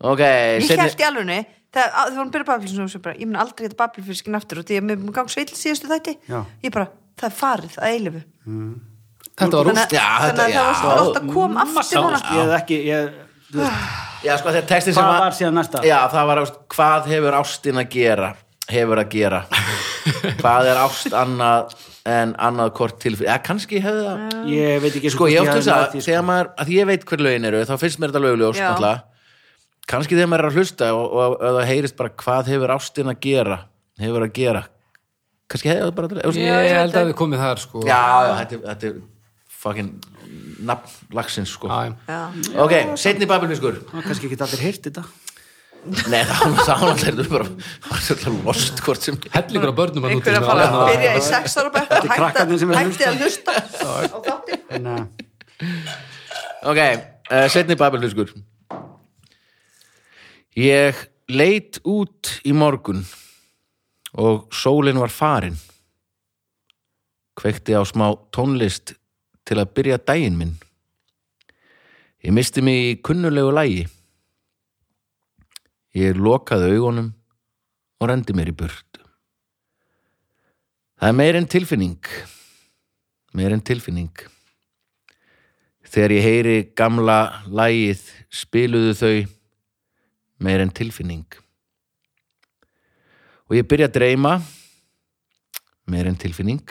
Speaker 1: Ok,
Speaker 3: Ég
Speaker 1: seinni-
Speaker 3: held í alvegni Það að- þegar hún byrja bablfiskin sem bara, ég mun aldrei geta bablfiskin aftur og því að mér mun gang sveill síðustu þætti
Speaker 4: Já.
Speaker 3: ég bara, það er farið að eilifu
Speaker 2: Þetta var
Speaker 3: þannig,
Speaker 2: rúst
Speaker 3: að-
Speaker 1: Já,
Speaker 3: þannig að
Speaker 1: þetta-
Speaker 3: það
Speaker 1: já.
Speaker 3: var svo gott að koma aftur núna
Speaker 4: ég hef ekki ég, þú veist,
Speaker 1: Já, sko, þetta textin sem
Speaker 4: Hvað var síðan næsta?
Speaker 1: Já, það var, ást, hvað hefur ástin að gera? Hefur að [LAUGHS] gera Hvað er ást annað en annað kort tilfyrir? Já, kannski hefði það
Speaker 4: ég veit ekki
Speaker 1: sko ég átti þess
Speaker 4: að
Speaker 1: að þegar maður, að því ég veit hver lögin eru þá finnst mér þetta lögljós
Speaker 3: Já.
Speaker 1: náttúrulega kannski þegar maður er að hlusta og, og, og það heyrist bara hvað hefur ástin að gera hefur að gera kannski hefði það bara þú veist-
Speaker 2: Ég held að við komið þar sko
Speaker 1: já, já, þetta, er- þetta er fucking nafn lagsins sko
Speaker 2: Æ.
Speaker 3: Já.
Speaker 1: ok, setni babelfiskur
Speaker 4: kannski ekki allir heyrt þetta
Speaker 1: nei, þá þá náttúrulega er þetta bara það var svolítið lost hvort sem
Speaker 2: Hellingur á börnum að
Speaker 3: einhver að fara að byrja í sex ára bekk og hætta
Speaker 4: krakkarnir sem eru að
Speaker 3: hætti að hlusta á þáttinn
Speaker 4: en uh,
Speaker 1: Ok,
Speaker 4: að
Speaker 1: uh, setni babelfiskur Ég leit út í morgun og sólin var farin kveikti á smá tónlist til að byrja daginn minn Ég misti mig í kunnulegu lægi Ég lokaði augunum og rendi mér í burtu. Það er meir en tilfinning, meir en tilfinning. Þegar ég heyri gamla lægið spiluðu þau meir en tilfinning. Og ég byrja að dreyma meir en tilfinning.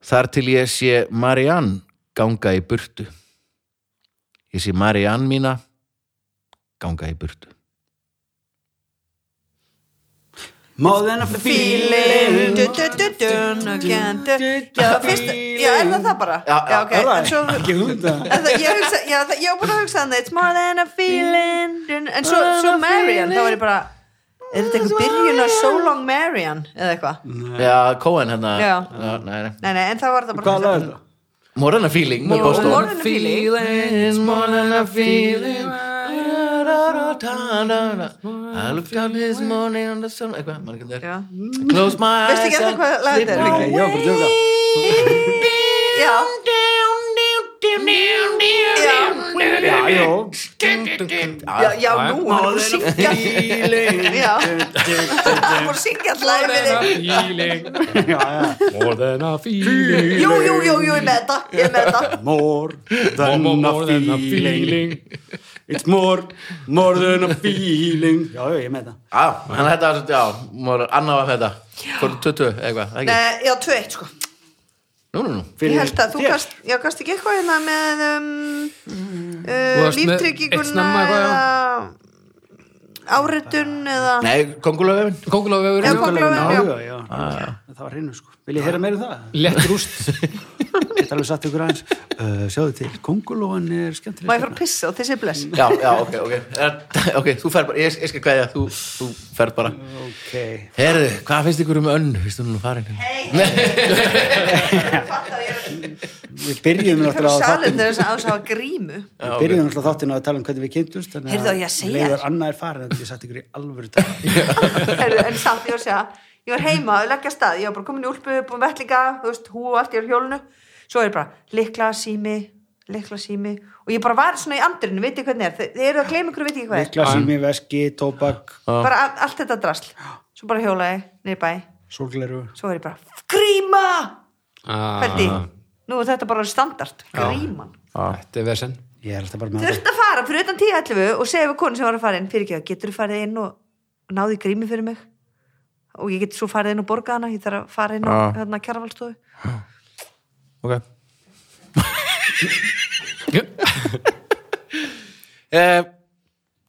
Speaker 1: Þar til ég sé Marianne ganga í burtu. Ég sé Marianne mína ganga í burtu.
Speaker 4: More than a feeling
Speaker 3: Du, du, du, dun, again, du. Já, það fyrst, já, er það það bara?
Speaker 1: Já,
Speaker 3: já ok,
Speaker 4: er það?
Speaker 3: en svo
Speaker 4: Ekki hugmynd um það.
Speaker 3: en það- Ég hugsa- já, það- ég var búin að hugsa þannig It's more than a feeling dun, En svo, svo Marian, þá var ég bara Er þetta einhver byrjun á So Long Marian eða eitthvað?
Speaker 1: Já, Cohen hérna
Speaker 3: Já.
Speaker 1: nei, nei.
Speaker 3: Nei, nei, en það var það bara
Speaker 4: Hvað lag er þetta?
Speaker 1: More than a feeling með
Speaker 3: Jú,
Speaker 1: Boston
Speaker 3: more than a feeling.
Speaker 1: Feelings, more than a feeling I looked out this morning on the sun Eitthvað, mann ekki
Speaker 3: Já.
Speaker 1: þér Close my eyes
Speaker 3: Veistu ekki eftir hvað lag þetta er?
Speaker 4: Nei, ég var bara að djóka.
Speaker 3: Já, já,
Speaker 4: Já, jú.
Speaker 3: já, já, nú hann er búin að syngja Já, hann er búin að syngja alltaf yfir þig
Speaker 4: Já, já.
Speaker 2: More than a feeling
Speaker 3: Jú, jú, jú, jú, ég er með þetta, ég er með þetta
Speaker 4: More than
Speaker 2: More,
Speaker 4: a
Speaker 2: more than a
Speaker 4: feeling
Speaker 2: feeling
Speaker 4: It's more, more than a feeling Já, jú, ég með það
Speaker 1: Já, hann þetta var svolítið, já, maður annað var þetta Hvort tuttu, eitthvað, ekki
Speaker 3: Nei, já, 2-1 sko
Speaker 1: Nú, nú, nú
Speaker 3: Ég held að þú kast, já, kast ekki eitthvað hérna með um, uh,
Speaker 2: varst með eitt
Speaker 3: líftrygginguna
Speaker 2: snemma eitthvað,
Speaker 3: eða áritun eða
Speaker 1: Nei, kongulöfin
Speaker 2: Kókulávefur
Speaker 3: Já, kóngulóin.
Speaker 4: Já,
Speaker 3: Já.
Speaker 4: já, já,
Speaker 1: Ah.
Speaker 4: það var hreinu sko Vil ég heyra meira um það?
Speaker 2: Lett rúst
Speaker 4: Þetta er alveg satt ykkur aðeins uh, Sjáðu til, kongulóan er skemmtileg
Speaker 3: Má ég fara að pissa og þessi bless
Speaker 1: Já, já, ok, ok Er- [LAUGHS] Ok, þú fer bara, ég, ég skal kveðja, þú, þú fer bara
Speaker 4: Ok,
Speaker 1: Herðu, hvað finnst ykkur um önn, finnst hún nú farin?
Speaker 4: við
Speaker 3: Ég fyrir
Speaker 4: byrjum náttúrulega á
Speaker 3: salin
Speaker 4: þáttinn
Speaker 3: þegar þess að ás hafa grímu [LAUGHS]
Speaker 4: Við byrjum náttúrulega á þáttinn á að tala um hvernig við kynntust Þannig
Speaker 3: Heyrðu, ég að segja
Speaker 4: leiður
Speaker 3: þér.
Speaker 4: annað er farin Þannig að ég satt ykkur í alvöru dag
Speaker 3: [LAUGHS] Heyrðu, En samt ég var að segja Ég var heima að leggja af stað, ég var bara komin í úlpu upp um vellinga, þú veist, hú og allt, ég var í hjólinu Svo er ég bara, likla sími likla sími og ég bara var svona í andrinu, veit ég hvernig er, Þi- þið eru að gleyma ykkur, veit ég hvað er
Speaker 4: Nikla, sími, veski, tóbak,
Speaker 3: bara a- allt þetta drasl svo bara hjólaði, niður í bæ
Speaker 4: sorgleru
Speaker 3: svo er ég bara, gríma Ferdi,
Speaker 2: Þetta
Speaker 3: nú er þetta bara standart gríman,
Speaker 2: er vesen
Speaker 4: Ég er alltaf bara með
Speaker 3: þurft að fara fyrir utan 10.11 og segja við konu sem var að fara inn fyrir ekki, getur þú farið inn og og náðu í grími fyrir mig og ég get svo farið inn og borga hana ég þarf að fara inn og hérna kjarvalstofu
Speaker 1: Ok uh,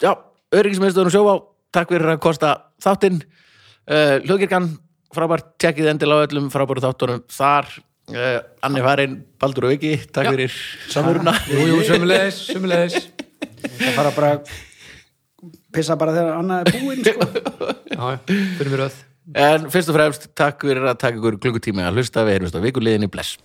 Speaker 1: Já, öryggismiðstöðun og sjóvá Takk fyrir að kosta þáttinn uh, Hlugirkan, frábært Tjekkið endilega á öllum frábæru þáttunum þar uh, Anni Farin, Baldur og Viki Takk
Speaker 2: Já.
Speaker 1: fyrir samveruna
Speaker 2: Jú, jú, sömulegis, sömulegis
Speaker 4: Það fara bara að pissa bara þegar annað er búinn sko.
Speaker 2: Já, fyrir mér öð
Speaker 1: En fyrst og fremst, takk fyrir að taka ykkur klukkutíma að hlusta Við erum á vikuliðinni, bless